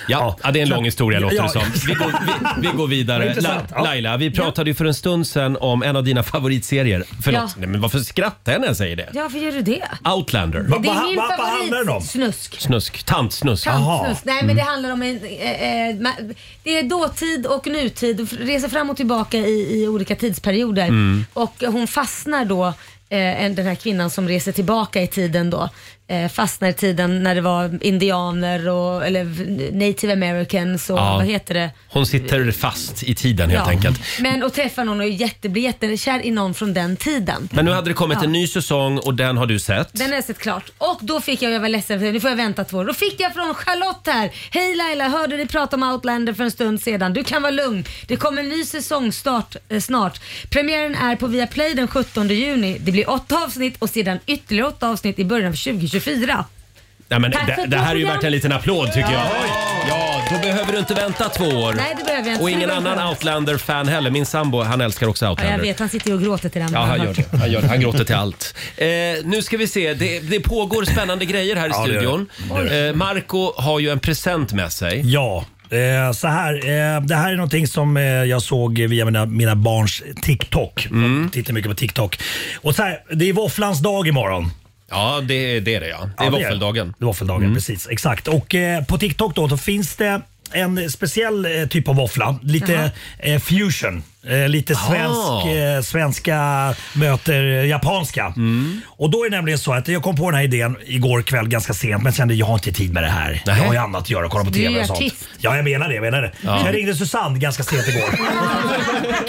Speaker 1: Ja, ja, det är en lång historia låter
Speaker 9: Ja,
Speaker 1: det som.
Speaker 9: ja.
Speaker 1: Vi går, vi, vi går
Speaker 9: Vad
Speaker 1: vidare.
Speaker 9: *laughs*
Speaker 1: La,
Speaker 9: intressant. Ja.
Speaker 1: Laila, vi pratade ju för en stund sedan om en av dina favoritserier. Förlåt,
Speaker 2: Ja.
Speaker 1: nej, men varför skrattar jag när jag säger det?
Speaker 2: Ja, varför gör du det?
Speaker 1: Outlander.
Speaker 2: Det är min favorit. Snusk.
Speaker 1: Snusk. Tantsnusk. Mm.
Speaker 2: Tantsnusk. Nej men det handlar om en, eh, eh, ma- det är dåtid och nutid, reser fram och tillbaka i, i olika tidsperioder.
Speaker 7: Mm.
Speaker 2: Och hon fastnar då, eh, en- den här kvinnan som reser tillbaka i tiden då, eh, fastnar i tiden när det var indianer och eller native americans och
Speaker 1: Ja.
Speaker 2: vad heter det?
Speaker 1: Hon sitter fast i tiden helt
Speaker 2: Ja.
Speaker 1: enkelt.
Speaker 2: Men och träffar någon och är jätte, blir jättekär i någon från den tiden.
Speaker 1: Men nu hade det kommit
Speaker 2: Ja.
Speaker 1: en ny säsong och den har du sett.
Speaker 2: Den har jag sett klart. Och då fick jag, jag var ledsen för det, nu får jag vänta två år. Då fick jag från Charlotte här. Hej Laila, hörde dig prata om Outlander för en stund sedan. Du kan vara lugn. Det kommer en ny säsong start, eh, snart. Premiären är på Viaplay den 17 juni. Det blir åtta avsnitt och sedan ytterligare åtta avsnitt i början av 2024.
Speaker 1: Nej, men
Speaker 2: Tack för
Speaker 1: det,
Speaker 2: ett
Speaker 1: det
Speaker 2: bra
Speaker 1: här är ju
Speaker 2: program.
Speaker 1: värt en liten applåd tycker jag. Ja, då behöver du inte vänta två år.
Speaker 2: Nej, det behöver jag inte.
Speaker 1: Och ingen
Speaker 2: Det var
Speaker 1: annan
Speaker 2: bra.
Speaker 1: Outlander-fan heller. Min sambo, han älskar också
Speaker 2: Ja, jag
Speaker 1: Outlander.
Speaker 2: vet, han sitter ju och gråter till den.
Speaker 1: Ja, han gör det. Han, gör det. han gråter till allt. Eh, nu ska vi se. Det, det pågår spännande grejer här i
Speaker 9: Ja, det gör
Speaker 1: studion.
Speaker 9: det. Det gör
Speaker 1: Eh, Marco har ju en present med sig.
Speaker 9: Ja. Eh, så här, eh, det här är någonting som eh, jag såg via mina, mina barns TikTok.
Speaker 1: Mm.
Speaker 9: Jag tittar mycket på TikTok. Och så här, det är våfflans dag imorgon.
Speaker 1: Ja, det, det är det ja. Det är
Speaker 9: Ja, det är det.
Speaker 1: våffeldagen. Mm.
Speaker 9: Det är våffeldagen, precis. Exakt. Och eh, på TikTok då, då finns det en speciell eh, typ av våffla.
Speaker 1: Jaha.
Speaker 9: Lite eh, fusion. Eh, lite
Speaker 1: Ah.
Speaker 9: svensk, eh, svenska möter eh, japanska.
Speaker 1: Mm.
Speaker 9: Och då är det nämligen så att jag kom på den här idén igår kväll ganska sent men kände jag har inte tid med det här. Jag har ju annat att göra, kolla på
Speaker 18: Du är
Speaker 9: TV
Speaker 18: ju
Speaker 9: och sånt.
Speaker 18: artist.
Speaker 9: Ja, jag menar det. Jag menar det.
Speaker 18: Ja.
Speaker 9: Så Jag ringde Susanne ganska sent igår.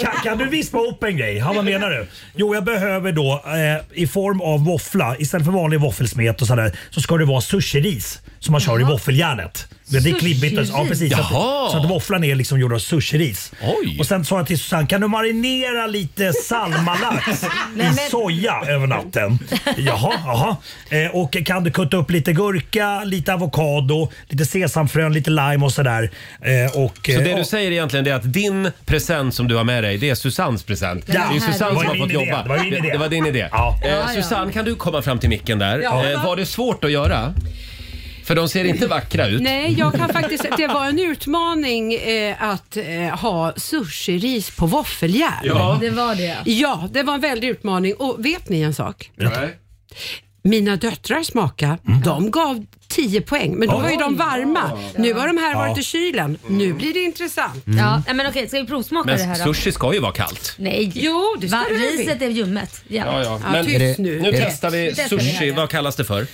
Speaker 9: kan, kan du vispa upp en grej? Ja, vad menar du? Jo, jag behöver då eh, i form av våffla, istället för vanlig våffelsmet och sådär, så ska det vara sushiris som man kör i våffeljärnet. Men Det är klibbigt. och- Ja, precis. Så
Speaker 1: Jaha.
Speaker 9: att, så att våfflan är liksom gjord av sushiris. Och sen sa jag till Susanne, kan du marinera lite salmalax
Speaker 18: *laughs* Nej,
Speaker 9: i
Speaker 18: men-
Speaker 9: soja över natten? Jaha, jaha. Eh, och kan du kutta upp lite gurka, lite avokado, lite sesamfrön, lite lime och sådär. Eh, och,
Speaker 1: Så
Speaker 9: eh,
Speaker 1: det du
Speaker 9: och-
Speaker 1: säger egentligen det är att din present som du har med dig, det är Susannes present.
Speaker 9: Ja.
Speaker 1: Det är
Speaker 9: Det
Speaker 1: Susanne
Speaker 9: var
Speaker 1: som har
Speaker 9: min
Speaker 1: fått
Speaker 9: idé.
Speaker 1: jobba.
Speaker 9: Det var min idé.
Speaker 1: Det var din idé.
Speaker 9: Ja.
Speaker 1: Eh,
Speaker 9: Ja, ja.
Speaker 1: Susanne, kan du komma fram till micken där?
Speaker 8: Ja.
Speaker 1: Eh, var det svårt att göra? För de ser inte vackra ut.
Speaker 8: Nej, jag kan faktiskt Det var en utmaning eh, att eh, ha sushiris på våffeljärn.
Speaker 2: Ja. Det var det.
Speaker 8: Ja, det var en väldig utmaning. Och vet ni en sak?
Speaker 1: Nej.
Speaker 8: Mina döttrar smaka,
Speaker 1: Mm.
Speaker 8: de gav 10 poäng, men då
Speaker 2: Oj.
Speaker 8: var ju de varma. Nu har de här
Speaker 1: Ja.
Speaker 8: varit i kylen. Nu blir det intressant.
Speaker 1: Mm. Ja,
Speaker 2: men okej, ska vi provsmaka det
Speaker 1: Men
Speaker 2: här
Speaker 1: sushi ska ju vara kallt.
Speaker 2: Nej.
Speaker 8: Jo, det ska
Speaker 2: Va?
Speaker 8: det väl
Speaker 2: Riset är ljummet. Ja,
Speaker 1: Men
Speaker 2: tyst
Speaker 1: nu, testar vi
Speaker 2: testar det här,
Speaker 1: sushi.
Speaker 2: ja.
Speaker 1: Vad kallas det för?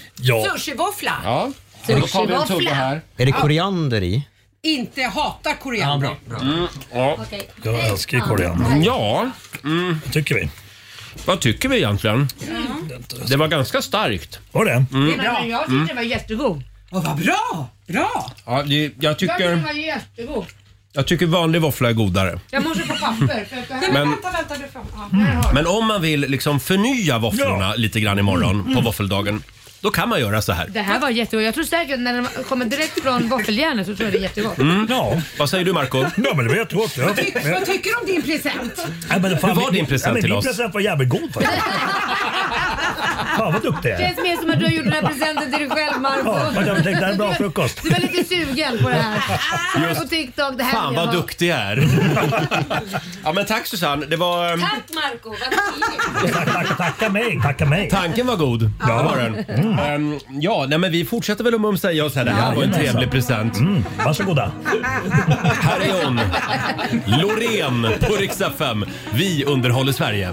Speaker 8: Sushivoffla.
Speaker 1: Ja.
Speaker 8: Då tar vi en tugga här.
Speaker 3: Är det
Speaker 8: Ja.
Speaker 3: koriander i?
Speaker 8: Inte hatar koriander.
Speaker 1: Mm, ja.
Speaker 2: Okej.
Speaker 9: Jag älskar ju koriander.
Speaker 1: Ja. Mm.
Speaker 9: Vad tycker vi?
Speaker 1: Vad tycker vi egentligen? Det var ganska starkt.
Speaker 9: Var det?
Speaker 1: Mm.
Speaker 2: Jag tyckte
Speaker 1: Mm.
Speaker 2: den var jättegod.
Speaker 8: Åh, vad bra! Bra!
Speaker 1: Ja, det- jag,
Speaker 2: den
Speaker 1: tycker,
Speaker 2: var jättegod.
Speaker 1: jag tycker vanlig våffla är godare.
Speaker 2: Jag måste få papper. För att det
Speaker 1: här- Men- Vänta,
Speaker 8: vänta. Du får...
Speaker 1: Men om man vill liksom förnya våfflorna lite grann imorgon
Speaker 2: Mm,
Speaker 1: på
Speaker 2: mm.
Speaker 1: våffeldagen, då kan man göra så här.
Speaker 2: Det här var jättegott. Jag tror säkert när den kommer
Speaker 8: *laughs*
Speaker 2: direkt från våffeljärnet så tror jag det är jättegott.
Speaker 1: Mm. Vad säger du Marco?
Speaker 9: Ja, men det var jättegott. Ja.
Speaker 8: Vad tycker du om din present?
Speaker 9: Nej, men
Speaker 1: Hur var din present
Speaker 9: ja, men
Speaker 1: till
Speaker 9: min
Speaker 1: oss?
Speaker 9: Min present var jävligt god
Speaker 3: *laughs*
Speaker 9: faktiskt. Fan vad duktig
Speaker 2: Det
Speaker 9: jag är.
Speaker 2: känns mer som att du har gjort den här presenten till dig själv Marco.
Speaker 9: Ja, men jag tänkte, det här är bra
Speaker 2: Du var-
Speaker 9: frukost.
Speaker 2: Du var lite sugen på det här.
Speaker 1: Just.
Speaker 2: På TikTok. Det
Speaker 1: *laughs*
Speaker 2: här
Speaker 1: Fan
Speaker 2: vill jag
Speaker 1: vad
Speaker 2: ha.
Speaker 1: duktig
Speaker 9: *laughs*
Speaker 1: jag är. ja men tack Susanne, det var... ehm,
Speaker 2: Tack Marco.
Speaker 9: *laughs*
Speaker 2: Vad trevligt.
Speaker 9: Tacka mig, tacka mig.
Speaker 1: Tanken var god.
Speaker 9: Ja. Mm.
Speaker 1: Det var den. Ehm, ja, nej, men vi fortsätter väl att mumsa i oss här. Det här var en
Speaker 9: Jajamensan.
Speaker 1: trevlig present. Mm,
Speaker 9: varsågoda.
Speaker 1: Här är hon, Loreen på Rix FM. Vi underhåller Sverige.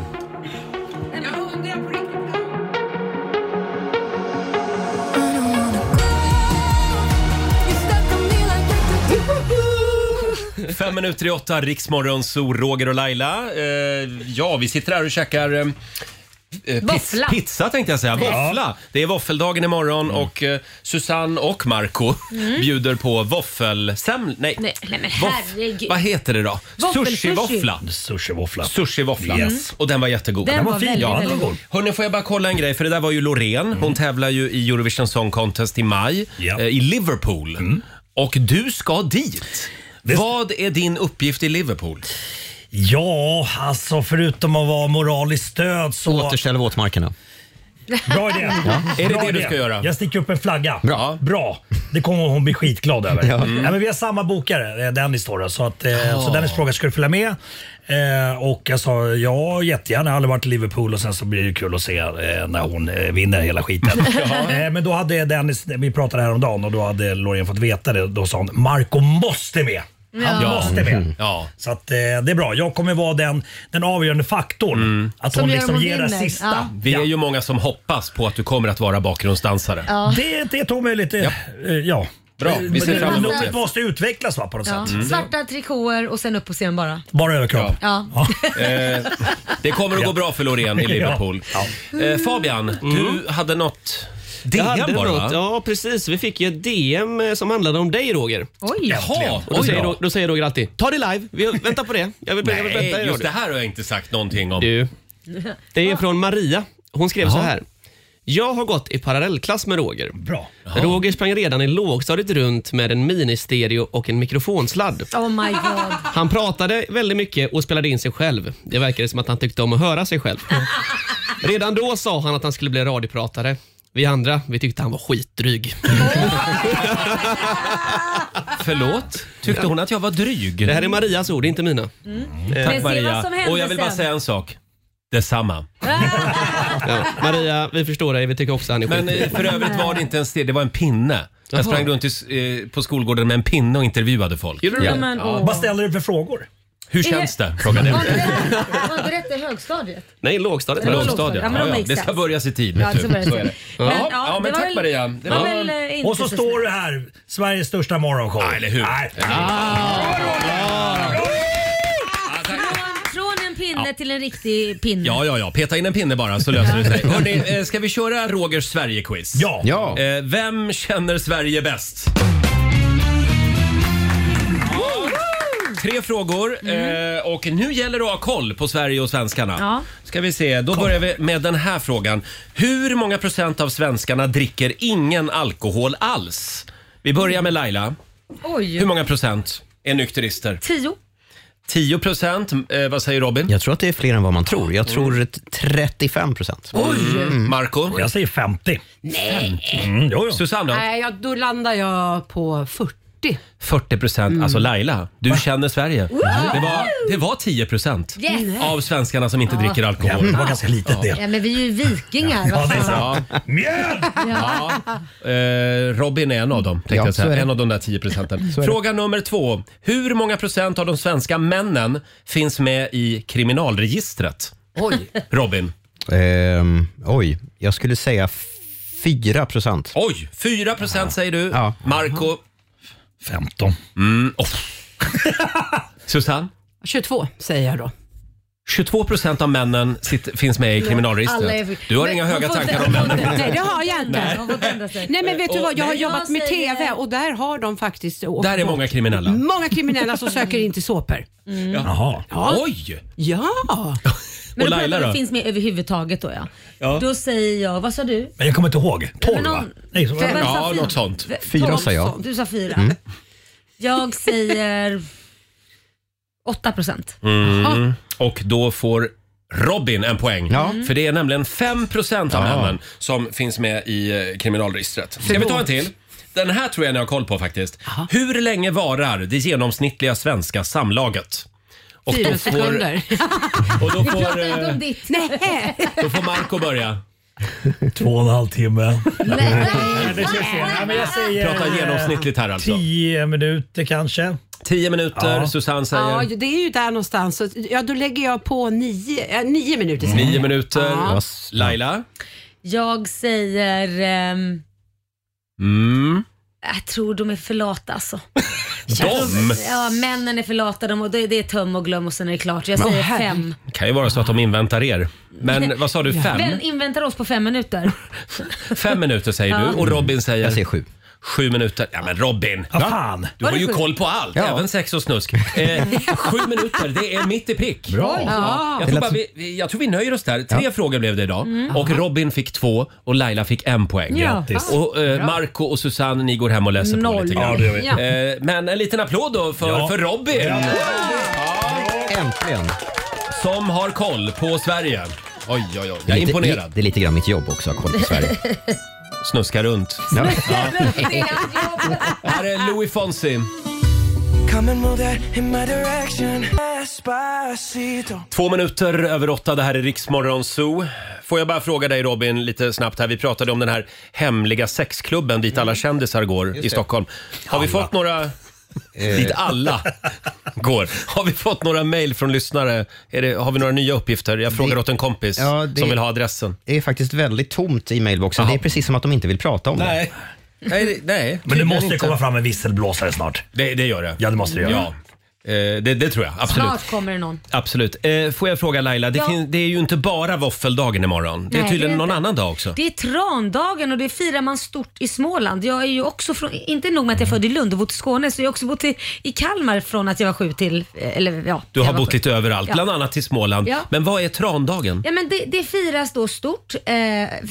Speaker 1: Fem minuter i åtta, Riksmorgon, så Roger och Laila. Eh, ja, vi sitter här och käkar eh, eh,
Speaker 2: Våffla.
Speaker 1: pizz- pizza tänkte jag säga.
Speaker 2: Ja.
Speaker 1: Våffla. Det är våffeldagen imorgon och eh, Susanne och Marco
Speaker 2: Mm.
Speaker 1: bjuder på våffelseml... Nej.
Speaker 2: Nej, nej men
Speaker 1: Voff-
Speaker 2: herregud.
Speaker 1: Vad
Speaker 2: *laughs*
Speaker 1: heter det då?
Speaker 2: Våffel-
Speaker 1: Sushivåffla.
Speaker 9: Sushivåffla.
Speaker 1: Sushivåffla.
Speaker 9: Yes.
Speaker 1: Och den var jättegod.
Speaker 2: Den Den var var fin. väldigt, väldigt god.
Speaker 1: Hörni, får jag bara kolla en grej? För det där var ju Loreen.
Speaker 9: Mm.
Speaker 1: Hon tävlar ju i Eurovision Song Contest i maj eh, i Liverpool.
Speaker 9: Mm.
Speaker 1: Och du ska dit. Vad är din uppgift i Liverpool?
Speaker 9: Ja, alltså förutom att vara moraliskt stöd så...
Speaker 3: Återställ våtmarkerna.
Speaker 9: Bra idé.
Speaker 3: Ja. Är det
Speaker 9: Bra
Speaker 3: det du
Speaker 9: idé.
Speaker 3: ska göra?
Speaker 9: Jag sticker upp en flagga.
Speaker 3: Bra.
Speaker 9: Bra. Det kommer hon bli skitglad över.
Speaker 3: Ja.
Speaker 9: Mm. Nej, men vi har samma bokare, eh, Dennis då. då, Så, att, eh,
Speaker 3: Ja.
Speaker 9: så Dennis frågade, ska du följa med? Eh, och jag sa, ja jättegärna. Jag har aldrig varit i Liverpool och sen så blir det kul att se eh, när hon eh, vinner hela skiten. eh, men då hade Dennis, vi pratade häromdagen och då hade Loreen fått veta det. Då sa hon, Marco måste med. Han
Speaker 1: Ja.
Speaker 9: måste
Speaker 2: Mm.
Speaker 9: med.
Speaker 1: Ja.
Speaker 9: Så att, eh, det är bra. Jag kommer vara den, den avgörande faktorn. Att
Speaker 1: Som
Speaker 9: hon
Speaker 1: gör
Speaker 9: liksom
Speaker 1: hon
Speaker 9: ger det
Speaker 1: vinner.
Speaker 9: sista.
Speaker 1: Ja. Mm. Vi är ju många som hoppas på att du kommer att vara bakgrundsdansare.
Speaker 9: Det är inte helt omöjligt. Ja. ja.
Speaker 1: Bra, vi ser
Speaker 9: Men
Speaker 1: fram emot
Speaker 9: Blodet
Speaker 1: det.
Speaker 9: måste utvecklas va, på något
Speaker 2: Ja.
Speaker 9: sätt. Mm.
Speaker 2: Svarta trikåer och sen upp på scen bara.
Speaker 9: Bara överkropp.
Speaker 2: Ja.
Speaker 1: Eh, det kommer att gå bra
Speaker 10: *laughs*
Speaker 1: för Loreen i Liverpool. Eh, Fabian, du hade något DM
Speaker 10: Jag hade
Speaker 1: bara va?
Speaker 10: något- Ja, precis. Vi fick ju ett DM eh, som handlade om dig, Roger.
Speaker 2: Oj!
Speaker 1: Jaha,
Speaker 10: Och då,
Speaker 1: oj
Speaker 10: säger,
Speaker 1: då.
Speaker 10: Ro- då säger Roger alltid “ta det live, vi väntar på det”. Jag vill, jag vill vänta i
Speaker 1: Nej, just
Speaker 10: radio."
Speaker 1: det här har jag inte sagt någonting om.
Speaker 10: Du, det är från Maria. Hon skrev så här. Jag har gått i parallellklass med Roger.
Speaker 9: Bra.
Speaker 10: Roger sprang redan i lågstadiet runt med en ministereo och en mikrofonsladd.
Speaker 2: Oh my god.
Speaker 10: Han pratade väldigt mycket och spelade in sig själv. Det verkade som att han tyckte om att höra sig själv. Redan då sa han att han skulle bli radiopratare. Vi andra, vi tyckte han var skitdryg.
Speaker 1: Förlåt? Tyckte hon att jag var dryg?
Speaker 10: Det här är Marias ord, inte mina. Eh,
Speaker 2: Men se
Speaker 1: Tack
Speaker 2: Mm. vad
Speaker 1: Maria.
Speaker 2: som händer
Speaker 1: Och jag vill bara
Speaker 2: sen.
Speaker 1: säga en sak. Detsamma.
Speaker 10: Ja, Maria, vi förstår dig. Vi tycker också han är
Speaker 1: Men eh,
Speaker 10: skitdryg.
Speaker 1: för övrigt var det inte en steg, det var en pinne. Jag
Speaker 10: Jaha.
Speaker 1: sprang runt i, s- eh, på skolgården med en pinne och intervjuade folk.
Speaker 10: Gjorde du det?
Speaker 2: Men, åh.
Speaker 9: Vad ställer du för frågor?
Speaker 1: Hur känns det? Frågade jag.
Speaker 2: Var inte det- var inte detta i högstadiet?
Speaker 10: Nej, lågstadiet.
Speaker 2: Det var
Speaker 1: Lågstadiet.
Speaker 2: lågstadiet. Ja, men
Speaker 1: Ja,
Speaker 2: de
Speaker 1: ja.
Speaker 2: gick
Speaker 1: Det
Speaker 2: sen.
Speaker 1: ska börjas i tid.
Speaker 2: Ja,
Speaker 1: Vet
Speaker 2: det ska
Speaker 1: du.
Speaker 2: börjas i
Speaker 1: Så är det.
Speaker 2: tid.
Speaker 1: Ja,
Speaker 2: Men, ja,
Speaker 1: ja,
Speaker 2: det
Speaker 1: men
Speaker 2: var
Speaker 1: tack
Speaker 2: väl-
Speaker 1: Maria.
Speaker 2: det var väl, eh, inte
Speaker 9: Och så
Speaker 2: så
Speaker 9: står du här, Sveriges största morgonshow. Nej, eller hur? Nej.
Speaker 2: Från en pinne till en riktig pinne.
Speaker 1: Ja, ja, ja. Peta in en pinne bara så löser det sig. Hörrni, eh, ska vi köra Rogers Sverige-quiz? Ja. Eh, Vem känner Sverige bäst? Tre frågor eh, och nu gäller det att ha koll på Sverige och svenskarna.
Speaker 2: Ja.
Speaker 1: Ska vi se, då börjar vi med den här frågan. Hur många procent av svenskarna dricker ingen alkohol alls? Vi börjar med Laila.
Speaker 2: Oj.
Speaker 1: Hur många procent är nykterister?
Speaker 2: Tio.
Speaker 1: 10 procent. Eh, vad säger Robin?
Speaker 3: Jag tror att det är fler än vad man tror. Jag tror ett 35 procent.
Speaker 1: Mm. Marco?
Speaker 9: Jag säger 50.
Speaker 8: Nej.
Speaker 3: Mm,
Speaker 1: Susanne då?
Speaker 8: Nej, jag, då landar jag på 40.
Speaker 1: 40 procent.
Speaker 2: Mm.
Speaker 1: Alltså Laila, du känner Sverige. Det var, det var 10 procent
Speaker 2: Yes.
Speaker 1: av svenskarna som inte
Speaker 2: Ja.
Speaker 1: dricker alkohol.
Speaker 2: Ja, det var ganska
Speaker 1: litet
Speaker 2: Ja, men vi är ju vikingar. vad fan.
Speaker 9: Mjöl!
Speaker 2: Ja.
Speaker 1: Eh, Robin är en av dem, tänkte
Speaker 3: Ja,
Speaker 1: jag
Speaker 3: så är
Speaker 1: säga.
Speaker 3: det.
Speaker 1: En av de där 10 procenten.
Speaker 3: Så är det.
Speaker 1: Fråga nummer två. Hur många procent av de svenska männen finns med i kriminalregistret?
Speaker 2: Oj.
Speaker 1: Robin?
Speaker 3: Ehm, oj, jag skulle säga 4 procent.
Speaker 1: Oj, 4 procent säger du.
Speaker 3: Ja.
Speaker 1: Marco
Speaker 9: 15.
Speaker 1: Mm, oh.
Speaker 3: *laughs*
Speaker 1: Susanne?
Speaker 8: 22 säger jag då.
Speaker 1: 22 procent av männen sitt, finns med i
Speaker 8: alla är-
Speaker 1: kriminalregistret. Du har
Speaker 8: Men
Speaker 1: inga
Speaker 8: de *laughs*
Speaker 1: höga
Speaker 8: får inte-
Speaker 1: tankar om männen.
Speaker 8: Nej, det har jag inte.
Speaker 1: Nej.
Speaker 6: Mm.
Speaker 8: Nej, men vet du
Speaker 1: Och-
Speaker 8: vad? Jag har
Speaker 1: nej.
Speaker 8: jobbat med
Speaker 2: Jag säger-
Speaker 8: TV och där har de faktiskt åkt
Speaker 1: Där är
Speaker 8: bort.
Speaker 1: många kriminella.
Speaker 8: Många kriminella som söker in till såpor.
Speaker 1: Jaha.
Speaker 8: Ja.
Speaker 1: Oj!
Speaker 8: Ja!
Speaker 2: Mm. Men
Speaker 1: Och
Speaker 2: då
Speaker 1: Laila
Speaker 2: pratar
Speaker 1: då?
Speaker 2: vi finns med överhuvudtaget då ja.
Speaker 1: Ja.
Speaker 2: Då säger jag, vad sa du?
Speaker 9: Men jag kommer inte ihåg. 12
Speaker 2: Men någon-
Speaker 9: va? Nej, så var det.
Speaker 2: Vem sa
Speaker 1: Ja,
Speaker 2: fyra?
Speaker 1: något sånt.
Speaker 2: V-
Speaker 1: Fyra
Speaker 2: tolv
Speaker 1: sa jag.
Speaker 2: sånt. Du sa fyra.
Speaker 1: Mm.
Speaker 2: Jag säger 8 procent.
Speaker 1: Mm. Och då får Robin en poäng. Mm.
Speaker 2: Ja.
Speaker 1: För det är nämligen 5% av
Speaker 2: Ja.
Speaker 1: männen som finns med i eh, kriminalregistret. Ska vi
Speaker 2: Förlåt.
Speaker 1: ta en till? Den här tror jag ni har koll på faktiskt. Hur länge varar det genomsnittliga svenska samlaget? Och då
Speaker 8: Fyra
Speaker 1: får,
Speaker 8: sekunder.
Speaker 1: *laughs* och då
Speaker 8: Vi
Speaker 1: får,
Speaker 8: pratar inte
Speaker 1: eh,
Speaker 8: om ditt.
Speaker 1: *laughs*
Speaker 8: Nej.
Speaker 1: då får Marco börja.
Speaker 9: Två och en halv timme.
Speaker 1: det känns
Speaker 9: men jag säger-
Speaker 1: Prata genomsnittligt här alltså.
Speaker 9: 10 minuter kanske.
Speaker 1: 10 minuter, Susanne
Speaker 8: Ja,
Speaker 1: säger.
Speaker 8: det är ju där någonstans. Så, Ja, då lägger jag på nio, äh, nio minuter.
Speaker 2: Mm.
Speaker 8: säger
Speaker 1: 9
Speaker 8: jag.
Speaker 1: minuter.
Speaker 8: Ja.
Speaker 1: Laila?
Speaker 2: Jag säger, ehm,
Speaker 1: Mm.
Speaker 2: jag tror de är för lata alltså.
Speaker 1: De?
Speaker 2: Ja, männen är för lata de, och det, det är töm och glöm och sen är det klart. Jag säger fem.
Speaker 1: kan ju vara så att de inväntar er.
Speaker 2: *laughs*
Speaker 1: Men vad sa du, fem?
Speaker 2: Vem inväntar oss på fem minuter?
Speaker 1: Fem minuter säger du
Speaker 2: Ja.
Speaker 1: och Robin säger? Jag säger
Speaker 3: sju.
Speaker 1: Sju minuter. Ja men Robin!
Speaker 9: Vad fan?
Speaker 1: Du
Speaker 2: Var
Speaker 1: har
Speaker 2: det
Speaker 1: ju
Speaker 2: sju?
Speaker 1: koll på allt,
Speaker 2: Ja.
Speaker 1: även sex och snusk. Eh, sju minuter, det är mitt i prick.
Speaker 2: Bra.
Speaker 1: Ja. Jag, tror bara vi, vi- jag tror vi nöjer oss där. Tre frågor blev det idag.
Speaker 2: Mm.
Speaker 1: Och Robin fick två och Laila fick en poäng.
Speaker 2: Ja. Grattis.
Speaker 1: Och eh,
Speaker 2: Bra.
Speaker 1: Marco och Susanne, ni går hem och läser på
Speaker 2: Noll.
Speaker 1: lite
Speaker 2: Ja,
Speaker 1: grann.
Speaker 2: det gör vi. Ja.
Speaker 1: Eh, men en liten applåd då för,
Speaker 3: Ja.
Speaker 1: för Robin!
Speaker 3: Ja.
Speaker 1: Äntligen! Som har koll på Sverige. Oj, oj, oj. Jag är
Speaker 3: Lite-
Speaker 1: imponerad.
Speaker 3: li- Det är lite grann mitt jobb också att ha koll på Sverige.
Speaker 1: *laughs* Snuska runt. *laughs* Här är Louis Fonsi.
Speaker 5: Come and move that in my direction Despacito
Speaker 1: Två minuter över åtta, det här är Riksmorgon Zoo. Får jag bara fråga dig Robin lite snabbt här. Vi pratade om den här hemliga sexklubben dit alla kändisar går
Speaker 3: Just
Speaker 1: i
Speaker 3: det.
Speaker 1: Stockholm. Har vi fått några
Speaker 2: Eh.
Speaker 1: Dit alla går. Har vi fått några mejl från lyssnare? Är det, har vi några nya uppgifter? Jag frågar åt en kompis
Speaker 3: Ja, det-
Speaker 1: som vill ha adressen.
Speaker 3: Det är faktiskt väldigt tomt i mailboxen. Det är precis som att de inte vill prata om
Speaker 1: Nej. Nej, det- nej
Speaker 3: Men det måste komma
Speaker 9: fram en visselblåsare snart.
Speaker 1: Det, det gör det.
Speaker 9: Ja, det måste det göra.
Speaker 1: Ja. Eh, det, det tror jag, *laughs* absolut.
Speaker 2: Snart kommer det någon.
Speaker 1: Absolut. Eh, får jag fråga Laila, det,
Speaker 2: Ja.
Speaker 1: fin- det är ju inte bara våffeldagen imorgon. Det är
Speaker 2: Nej,
Speaker 1: tydligen
Speaker 2: det är
Speaker 1: någon
Speaker 2: inte.
Speaker 1: annan dag också.
Speaker 2: Det är trandagen och det firar man stort i Småland. Jag är ju också från, inte nog med att jag är född i Lund och bott i Skåne, så jag har också bott i, i Kalmar från att jag var sju till, eller ja.
Speaker 1: Du
Speaker 2: jag
Speaker 1: har
Speaker 2: var
Speaker 1: bott
Speaker 2: sju.
Speaker 1: lite överallt,
Speaker 2: Ja.
Speaker 1: bland annat i Småland.
Speaker 2: Ja.
Speaker 1: Men vad är trandagen?
Speaker 2: Ja, men det, det firas då stort eh,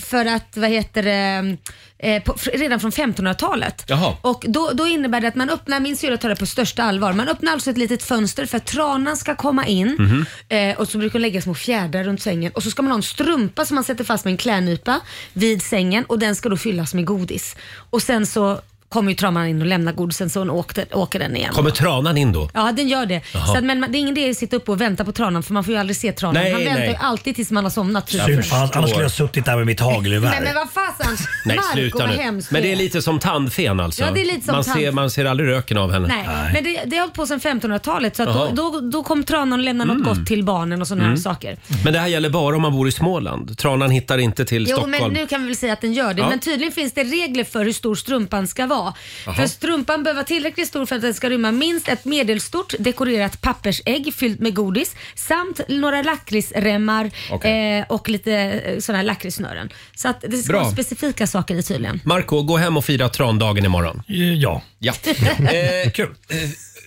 Speaker 2: för att, vad heter det, eh, på, fr- redan från 1500-talet.
Speaker 1: Jaha.
Speaker 2: Och då, då innebär det att man öppnar, min syrra tar det på största allvar, man öppnar alltså ett litet fönster för att tranan ska komma in Mhm. eh, och så brukar hon lägga små fjädrar runt sängen och så ska man ha en strumpa som man sätter fast med en klädnypa vid sängen och den ska då fyllas med godis. Och sen så kommer ju tranan in och lämnar godisen så hon åkte, åker den igen.
Speaker 1: Kommer tranan in då?
Speaker 2: Ja, den gör det.
Speaker 1: Jaha.
Speaker 2: Så att, men man- det är ingen idé att sitta uppe och vänta på tranan för man får ju aldrig se tranan.
Speaker 9: Nej,
Speaker 2: man väntar
Speaker 9: nej.
Speaker 2: ju alltid tills man har somnat. typ.
Speaker 9: Synd, annars annars skulle jag suttit där med mitt
Speaker 2: Nej,
Speaker 9: hagelgevär.
Speaker 2: men vad fasen. *laughs*
Speaker 1: Nej,
Speaker 2: Marco,
Speaker 1: sluta
Speaker 2: vad
Speaker 1: nu.
Speaker 2: hemskt
Speaker 1: Men det är
Speaker 2: är.
Speaker 1: lite som tandfen alltså?
Speaker 2: Ja, det är lite som
Speaker 1: man, ser,
Speaker 2: tandfen.
Speaker 1: man ser aldrig röken av henne?
Speaker 2: Nej, men det, det har hållit på sedan 1500-talet så att
Speaker 1: Jaha.
Speaker 2: då, då, då kom tranan och lämnade något
Speaker 1: Mm.
Speaker 2: gott till barnen och sådana
Speaker 1: Mm.
Speaker 2: här saker.
Speaker 1: Men det här gäller bara om man bor i Småland. Tranan hittar inte till
Speaker 2: Jo,
Speaker 1: Stockholm.
Speaker 2: men nu kan vi väl säga att den gör det.
Speaker 1: Ja.
Speaker 2: Men tydligen finns det regler för hur stor strumpan ska vara.
Speaker 1: Jaha.
Speaker 2: För strumpan behöver vara tillräckligt stor för att den ska rymma minst ett medelstort dekorerat pappersägg fyllt med godis samt några lakritsremmar
Speaker 1: Okej.
Speaker 2: eh, och lite eh, sådana här lakritssnören. Så att det ska
Speaker 1: Bra.
Speaker 2: vara specifika saker i tydligen.
Speaker 1: Marco, gå hem och fira trandagen imorgon.
Speaker 9: Ja. *laughs*
Speaker 1: ja. Eh, Kul. Eh,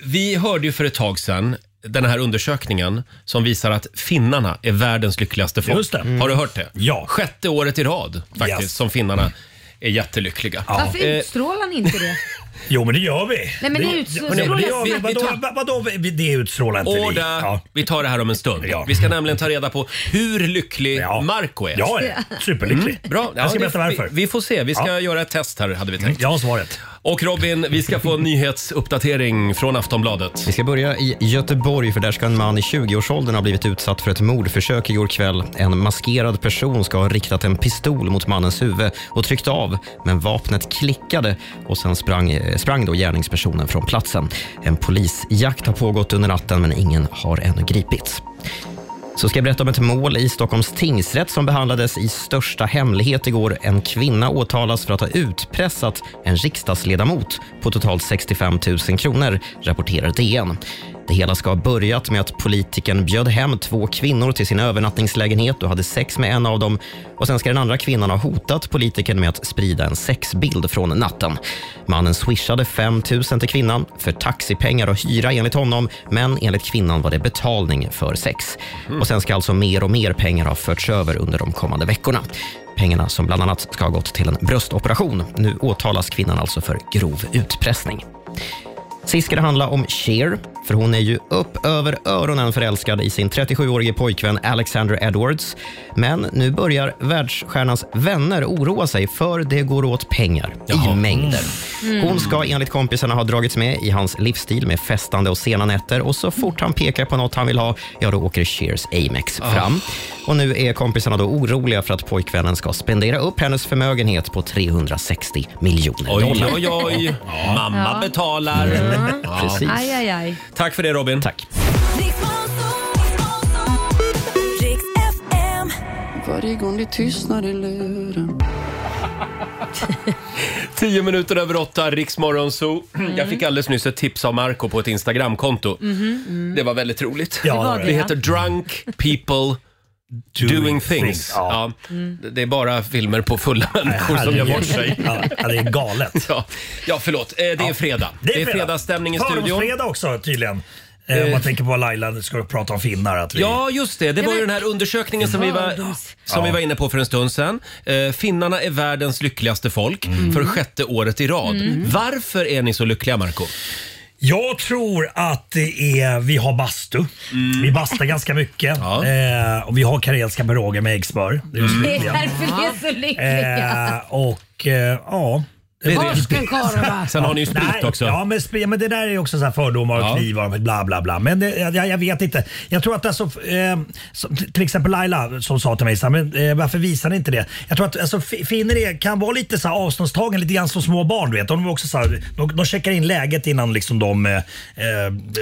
Speaker 1: vi hörde ju för ett tag sedan den här undersökningen som visar att finnarna är världens lyckligaste folk.
Speaker 9: Just det. Mm.
Speaker 1: Har du hört det?
Speaker 9: Ja.
Speaker 1: Sjätte året i rad faktiskt
Speaker 9: Yes.
Speaker 1: som finnarna är jättelyckliga.
Speaker 2: Varför
Speaker 1: Eh,
Speaker 2: utstrålar ni inte det?
Speaker 9: Jo, men det gör vi.
Speaker 2: Nej, men det utstrålar-
Speaker 9: det
Speaker 2: vi-
Speaker 9: gör vi.
Speaker 2: vi-
Speaker 9: Vadå,
Speaker 2: vi-
Speaker 9: vadå, vi- det utstrålar inte
Speaker 1: Och
Speaker 9: vi.
Speaker 1: där, Vi tar det här om en stund. Vi ska nämligen ta reda på hur lycklig Marco är. Mm.
Speaker 9: Ja, ja. Superlycklig.
Speaker 1: Bra.
Speaker 9: Jag ska
Speaker 1: det-
Speaker 9: berätta varför.
Speaker 1: Vi, vi får se. Vi ska
Speaker 9: Ja. Mm,
Speaker 1: göra ett test här hade vi tänkt.
Speaker 9: Jag har svaret.
Speaker 1: Och Robin, vi
Speaker 9: *laughs*
Speaker 1: ska få en nyhetsuppdatering från Aftonbladet.
Speaker 3: Vi ska börja i Göteborg, för där ska en man i 20-årsåldern ha blivit utsatt för ett mordförsök igår kväll. En maskerad person ska ha riktat en pistol mot mannens huvud och tryckt av, men vapnet klickade och sen sprang, eh, sprang då gärningspersonen från platsen. En polisjakt har pågått under natten, men ingen har ännu gripits. Så ska jag berätta om ett mål i Stockholms tingsrätt som behandlades i största hemlighet igår. En kvinna åtalas för att ha utpressat en riksdagsledamot på totalt 65 000 kronor, rapporterar DN. Det hela ska ha börjat med att politikern bjöd hem två kvinnor till sin övernattningslägenhet och hade sex med en av dem. Och Sen ska den andra kvinnan ha hotat politikern med att sprida en sexbild från natten. Mannen swishade 5 000 till kvinnan för taxipengar och hyra enligt honom, men enligt kvinnan var det betalning för sex. Och Sen ska alltså mer och mer pengar ha förts över under de kommande veckorna. Pengarna som bland annat ska ha gått till en bröstoperation. Nu åtalas kvinnan alltså för grov utpressning. Sist ska det handla om Cher, för hon är ju upp över öronen förälskad i sin 37-årige pojkvän Alexander Edwards. Men nu börjar världsstjärnans vänner oroa sig för det går åt pengar i mängder.
Speaker 7: Mm.
Speaker 3: Hon ska enligt kompisarna ha dragits med i hans livsstil med festande och sena nätter och så fort han pekar på något han vill ha, ja då åker Sheers Amex
Speaker 1: Ah.
Speaker 3: fram. Och nu är kompisarna då oroliga för att pojkvännen ska spendera upp hennes förmögenhet på 360 miljoner
Speaker 1: Oj,
Speaker 3: dollar.
Speaker 1: oj, oj. Mamma
Speaker 2: Ja.
Speaker 1: betalar. Ja.
Speaker 3: Precis.
Speaker 2: Aj, aj, aj.
Speaker 1: Tack för det Robin.
Speaker 3: Tack.
Speaker 7: Varje gång det tystnar i luren
Speaker 1: Tio minuter över åtta, Riksmorgon Zoo. Jag fick alldeles nyss ett tips av Marco på ett Instagramkonto.
Speaker 7: Mhm,
Speaker 6: mm.
Speaker 2: Mm.
Speaker 1: Det var väldigt roligt.
Speaker 7: Ja, det var det.
Speaker 1: det heter Drunk People Doing,
Speaker 9: Doing
Speaker 1: Things.
Speaker 9: things,
Speaker 1: Ja.
Speaker 9: ja.
Speaker 2: Mm.
Speaker 1: Det är bara filmer på fulla människor som gör bort sig.
Speaker 9: Ja, det är galet.
Speaker 1: *laughs* Ja, ja förlåt. Eh, Det är fredag. Det är fredagsstämning i studion.
Speaker 9: fredag också tydligen. Eh, om man
Speaker 1: Eh.
Speaker 9: tänker på vad Laila ska prata om finnar. Att vi...
Speaker 1: Ja, just det. Det var ju den här undersökningen som, vi var, som vi var inne på för en stund sedan. Eh, finnarna är världens lyckligaste folk för sjätte året i rad.
Speaker 2: Mm.
Speaker 1: Varför är ni så lyckliga, Marco?
Speaker 9: Jag tror att det är, vi har bastu.
Speaker 1: Mm.
Speaker 9: Vi bastar ganska mycket. Eh, och vi har karelska
Speaker 1: Mm.
Speaker 9: piroger med äggsmör. Det är ju
Speaker 2: *laughs* Det är
Speaker 9: lyckliga.
Speaker 2: därför ni är så lyckliga.
Speaker 9: Eh, och eh, ja, Det är det.
Speaker 1: Torsken, korva. Sen har ni ju sprit
Speaker 9: Nej,
Speaker 1: också.
Speaker 9: Ja men, sprit- men det där är också så här fördomar och
Speaker 1: Ja.
Speaker 9: knivar och bla bla bla. Men det, jag, jag vet inte. Jag tror att alltså, eh, som, till exempel Laila som sa till mig så här, men, eh, varför visar ni inte det? Jag tror att alltså, fi- finner det kan vara lite så här avståndstagen, lite grann som små barn. Du vet. De, är också så här, de, de checkar in läget innan liksom de eh, eh,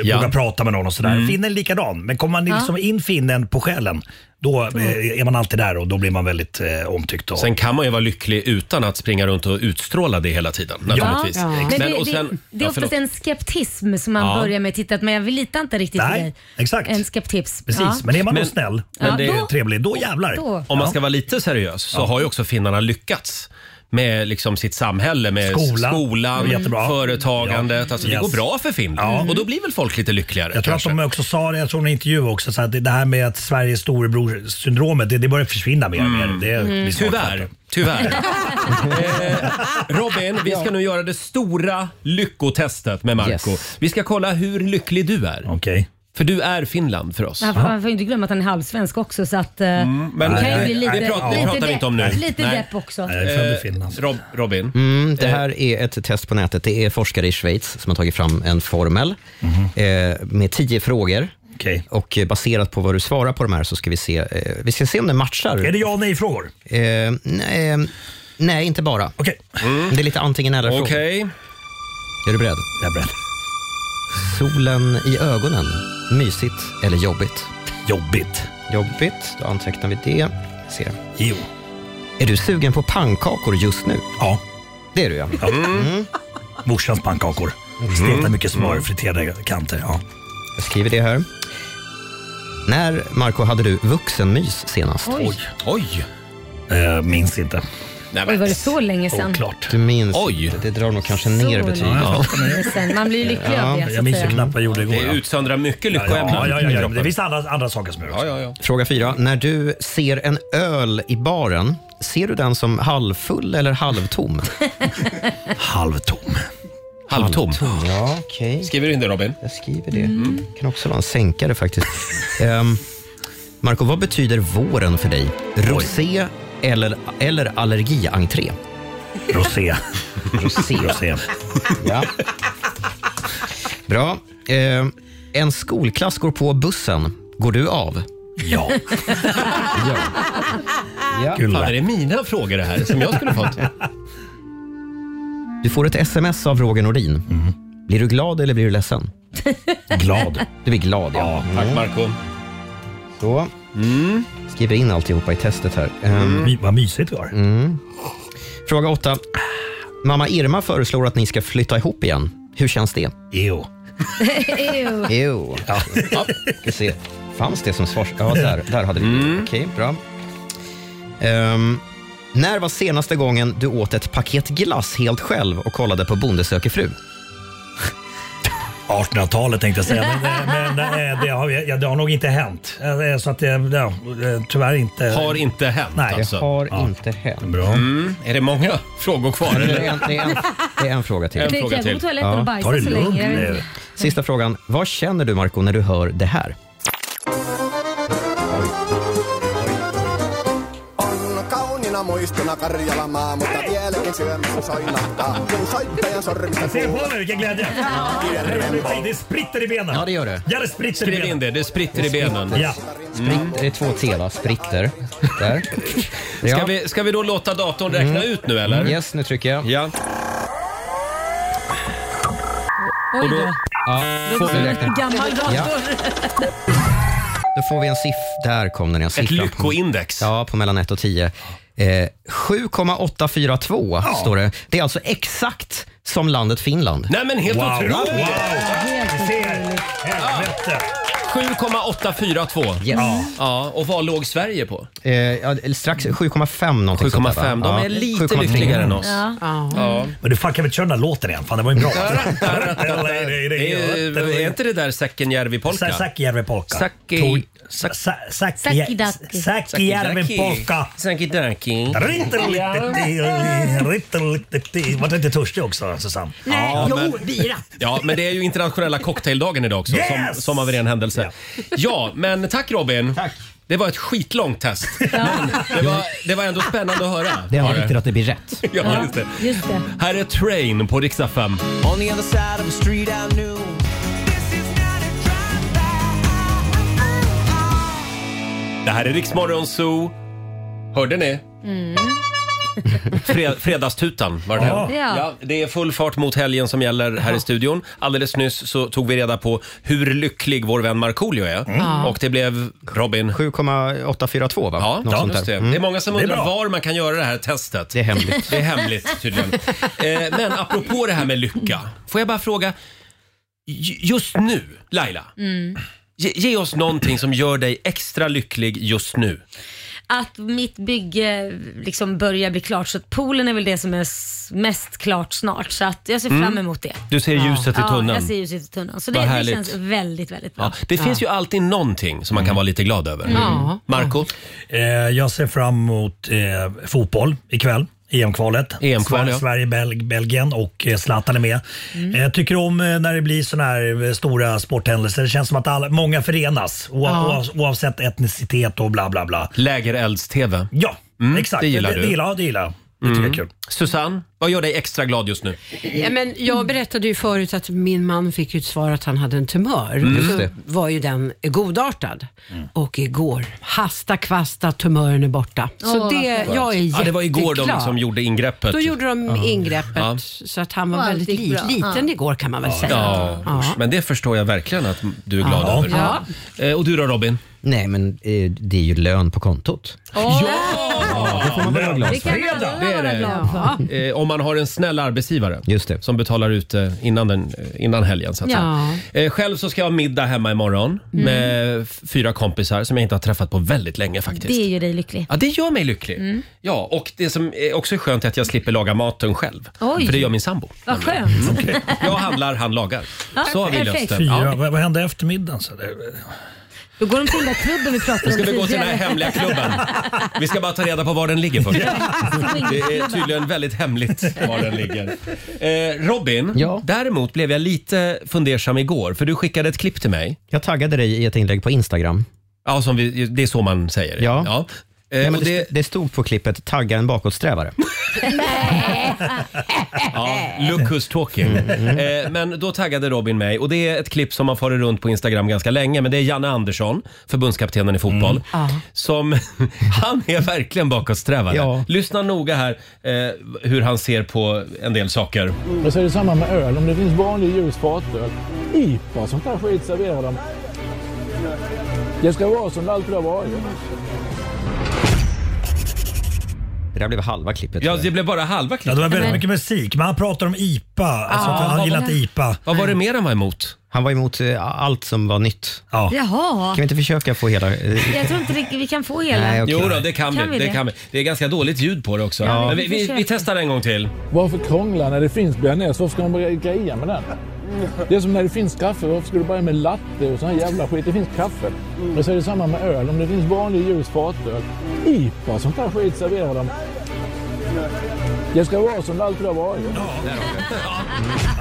Speaker 9: vågar prata med någon och sådär.
Speaker 18: Mm.
Speaker 9: Finnen är likadan. Men kommer man
Speaker 18: Ja.
Speaker 9: liksom in finnen på själen då eh, är man alltid där och då blir man väldigt eh, omtyckt. Och,
Speaker 1: Sen kan man ju vara lycklig utan att springa runt och utstråla det hela tiden. Naturligtvis.
Speaker 2: Men det,
Speaker 1: Men, och
Speaker 2: det,
Speaker 1: sen,
Speaker 2: det är
Speaker 1: ja,
Speaker 2: oftast
Speaker 1: förlåt.
Speaker 2: en skeptism som man
Speaker 1: Ja.
Speaker 2: börjar med. Titta, men jag litar inte riktigt på
Speaker 1: Nej,
Speaker 2: dig.
Speaker 9: Exakt.
Speaker 2: En skeptips.
Speaker 1: Precis,
Speaker 2: Ja.
Speaker 1: men är man då Men- snäll men och det- då-
Speaker 9: trevlig, då jävlar.
Speaker 2: Då.
Speaker 1: Om man ska vara lite seriös så har ju också finnarna lyckats med liksom sitt samhälle, med
Speaker 9: Skolan.
Speaker 1: skolan
Speaker 9: Jättebra.
Speaker 1: företagandet. Alltså, Det
Speaker 9: Yes.
Speaker 1: går bra för Finland och då blir väl folk lite lyckligare.
Speaker 9: Jag tror
Speaker 1: kanske.
Speaker 9: att de också sa det, jag tror i en intervju också, så att det det här med att Sveriges storebror-syndromet, det, det börjar försvinna mer och mer. Det
Speaker 1: Mm.
Speaker 9: blir snart
Speaker 1: Tyvärr,
Speaker 9: borta.
Speaker 1: tyvärr. eh, Robin, vi ska nu göra det stora lyckotestet med Marco. Vi ska kolla hur lycklig du är.
Speaker 9: Okej.
Speaker 1: För du är Finland för oss.
Speaker 2: Man får, man får inte glömma att han är halvsvensk också så att... eh,
Speaker 1: Mm, men
Speaker 2: det
Speaker 1: nej,
Speaker 2: kan ju bli
Speaker 1: nej,
Speaker 2: lite,
Speaker 1: det pratar- det
Speaker 2: lite
Speaker 1: pratar vi inte om nu.
Speaker 2: Lite
Speaker 1: Nej.
Speaker 2: depp också.
Speaker 1: Eh, Rob, Robin.
Speaker 3: Mm,
Speaker 9: Eh.
Speaker 3: det här är ett test på nätet. Det är forskare i Schweiz som har tagit fram en formel
Speaker 9: Mhm.
Speaker 3: eh, med tio frågor. Och eh, baserat på vad du svarar på de här så ska vi se, eh, vi ska se om det matchar.
Speaker 9: *laughs* Är det ja och nej-frågor?
Speaker 3: Eh, nej, eh, nej, inte bara. Mm. Det är lite antingen eller-frågor.
Speaker 1: Okej.
Speaker 3: Är du beredd?
Speaker 9: Jag är beredd.
Speaker 3: Solen i ögonen, mysigt eller jobbigt?
Speaker 9: Jobbigt.
Speaker 3: Jobbigt, då antecknar vi det. Se.
Speaker 9: Jo.
Speaker 3: Är du sugen på pannkakor just nu?
Speaker 9: Ja.
Speaker 3: Det är du ja.
Speaker 9: Ja.
Speaker 1: Mm.
Speaker 9: Morsans pannkakor. Stekta mycket smör, friterade kanter. Ja.
Speaker 3: Jag skriver det här. När, Marco, hade du vuxenmys senast?
Speaker 2: Oj.
Speaker 1: Oj.
Speaker 9: Eh, minns inte.
Speaker 2: Oj, var det så länge sedan?
Speaker 3: Du minns inte. Det drar nog kanske ner
Speaker 2: Så
Speaker 3: betyget.
Speaker 2: länge sedan. Man blir ju lycklig av det. så att säga. *laughs*
Speaker 9: vad jag gjorde igår.
Speaker 1: Det utsöndrar mycket
Speaker 9: Ja,
Speaker 1: lyckoämnen.
Speaker 9: ja, ja, ja, ja. Det finns andra, andra saker som är ja,
Speaker 1: ja, ja.
Speaker 3: Fråga fyra. När du ser en öl i baren, ser du den som halvfull eller halvtom?
Speaker 9: *laughs* halvtom.
Speaker 1: Halvtom?
Speaker 3: Ja, okej.
Speaker 1: Skriver du in det Robin?
Speaker 3: Jag skriver det.
Speaker 1: Mm.
Speaker 3: kan också vara en sänkare faktiskt. Ehm, Marco, vad betyder våren för dig? Rosé eller, eller allergientré?
Speaker 9: Rosé.
Speaker 3: Rosé. Ja. Bra. Ehm, en skolklass går på bussen. Går du av?
Speaker 9: Ja.
Speaker 1: Fan, är det mina frågor det här som jag skulle fått?
Speaker 3: Du får ett sms av Roger Nordin. Blir du glad eller blir du ledsen?
Speaker 9: Glad.
Speaker 3: Du blir glad, ja.
Speaker 1: Tack
Speaker 3: Mm.
Speaker 1: Marco.
Speaker 3: Så. Skriver in alltihopa i testet här. Ehm,
Speaker 1: Mm.
Speaker 9: My, vad mysigt vi har.
Speaker 3: Mm. Fråga åtta. Mamma Irma föreslår att ni ska flytta ihop igen. Hur känns det?
Speaker 9: Jo.
Speaker 2: Ew.
Speaker 3: Jo. Ja. ska se. Fanns det som svar? Ja, där, där hade vi det. Okej, bra. Ehm, när var senaste gången du åt ett paket glass helt själv och kollade på Bonde söker fru?
Speaker 9: 1800-talet tänkte jag säga, men, men, men eh, det, har, ja, det har nog inte hänt. Eh, Så att, eh, ja, eh, tyvärr inte.
Speaker 1: Har inte hänt
Speaker 9: Nej.
Speaker 1: alltså.
Speaker 9: Det har
Speaker 3: inte hänt.
Speaker 9: Bra.
Speaker 1: Mm. Är det många frågor kvar?
Speaker 3: Det
Speaker 1: Eller?
Speaker 3: är en, det är en, det är en fråga till.
Speaker 1: En Det är fråga
Speaker 2: jag till. gå på toaletten och bajsa Ta det så lugnt länge. Jag vet inte.
Speaker 3: Sista frågan. Vad känner du, Marco när du hör det här?
Speaker 19: On kauniina muistona Karjala maa, mutta vieläkin syömässä soinahtaa. Kun soittajan sormista
Speaker 9: Ser du på mig vilken glädje? Det spritter i benen.
Speaker 3: Ja, det gör det.
Speaker 9: Ja, det spritter i
Speaker 1: Skriv in
Speaker 9: benen.
Speaker 1: det, det spritter i benen.
Speaker 9: Ja.
Speaker 3: Spritt, Det är två t, va? Spritter.
Speaker 1: *laughs*
Speaker 3: Där.
Speaker 1: Ska, vi, ska vi då låta datorn räkna ut nu eller?
Speaker 3: Mm, Yes, nu trycker jag.
Speaker 1: Ja.
Speaker 2: Oj
Speaker 3: Och då-
Speaker 2: då.
Speaker 3: Ja,
Speaker 2: Det
Speaker 3: får
Speaker 2: var
Speaker 3: vi
Speaker 2: en
Speaker 3: räkna.
Speaker 2: Gammal
Speaker 3: Ja,
Speaker 2: dator.
Speaker 3: då får vi en siff. Där kom den. En siffra. Ett
Speaker 1: lyckoindex.
Speaker 3: Ja, på mellan 1 och 10. Eh, 7,842 står det. Det är alltså exakt som landet Finland.
Speaker 1: Nej men helt
Speaker 3: Wow.
Speaker 1: otroligt!
Speaker 3: Wow.
Speaker 9: Ser. Helvete.
Speaker 1: 7,842. Ja. ja. Och vad låg Sverige på?
Speaker 3: Eh, ja, strax 7,5 någonting sånt där, va?
Speaker 1: 7,5. De
Speaker 3: Ja.
Speaker 1: är lite
Speaker 3: 7,3.
Speaker 1: lyckligare än oss. Ja.
Speaker 9: Men du, fan kan vi inte köra den här låten igen? Fan, det var ju bra.
Speaker 1: Det är, är inte det där Säckenjärvi-polka?
Speaker 9: Säkkijärvi-polka.
Speaker 1: Saki-
Speaker 9: Säkkijärvi-polka. Säkkijärvi-polka.
Speaker 1: Sakidaki.
Speaker 9: Rittelittetti. Var du inte törstig också, Susanne?
Speaker 1: Ja, men- Ja, men det är ju internationella cocktaildagen idag också,
Speaker 9: Yes!
Speaker 1: som, som av en ren händelse. Ja, men tack Robin. Tack. Det var ett skitlångt test. Men det, var, det var ändå spännande att höra.
Speaker 18: Det
Speaker 1: Var
Speaker 18: är viktigt att det blir rätt.
Speaker 1: Ja, just det. Här är Train på riksdag 5.
Speaker 5: On the other side of the street I knew
Speaker 1: Det här är Riksmorgon Zoo. Hörde ni?
Speaker 2: Mm.
Speaker 1: Fre- fredagstutan var det här.
Speaker 2: Ja. Ja.
Speaker 1: Ja, Det är full fart mot helgen som gäller här i studion. Alldeles nyss så tog vi reda på hur lycklig vår vän Markoolio är.
Speaker 3: Ja.
Speaker 1: Och det blev Robin.
Speaker 3: 7,842 va?
Speaker 1: Ja,
Speaker 3: Något
Speaker 1: ja
Speaker 3: sånt
Speaker 1: just det.
Speaker 3: där. Mm.
Speaker 1: Det är många som
Speaker 3: Det är
Speaker 1: undrar
Speaker 3: bra.
Speaker 1: var man kan göra det här testet. Det är
Speaker 3: hemligt.
Speaker 1: *laughs* Det är hemligt tydligen. Eh, Men apropå det här med lycka. Får jag bara fråga. ju- Just nu, Laila.
Speaker 2: Mm.
Speaker 1: Ge, ge oss någonting som gör dig extra lycklig just nu.
Speaker 2: Att mitt bygge liksom börjar bli klart så att poolen är väl det som är s- mest klart snart. Så att jag ser
Speaker 1: Mm.
Speaker 2: fram emot det.
Speaker 1: Du ser ljuset i
Speaker 2: Ja,
Speaker 1: tunneln.
Speaker 2: jag ser ljuset i tunneln. Så
Speaker 1: Vad
Speaker 2: det, det
Speaker 1: härligt.
Speaker 2: känns väldigt, väldigt bra.
Speaker 1: Ja, det finns ju alltid någonting som man kan vara lite glad över.
Speaker 2: Mm. Ja.
Speaker 1: Marco?
Speaker 9: Eh, jag ser fram emot eh, fotboll ikväll. EM-kvalet.
Speaker 1: EM-kval,
Speaker 9: Sverige,
Speaker 1: ja.
Speaker 9: Sverige Bel Belgien och eh, Zlatan är med.
Speaker 1: Mm.
Speaker 9: Eh, Jag tycker om eh, när det blir såna här eh, stora sporthändelser. Det känns som att alla, många förenas oa-
Speaker 1: Ja.
Speaker 9: oa- oavsett etnicitet och bla bla bla.
Speaker 1: Lägerelds-TV. Mm,
Speaker 9: Ja, exakt.
Speaker 1: Det gillar
Speaker 9: det,
Speaker 1: du. Mm.
Speaker 9: Det gillar, det gillar. jag. Det tycker jag är kul.
Speaker 1: Susanne, vad gör dig extra glad just nu?
Speaker 8: Ja, men jag berättade ju förut att min man fick ju ett svar att han hade en tumör.
Speaker 1: Mm. Just
Speaker 8: Så
Speaker 1: det.
Speaker 8: var ju den godartad. Och igår, hasta kvasta, tumören är borta. Så
Speaker 2: Åh,
Speaker 8: det,
Speaker 2: vad skönt.
Speaker 8: jag är
Speaker 1: Ja, det var igår de
Speaker 8: jätteglad.
Speaker 1: liksom gjorde ingreppet.
Speaker 8: Då gjorde de
Speaker 1: Ja.
Speaker 8: ingreppet
Speaker 1: Ja.
Speaker 8: så att han var
Speaker 2: Och allt
Speaker 8: väldigt
Speaker 2: gick
Speaker 8: li-
Speaker 2: bra.
Speaker 8: liten
Speaker 2: Ja.
Speaker 8: igår kan man väl säga.
Speaker 1: Ja, usch, men det förstår jag verkligen att du är glad
Speaker 8: Ja.
Speaker 1: över.
Speaker 8: Ja.
Speaker 1: Eh, Och du då Robin?
Speaker 3: Nej, men eh, det är ju lön på kontot.
Speaker 1: Ja! Det får man vara
Speaker 3: glad
Speaker 2: Det kan för. alla
Speaker 1: det är
Speaker 2: vara
Speaker 1: det.
Speaker 2: glad
Speaker 1: Eh, om man har en snäll arbetsgivare som betalar ut eh, innan, den, eh, innan helgen. Så att
Speaker 8: Ja.
Speaker 1: säga. Eh, själv så ska jag ha middag hemma imorgon
Speaker 2: Mm.
Speaker 1: med f- fyra kompisar som jag inte har träffat på väldigt länge faktiskt.
Speaker 2: Det gör dig lycklig.
Speaker 1: Ja, det gör mig lycklig.
Speaker 2: Mm.
Speaker 1: Ja, och det som är också är skönt är att jag slipper laga maten själv.
Speaker 2: Oj.
Speaker 1: För det gör min sambo.
Speaker 2: Vad skönt.
Speaker 1: Mm. *laughs* Jag handlar, han lagar.
Speaker 2: Ja,
Speaker 1: så har vi löst
Speaker 2: perfekt.
Speaker 1: det.
Speaker 9: Fyra,
Speaker 1: Ja.
Speaker 9: vad, vad hände efter middagen? Så det,
Speaker 2: Då går de till den där klubben vi pratade
Speaker 1: Nu
Speaker 2: om
Speaker 1: ska vi gå till den här
Speaker 2: tidigare.
Speaker 1: hemliga klubben. Vi ska bara ta reda på var den ligger först.
Speaker 2: Ja.
Speaker 1: Det är tydligen väldigt hemligt var den ligger. Eh, Robin, däremot blev jag lite fundersam igår för du skickade ett klipp till mig.
Speaker 3: Jag taggade dig i ett inlägg på Instagram.
Speaker 1: Ja, som vi, det är så man säger.
Speaker 3: Ja.
Speaker 1: Eh,
Speaker 3: Nej,
Speaker 1: och
Speaker 3: men det,
Speaker 1: det-
Speaker 3: det stod på klippet “tagga en bakåtsträvare”.
Speaker 1: Ja, look who's talking.
Speaker 3: Mm,
Speaker 1: Eh, men då taggade Robin mig och det är ett klipp som har farit runt på Instagram ganska länge men det är Janne Andersson, förbundskaptenen i fotboll.
Speaker 3: Mm.
Speaker 1: Som, *laughs* han är verkligen bakåtsträvare. Lyssna noga här eh, hur han ser på en del saker.
Speaker 20: Och så är det samma med öl. Om det finns vanlig ljus fatöl, IPA och sånt där skit serverar de. Det ska vara som det alltid har varit.
Speaker 3: Det där blev halva klippet.
Speaker 1: Ja, det blev bara halva klippet.
Speaker 9: Ja, det var väldigt mycket musik, men han pratar om IPA. Alltså,
Speaker 3: Ja.
Speaker 9: att han gillar inte IPA. Mm.
Speaker 1: Vad var det mer han var emot?
Speaker 3: Han var emot eh, allt som var nytt.
Speaker 9: Ja.
Speaker 2: Jaha.
Speaker 3: Kan vi inte försöka få hela... eh,
Speaker 2: Jag tror inte det, vi kan få hela.
Speaker 1: Jo då, det kan, vi. Det?
Speaker 2: det?
Speaker 1: kan vi. Det är ganska dåligt ljud på det också.
Speaker 20: Ja.
Speaker 1: Men vi, vi, vi testar en gång till.
Speaker 20: Varför krångla när det finns bearnaise? Varför ska de börja greja med den? Det är som när det finns kaffe. Varför ska du börja med latte och sån här jävla skit? Det finns kaffe. Och så är det samma med öl. Om det finns vanlig ljus fatöl, IPA och sånt där skit serverar de. Det ska vara som det alltid har varit.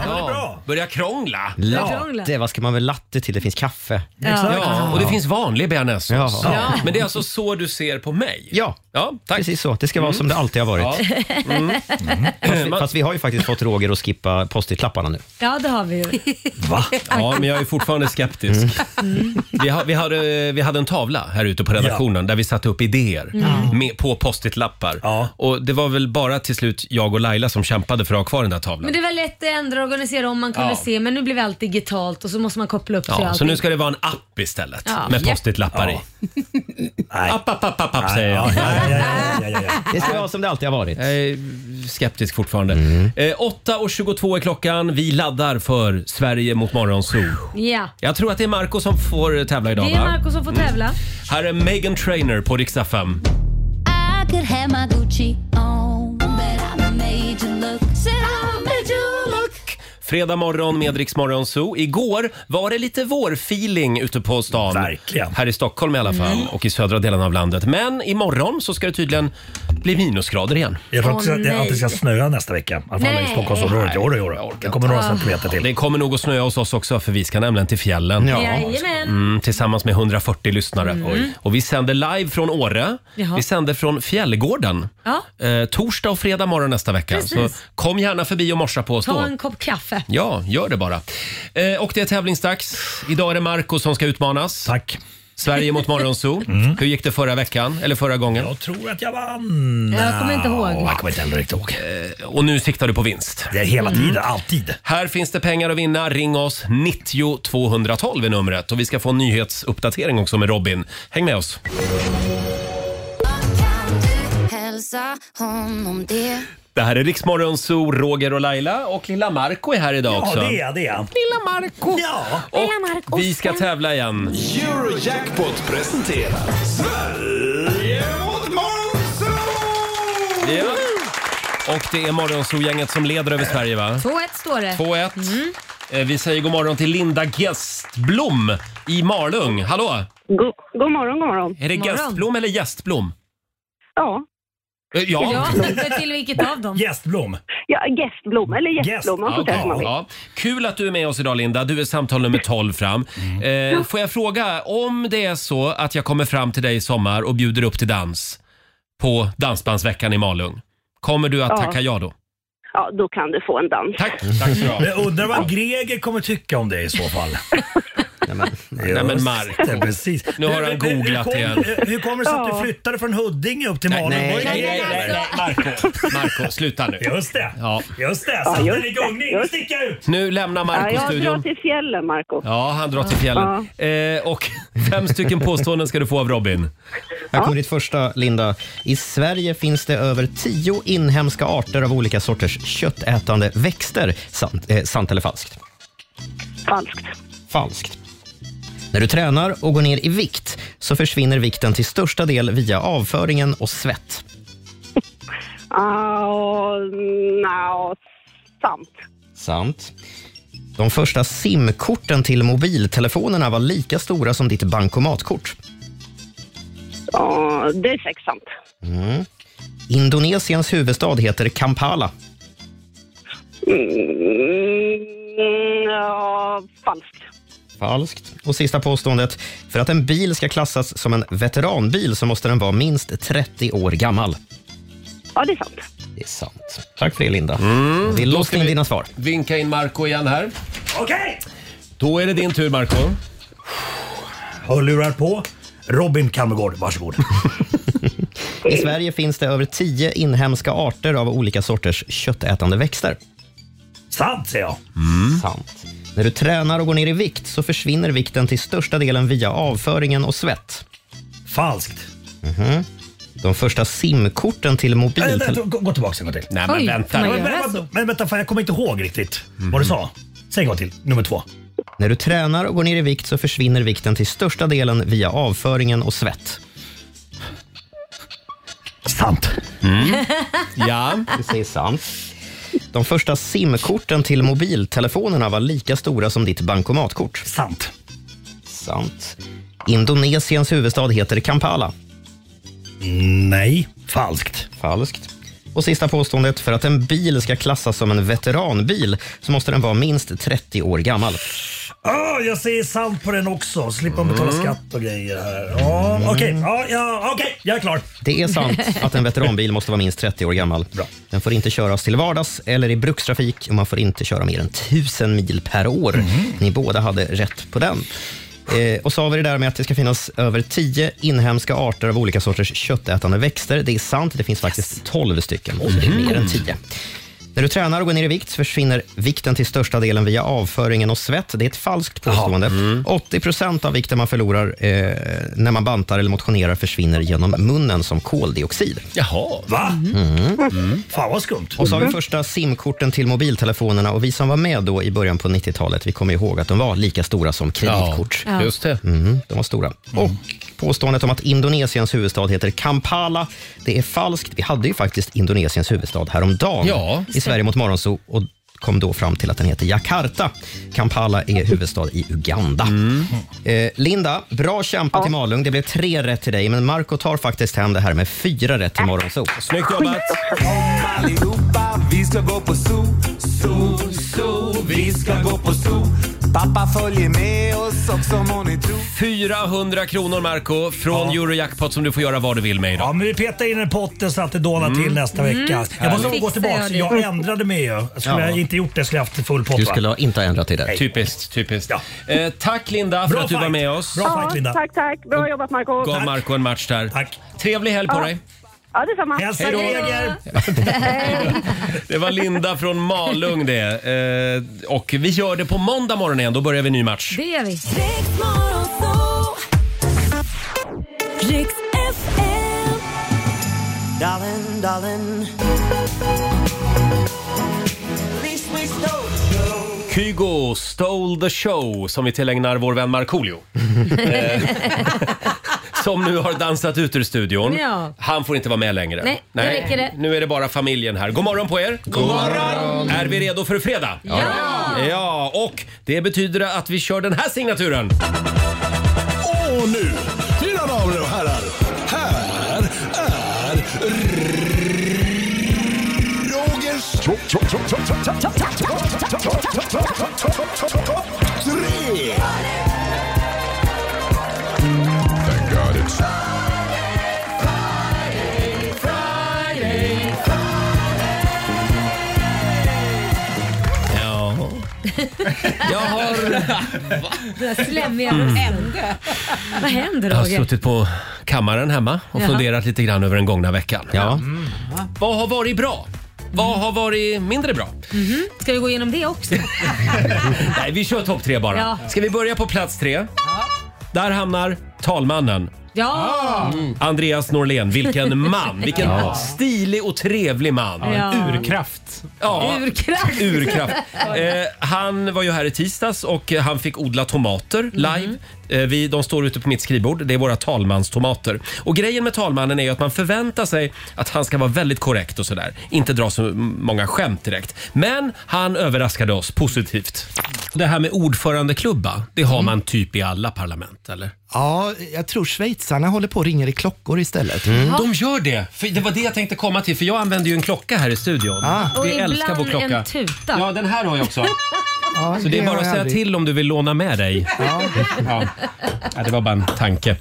Speaker 1: Ja, börja krångla.
Speaker 3: *laughs* Latte, vad ska man med latte till? Det finns kaffe.
Speaker 1: Ja. Ja, och det finns vanlig bearnaisesås.
Speaker 3: Ja.
Speaker 1: Ja. Men det är alltså så du ser på mig?
Speaker 3: Ja,
Speaker 1: ja tack. Mm.
Speaker 3: precis så. Det ska vara som det alltid har varit.
Speaker 1: Ja. Mm.
Speaker 3: Fast, vi, *laughs* fast vi har ju faktiskt fått Roger att skippa post-it-lapparna nu.
Speaker 2: *laughs* Ja, det har vi ju.
Speaker 1: Va? Ja, men jag är fortfarande skeptisk. *laughs* Vi, ha, vi, hade, vi hade en tavla här ute på redaktionen där vi satte upp idéer
Speaker 10: Mm.
Speaker 1: med, på post-it-lappar. Och det var väl bara till slut jag och Laila som kämpade för att ha kvar den där tavlan.
Speaker 2: *laughs* Men det var lätt att ändra och organisera om man kunde
Speaker 1: Ja.
Speaker 2: se, men nu blev allt digitalt och så måste man koppla upp sig och
Speaker 1: Ja, så
Speaker 2: allting.
Speaker 1: nu ska det vara en app istället
Speaker 2: Ja.
Speaker 1: med
Speaker 2: Ja.
Speaker 1: post-it-lappar i. App, app, app, app, app säger jag.
Speaker 3: Det ska vara som det alltid har varit.
Speaker 1: Jag är skeptisk fortfarande. Eh, 8.22 är klockan. Vi laddar för Sverige mot Morgonzoo.
Speaker 2: Ja.
Speaker 1: Jag tror att det är Marco som får tävla idag
Speaker 2: Det är
Speaker 1: va? Mm.
Speaker 2: Marco som får tävla.
Speaker 1: Här är Megan Trainer på riksdag 5.
Speaker 7: I could have my Gucci on, but I made you look. Said I made you look.
Speaker 1: Fredag morgon med Rix Morgon Zoo. Igår var det lite vårfeeling ute på stan. Verkligen. Här i Stockholm i alla fall
Speaker 9: Mm.
Speaker 1: och i södra delen av landet. Men imorgon så ska det tydligen bli minusgrader igen.
Speaker 9: Jag tror att, det- att det ska snöa nästa vecka. I alla fall i
Speaker 1: Nej.
Speaker 9: Stockholmsområdet. Jo, jo, jo. Det kommer några centimeter till.
Speaker 1: Det kommer nog att snöa hos oss också för vi ska nämligen till fjällen.
Speaker 2: Ja. Jajamän.
Speaker 1: Mm, tillsammans med 140 lyssnare.
Speaker 2: Mm.
Speaker 1: Oj. Och vi sänder live från Åre.
Speaker 2: Jaha.
Speaker 1: Vi sänder från Fjällgården.
Speaker 2: Ja.
Speaker 1: Eh, torsdag och fredag morgon nästa vecka.
Speaker 2: Precis.
Speaker 1: Så kom gärna förbi och morsa på oss
Speaker 2: Ta
Speaker 1: då.
Speaker 2: en kopp kaffe.
Speaker 1: Ja, gör det bara. Eh, och det är tävlingsdags. Idag är det Marco som ska utmanas.
Speaker 9: Tack. Mm.
Speaker 1: Sverige mot
Speaker 9: *laughs*
Speaker 1: Morgonzoo. Hur gick det förra veckan? Eller förra gången?
Speaker 9: Jag tror att jag vann.
Speaker 1: Jag kommer inte ihåg.
Speaker 9: Jag kommer inte heller riktigt ihåg.
Speaker 1: Eh, Och nu siktar du på vinst.
Speaker 9: Det är hela tiden, Mm. alltid.
Speaker 1: Här finns det pengar att vinna. Ring oss. 90 212 är numret. Och vi ska få en nyhetsuppdatering också med Robin. Häng med oss.
Speaker 7: Hälsa honom det.
Speaker 1: Det här är Riksmorgon Zoo, Roger och Laila och lilla Marco är här idag
Speaker 7: Ja,
Speaker 1: också.
Speaker 7: det är- det
Speaker 9: är
Speaker 7: Lilla Marco. Ja. Lilla Marco.
Speaker 1: Vi ska tävla igen.
Speaker 7: Eurojackpot presenterar
Speaker 1: Ja. Och det är Morgonzoo-gänget som leder över Sverige va?
Speaker 2: 2-1 står det. Mm.
Speaker 1: 2-1. Eh, Vi säger god morgon till Linda Gästblom i Malung. Hallå!
Speaker 6: God, god morgon, god morgon.
Speaker 1: Är det Gästblom eller Gästblom?
Speaker 6: Ja.
Speaker 1: Eh, Ja.
Speaker 2: till vilket av dem?
Speaker 9: Gästblom.
Speaker 6: Ja, gästblom eller gästblom. Man får säga som man
Speaker 1: okej.
Speaker 6: vill.
Speaker 1: Ja. Kul att du är med oss idag Linda. Du är samtal nummer 12 fram. Eh, får jag fråga, om det är så att jag kommer fram till dig i sommar och bjuder upp till dans på Dansbandsveckan i Malung. Kommer du att
Speaker 6: Ja.
Speaker 1: tacka ja då?
Speaker 6: Ja, då kan du få en dans.
Speaker 1: Tack. Tack ska du ha.
Speaker 9: Men jag undrar vad Greger kommer tycka om det i så fall.
Speaker 1: Nej men Marco.
Speaker 9: Precis.
Speaker 1: *laughs* Nu har han googlat igen.
Speaker 9: Hur, hur kommer det sig att du flyttade från Huddinge upp till Malung?
Speaker 1: nej,
Speaker 9: Var det
Speaker 1: nej,
Speaker 9: Greger?
Speaker 1: nej, nej, Marco, Marco, sluta nu.
Speaker 9: Just det.
Speaker 1: Ja.
Speaker 9: Just det,
Speaker 6: Ja,
Speaker 9: satte
Speaker 6: just
Speaker 9: den igång.
Speaker 6: det,
Speaker 9: Ni
Speaker 6: just
Speaker 9: sticka ut!
Speaker 1: Nu lämnar
Speaker 6: Ja,
Speaker 1: Marco
Speaker 6: jag drar
Speaker 1: studion.
Speaker 6: till fjällen, Marco.
Speaker 1: Ja, han drar till fjällen. Eh, och fem stycken påståenden ska du få av Robin.
Speaker 3: Här kommer ditt första, Linda. I Sverige finns det över tio inhemska arter av olika sorters köttätande växter. Sant, eh, sant eller falskt?
Speaker 6: Falskt.
Speaker 3: Falskt. När du tränar och går ner i vikt så försvinner vikten till största del via avföringen och svett.
Speaker 6: Ja, nja, sant.
Speaker 3: Sant. De första simkorten till mobiltelefonerna var lika stora som ditt bankomatkort.
Speaker 6: Ja, det är säkert sant.
Speaker 3: Mm. Indonesiens huvudstad heter Kampala.
Speaker 6: Mm, ja, falskt.
Speaker 3: Falskt. Och sista påståendet. För att en bil ska klassas som en veteranbil så måste den vara minst 30 år gammal.
Speaker 6: Ja, det är sant.
Speaker 3: Det är sant. Tack för det, Linda. Mm. Vi
Speaker 1: Då
Speaker 3: låste
Speaker 1: ska
Speaker 3: in
Speaker 1: vi
Speaker 3: dina svar.
Speaker 1: vinka in Marco igen här.
Speaker 9: Okej!
Speaker 1: Då är det din tur Marco.
Speaker 9: Hörlurar på. Robin Kammergård,
Speaker 1: *laughs*
Speaker 9: varsågod.
Speaker 3: I Sverige finns det över 10 inhemska arter av olika sorters köttätande växter.
Speaker 9: Sant säger jag.
Speaker 3: Sant. När du tränar och går ner i vikt så försvinner vikten till största delen via avföringen och svett.
Speaker 9: Falskt.
Speaker 3: Mhm. De första simkorten till
Speaker 9: Äh, vänta,
Speaker 3: mobiltelefoner...
Speaker 9: gå, gå tillbaka en gång till.
Speaker 1: Nej, men Oj, vänta. får man
Speaker 9: Men,
Speaker 1: göra
Speaker 9: men, men, men vänta, fan, jag kommer inte ihåg riktigt vad du sa. Säg en gång till, nummer två.
Speaker 3: Mhm. När du tränar och går ner i vikt så försvinner vikten till största delen via avföringen och svett.
Speaker 9: Sant.
Speaker 3: Mm.
Speaker 2: Mm.
Speaker 3: *laughs*
Speaker 1: Ja.
Speaker 3: Du säger sant. De första simkorten till mobiltelefonerna var lika stora som ditt bankomatkort.
Speaker 9: Sant.
Speaker 3: Sant. Indonesiens huvudstad heter Kampala.
Speaker 9: Nej, falskt.
Speaker 3: Falskt. Och sista påståendet. För att en bil ska klassas som en veteranbil så måste den vara minst 30 år gammal.
Speaker 9: Ah, jag säger sant på den också. Slippa betala
Speaker 3: Mm.
Speaker 9: skatt och grejer här. Ja, Okej,
Speaker 1: Mm.
Speaker 9: ja, ja, okej, jag är klar.
Speaker 3: Det
Speaker 9: *laughs*
Speaker 3: är sant att en veteranbil måste vara minst 30 år gammal. Den får inte köras till vardags eller i brukstrafik och man får inte köra mer än 1000 mil per år. Ni båda hade rätt på den. Eh, och så har vi det där med att det ska finnas över 10 inhemska arter av olika sorters köttätande växter. Det är sant, det finns faktiskt 12 stycken, så det är mer än 10. När du tränar och går ner i vikt försvinner vikten till största delen via avföringen och svett. Det är ett falskt påstående. 80 procent av vikten man förlorar eh, när man bantar eller motionerar försvinner genom munnen som koldioxid.
Speaker 1: Jaha.
Speaker 9: Va?
Speaker 3: Mm.
Speaker 9: Fan vad skumt.
Speaker 3: Och så har
Speaker 1: Mm.
Speaker 3: vi första simkorten till mobiltelefonerna och vi som var med då i början på 90-talet, vi kommer ihåg att de var lika stora som kreditkort.
Speaker 1: Ja, just det.
Speaker 3: Mm, de var stora. Och påståendet om att Indonesiens huvudstad heter Kampala, det är falskt. Vi hade ju faktiskt Indonesiens huvudstad häromdagen
Speaker 1: Ja.
Speaker 3: i Sverige mot Morgonzoo och kom då fram till att den heter Jakarta. Kampala är huvudstad i Uganda.
Speaker 1: Mm.
Speaker 3: Eh, Linda, bra kämpat i Malung. Det blev tre rätt till dig, men Marco tar faktiskt hem det här med fyra rätt till Morgonzoo.
Speaker 1: Snyggt jobbat!
Speaker 5: Allihopa, vi ska gå på zoo, zoo, zoo. Vi ska gå på zoo. Pappa följer med oss också må ni tro.
Speaker 1: 400 kronor Marco från Eurojackpot som du får göra vad du vill med idag.
Speaker 9: Ja, men vi petar in en potten så att det dånar till nästa
Speaker 1: Mm.
Speaker 9: vecka. Jag måste nog gå
Speaker 1: Fixar
Speaker 9: tillbaka.
Speaker 1: jag det.
Speaker 9: Jag ändrade mig ju. Skulle
Speaker 1: Ja.
Speaker 9: jag inte gjort det skulle jag haft full pott.
Speaker 3: Du
Speaker 9: va?
Speaker 3: skulle ha inte ha ändrat dig där.
Speaker 9: Nej.
Speaker 1: Typiskt, typiskt. Eh, tack Linda för
Speaker 9: Bra
Speaker 1: att du var
Speaker 9: fight.
Speaker 1: med oss.
Speaker 6: tack, tack. Bra jobbat Marco.
Speaker 1: Gav Marco en match där. Trevlig helg på
Speaker 6: Ja.
Speaker 1: dig.
Speaker 6: Ja, detsamma.
Speaker 9: Hälsa
Speaker 6: Hej då.
Speaker 9: Greger.
Speaker 1: Det var Linda från Malung det. Eh, och vi gör det på måndag morgon igen. Då börjar vi en ny match.
Speaker 2: Det gör vi.
Speaker 7: Riks FM. Darling, darling. Least we stole.
Speaker 1: Kygo stole the show som vi tillägnar vår vän Markoolio. Eh, som nu har dansat ut ur studion.
Speaker 2: *laughs* Ja.
Speaker 1: Han får inte vara med längre.
Speaker 2: Nej, nu räcker det.
Speaker 1: Nu är det bara familjen här. God morgon på er! God morgon! Är vi redo för fredag? Ja! Ja, och det betyder att vi kör den här signaturen.
Speaker 5: Och nu, mina damer och herrar, här är Rogers... Tre! Thank God it's...
Speaker 1: Ja. Jag har...
Speaker 2: Den där slemmiga
Speaker 1: Mm.
Speaker 2: rösten. Vad händer
Speaker 1: Jag har
Speaker 2: Roger?
Speaker 1: suttit på kammaren hemma och
Speaker 2: Jaha.
Speaker 1: funderat lite grann över den gångna veckan. Ja.
Speaker 2: Va?
Speaker 1: Vad har varit bra? Vad har varit mindre bra?
Speaker 2: Mhm. Ska vi gå igenom det också?
Speaker 1: *laughs* Nej, vi kör topp tre bara.
Speaker 2: Ja.
Speaker 1: Ska vi börja på plats tre? Där hamnar talmannen. Mm.
Speaker 2: Ja!
Speaker 1: Andreas Norlén, vilken man! Vilken
Speaker 2: Ja.
Speaker 1: stilig och trevlig man.
Speaker 2: Ja. En
Speaker 1: Urkraft. Ja.
Speaker 2: Urkraft. *laughs*
Speaker 1: Urkraft. Eh, han var ju här i tisdags och eh, han fick odla tomater live. Eh, vi, de står ute på mitt skrivbord. Det är våra talmanstomater. Och grejen med talmannen är ju att man förväntar sig att han ska vara väldigt korrekt och sådär. Inte dra så många skämt direkt. Men han överraskade oss positivt. Det här med ordförandeklubba, det har man typ i alla parlament, eller?
Speaker 18: Ja, jag tror schweizarna håller på och ringer i klockor istället.
Speaker 1: Mm. De gör det! För det var det jag tänkte komma till, för jag använder ju en klocka här i studion.
Speaker 2: Och
Speaker 1: Vi älskar vår
Speaker 2: ibland
Speaker 1: klocka.
Speaker 2: en tuta.
Speaker 1: Ja, den här har jag också.
Speaker 18: Ja,
Speaker 1: Så det är
Speaker 18: har
Speaker 1: bara att
Speaker 18: jag
Speaker 1: säga
Speaker 18: aldrig.
Speaker 1: till om du vill låna med dig. Ja. Ja. det var bara en tanke.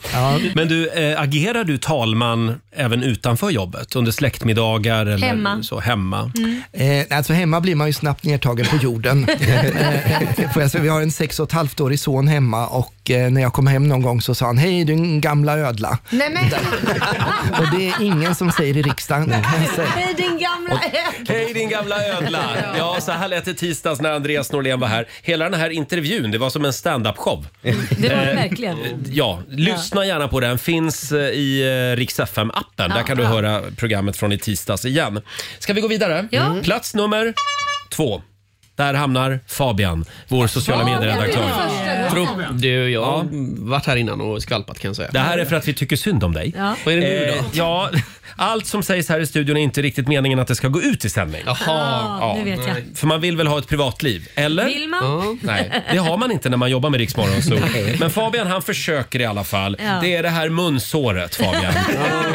Speaker 1: Men du, eh, agerar du talman även utanför jobbet? Under släktmiddagar eller
Speaker 18: Hemma.
Speaker 1: så?
Speaker 2: Mm.
Speaker 1: Hemma?
Speaker 18: Eh, alltså hemma blir man ju snabbt nedtagen på
Speaker 1: *laughs*
Speaker 18: jorden. eh, får jag säga, vi har en sex och ett halvt årig son hemma och eh, när jag kom hem någon gång så sa han, hej din gamla ödla.
Speaker 2: Nej
Speaker 1: *laughs*
Speaker 2: men,
Speaker 18: Och det är ingen som säger i riksdagen. *laughs*
Speaker 2: hej din gamla ödla.
Speaker 1: Hej din gamla ödla!
Speaker 2: *laughs*
Speaker 1: Ja, så här lät det tisdags när Andreas Norlén var här. Hela den här intervjun, det var som en stand-up-show.
Speaker 2: Mm. Det var
Speaker 1: Eh,
Speaker 2: det verkligen.
Speaker 1: Ja, lyssna gärna på den. Finns eh, i eh, Rix FM-appen. Där
Speaker 2: Ja,
Speaker 1: kan du
Speaker 2: bra.
Speaker 1: höra programmet från i tisdags igen. Ska vi gå vidare?
Speaker 2: Ja. Mm.
Speaker 1: Plats nummer två. Där hamnar Fabian, vår sociala
Speaker 10: Fabian,
Speaker 1: medieredaktör.
Speaker 10: det är första
Speaker 1: Tror-
Speaker 10: gången. Du, jag har varit här innan och skvalpat kan jag säga.
Speaker 1: Det här är för att vi tycker synd om dig.
Speaker 10: Ja. Vad är det nu då?
Speaker 1: Eh, ja, *laughs* allt som sägs här i studion är inte riktigt meningen att det ska gå ut i sändning. Jaha,
Speaker 2: Ah, nu vet jag.
Speaker 1: För man vill väl ha ett privatliv? Eller?
Speaker 2: Vill man? Ja.
Speaker 1: Nej, det har man inte när man jobbar med Rix Morgon Zoo.
Speaker 2: Nej.
Speaker 1: Men Fabian han försöker i alla fall.
Speaker 2: Ja.
Speaker 1: Det är det här munsåret Fabian.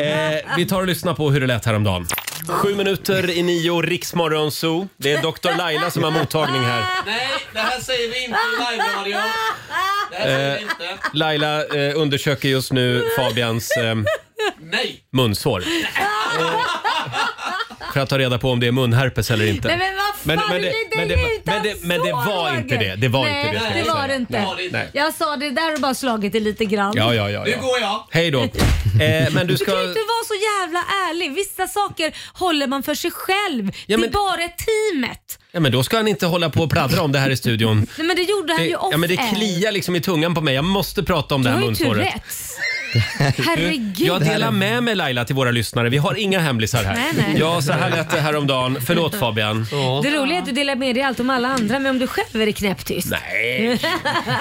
Speaker 1: eh, vi tar och lyssnar på hur det lät häromdagen. Sju minuter i nio, Rix Morgon Zoo. Det är Dr. Laila som har mottagning här.
Speaker 10: Nej, det här säger vi inte i live-radio. Det här säger vi
Speaker 1: Eh,
Speaker 10: inte.
Speaker 1: Laila eh, undersöker just nu Fabians eh,
Speaker 10: Nej! *laughs*
Speaker 1: munsår. För att ta reda på om det är munherpes eller inte.
Speaker 2: Nej men vad fan,
Speaker 1: men det, men det, men det, men det var inte det. Det var
Speaker 2: Alltså, Nej,
Speaker 1: inte det. ska
Speaker 2: det
Speaker 1: jag
Speaker 2: var
Speaker 1: säga.
Speaker 2: det inte.
Speaker 1: Nej.
Speaker 2: Jag sa det där och bara slagit det lite grann.
Speaker 1: Ja, ja, ja, ja. Nu går
Speaker 10: jag.
Speaker 1: Hej
Speaker 2: *laughs*
Speaker 1: då. Eh, men du ska...
Speaker 2: kan ju inte vara så jävla ärlig. Vissa saker håller man för sig själv. Det är bara teamet.
Speaker 1: Ja, men då ska han inte hålla på och pladdra om det här i studion.
Speaker 2: Nej, men det gjorde han
Speaker 1: Det,
Speaker 2: ju off
Speaker 1: ja, men det
Speaker 2: air.
Speaker 1: kliar liksom i tungan på mig. Jag måste prata om
Speaker 2: Du
Speaker 1: det här
Speaker 2: har ju
Speaker 1: munsåret.
Speaker 2: Tourettes. Herregud.
Speaker 1: Jag delar med mig Laila till våra lyssnare. Vi har inga hemlisar här.
Speaker 2: Nej, nej.
Speaker 1: Ja, så här lät det häromdagen. Förlåt Fabian.
Speaker 2: Det roliga är att du delar med dig allt om alla andra, men om du själv är det knäpptyst.
Speaker 1: Nej.
Speaker 2: *laughs*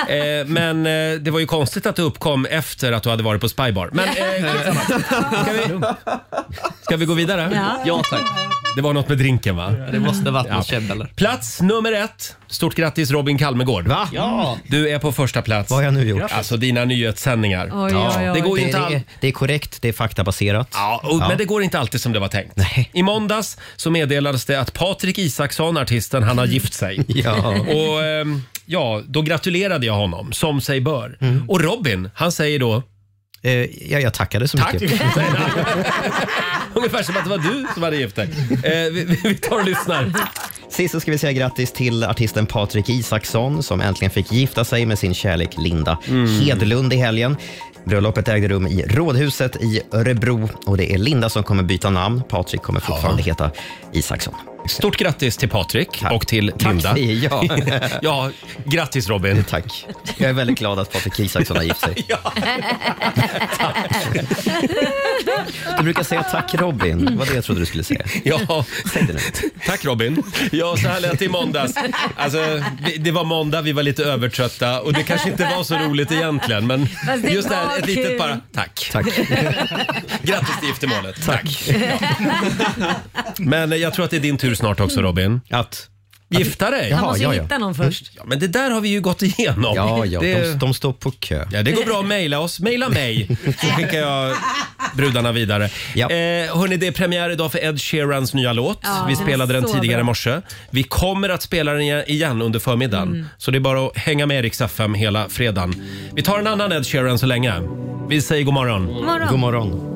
Speaker 1: Eh, men eh, det var ju konstigt att det uppkom efter att du hade varit på Spybar.
Speaker 2: *laughs*
Speaker 1: Men eh, ska vi gå vidare?
Speaker 10: Ja. Ja, tack.
Speaker 1: Det var något med drinken va?
Speaker 10: Det måste varit något käbbel.
Speaker 1: Plats nummer ett. Stort grattis Robin Kalmegård. Va?
Speaker 10: Ja.
Speaker 1: Du är på första plats. Vad har jag nu gjort? Alltså dina nyhetssändningar.
Speaker 2: Oj, oj, oj.
Speaker 1: Det går ju inte all...
Speaker 3: det, det är korrekt, det är faktabaserat.
Speaker 1: Ja, och, Men det går inte alltid som det var tänkt. I måndags så meddelades det att Patrik Isaksson, artisten, han har gift sig.
Speaker 3: *laughs* Ja.
Speaker 1: Och ehm, ja, då gratulerade jag honom, som sig bör. Och Robin, han säger då...
Speaker 3: Mm. Eh, ja, jag tackade så
Speaker 1: Tack,
Speaker 3: mycket.
Speaker 1: säger han. Ungefär som att det var du som hade gift dig. Eh, vi, vi- vi tar och lyssnar.
Speaker 3: Sist så ska vi säga grattis till artisten Patrik Isaksson som äntligen fick gifta sig med sin kärlek Linda
Speaker 1: Mm.
Speaker 3: Hedlund i helgen. Bröllopet ägde rum i Rådhuset i Örebro och det är Linda som kommer byta namn. Patrik kommer fortfarande heta Isaksson.
Speaker 1: Stort grattis till Patrik och till
Speaker 3: Tack,
Speaker 1: Linda.
Speaker 3: ja.
Speaker 1: *laughs* ja, grattis Robin.
Speaker 3: Tack. Jag är väldigt glad att Patrik Isaksson har gift
Speaker 1: *laughs*
Speaker 3: sig. Du brukar säga tack Robin. Det var det jag trodde du skulle säga.
Speaker 1: Ja, tack Robin. Ja, så här lät det i måndags. Alltså, vi- det var måndag, vi var lite övertrötta och det kanske inte var så roligt egentligen. Men
Speaker 2: Fast det
Speaker 1: just det
Speaker 2: var
Speaker 1: här, ett
Speaker 2: kul.
Speaker 1: litet bara tack.
Speaker 3: tack.
Speaker 1: Grattis till giftermålet. Tack. Men jag tror att det är din tur snart också Robin.
Speaker 3: Att?
Speaker 1: Gifta dig?
Speaker 2: Han måste ju hitta någon först.
Speaker 1: Ja, men det där har vi ju gått igenom.
Speaker 3: Ja, ja,
Speaker 1: det...
Speaker 3: de, de står på kö.
Speaker 1: Ja, det går bra att mejla oss. Mejla mig så skickar jag brudarna vidare. Eh, hörni, det är premiär idag för Ed Sheerans nya låt.
Speaker 2: Ja,
Speaker 1: Vi
Speaker 2: den
Speaker 1: spelade
Speaker 2: är
Speaker 1: den
Speaker 2: så
Speaker 1: tidigare i
Speaker 2: bra.
Speaker 1: morse. Vi kommer att spela den igen under förmiddagen.
Speaker 2: Mm.
Speaker 1: Så det är bara att hänga med Rix FM hela fredagen. Vi tar en annan Ed Sheeran så länge. Vi säger god morgon.
Speaker 2: God morgon. God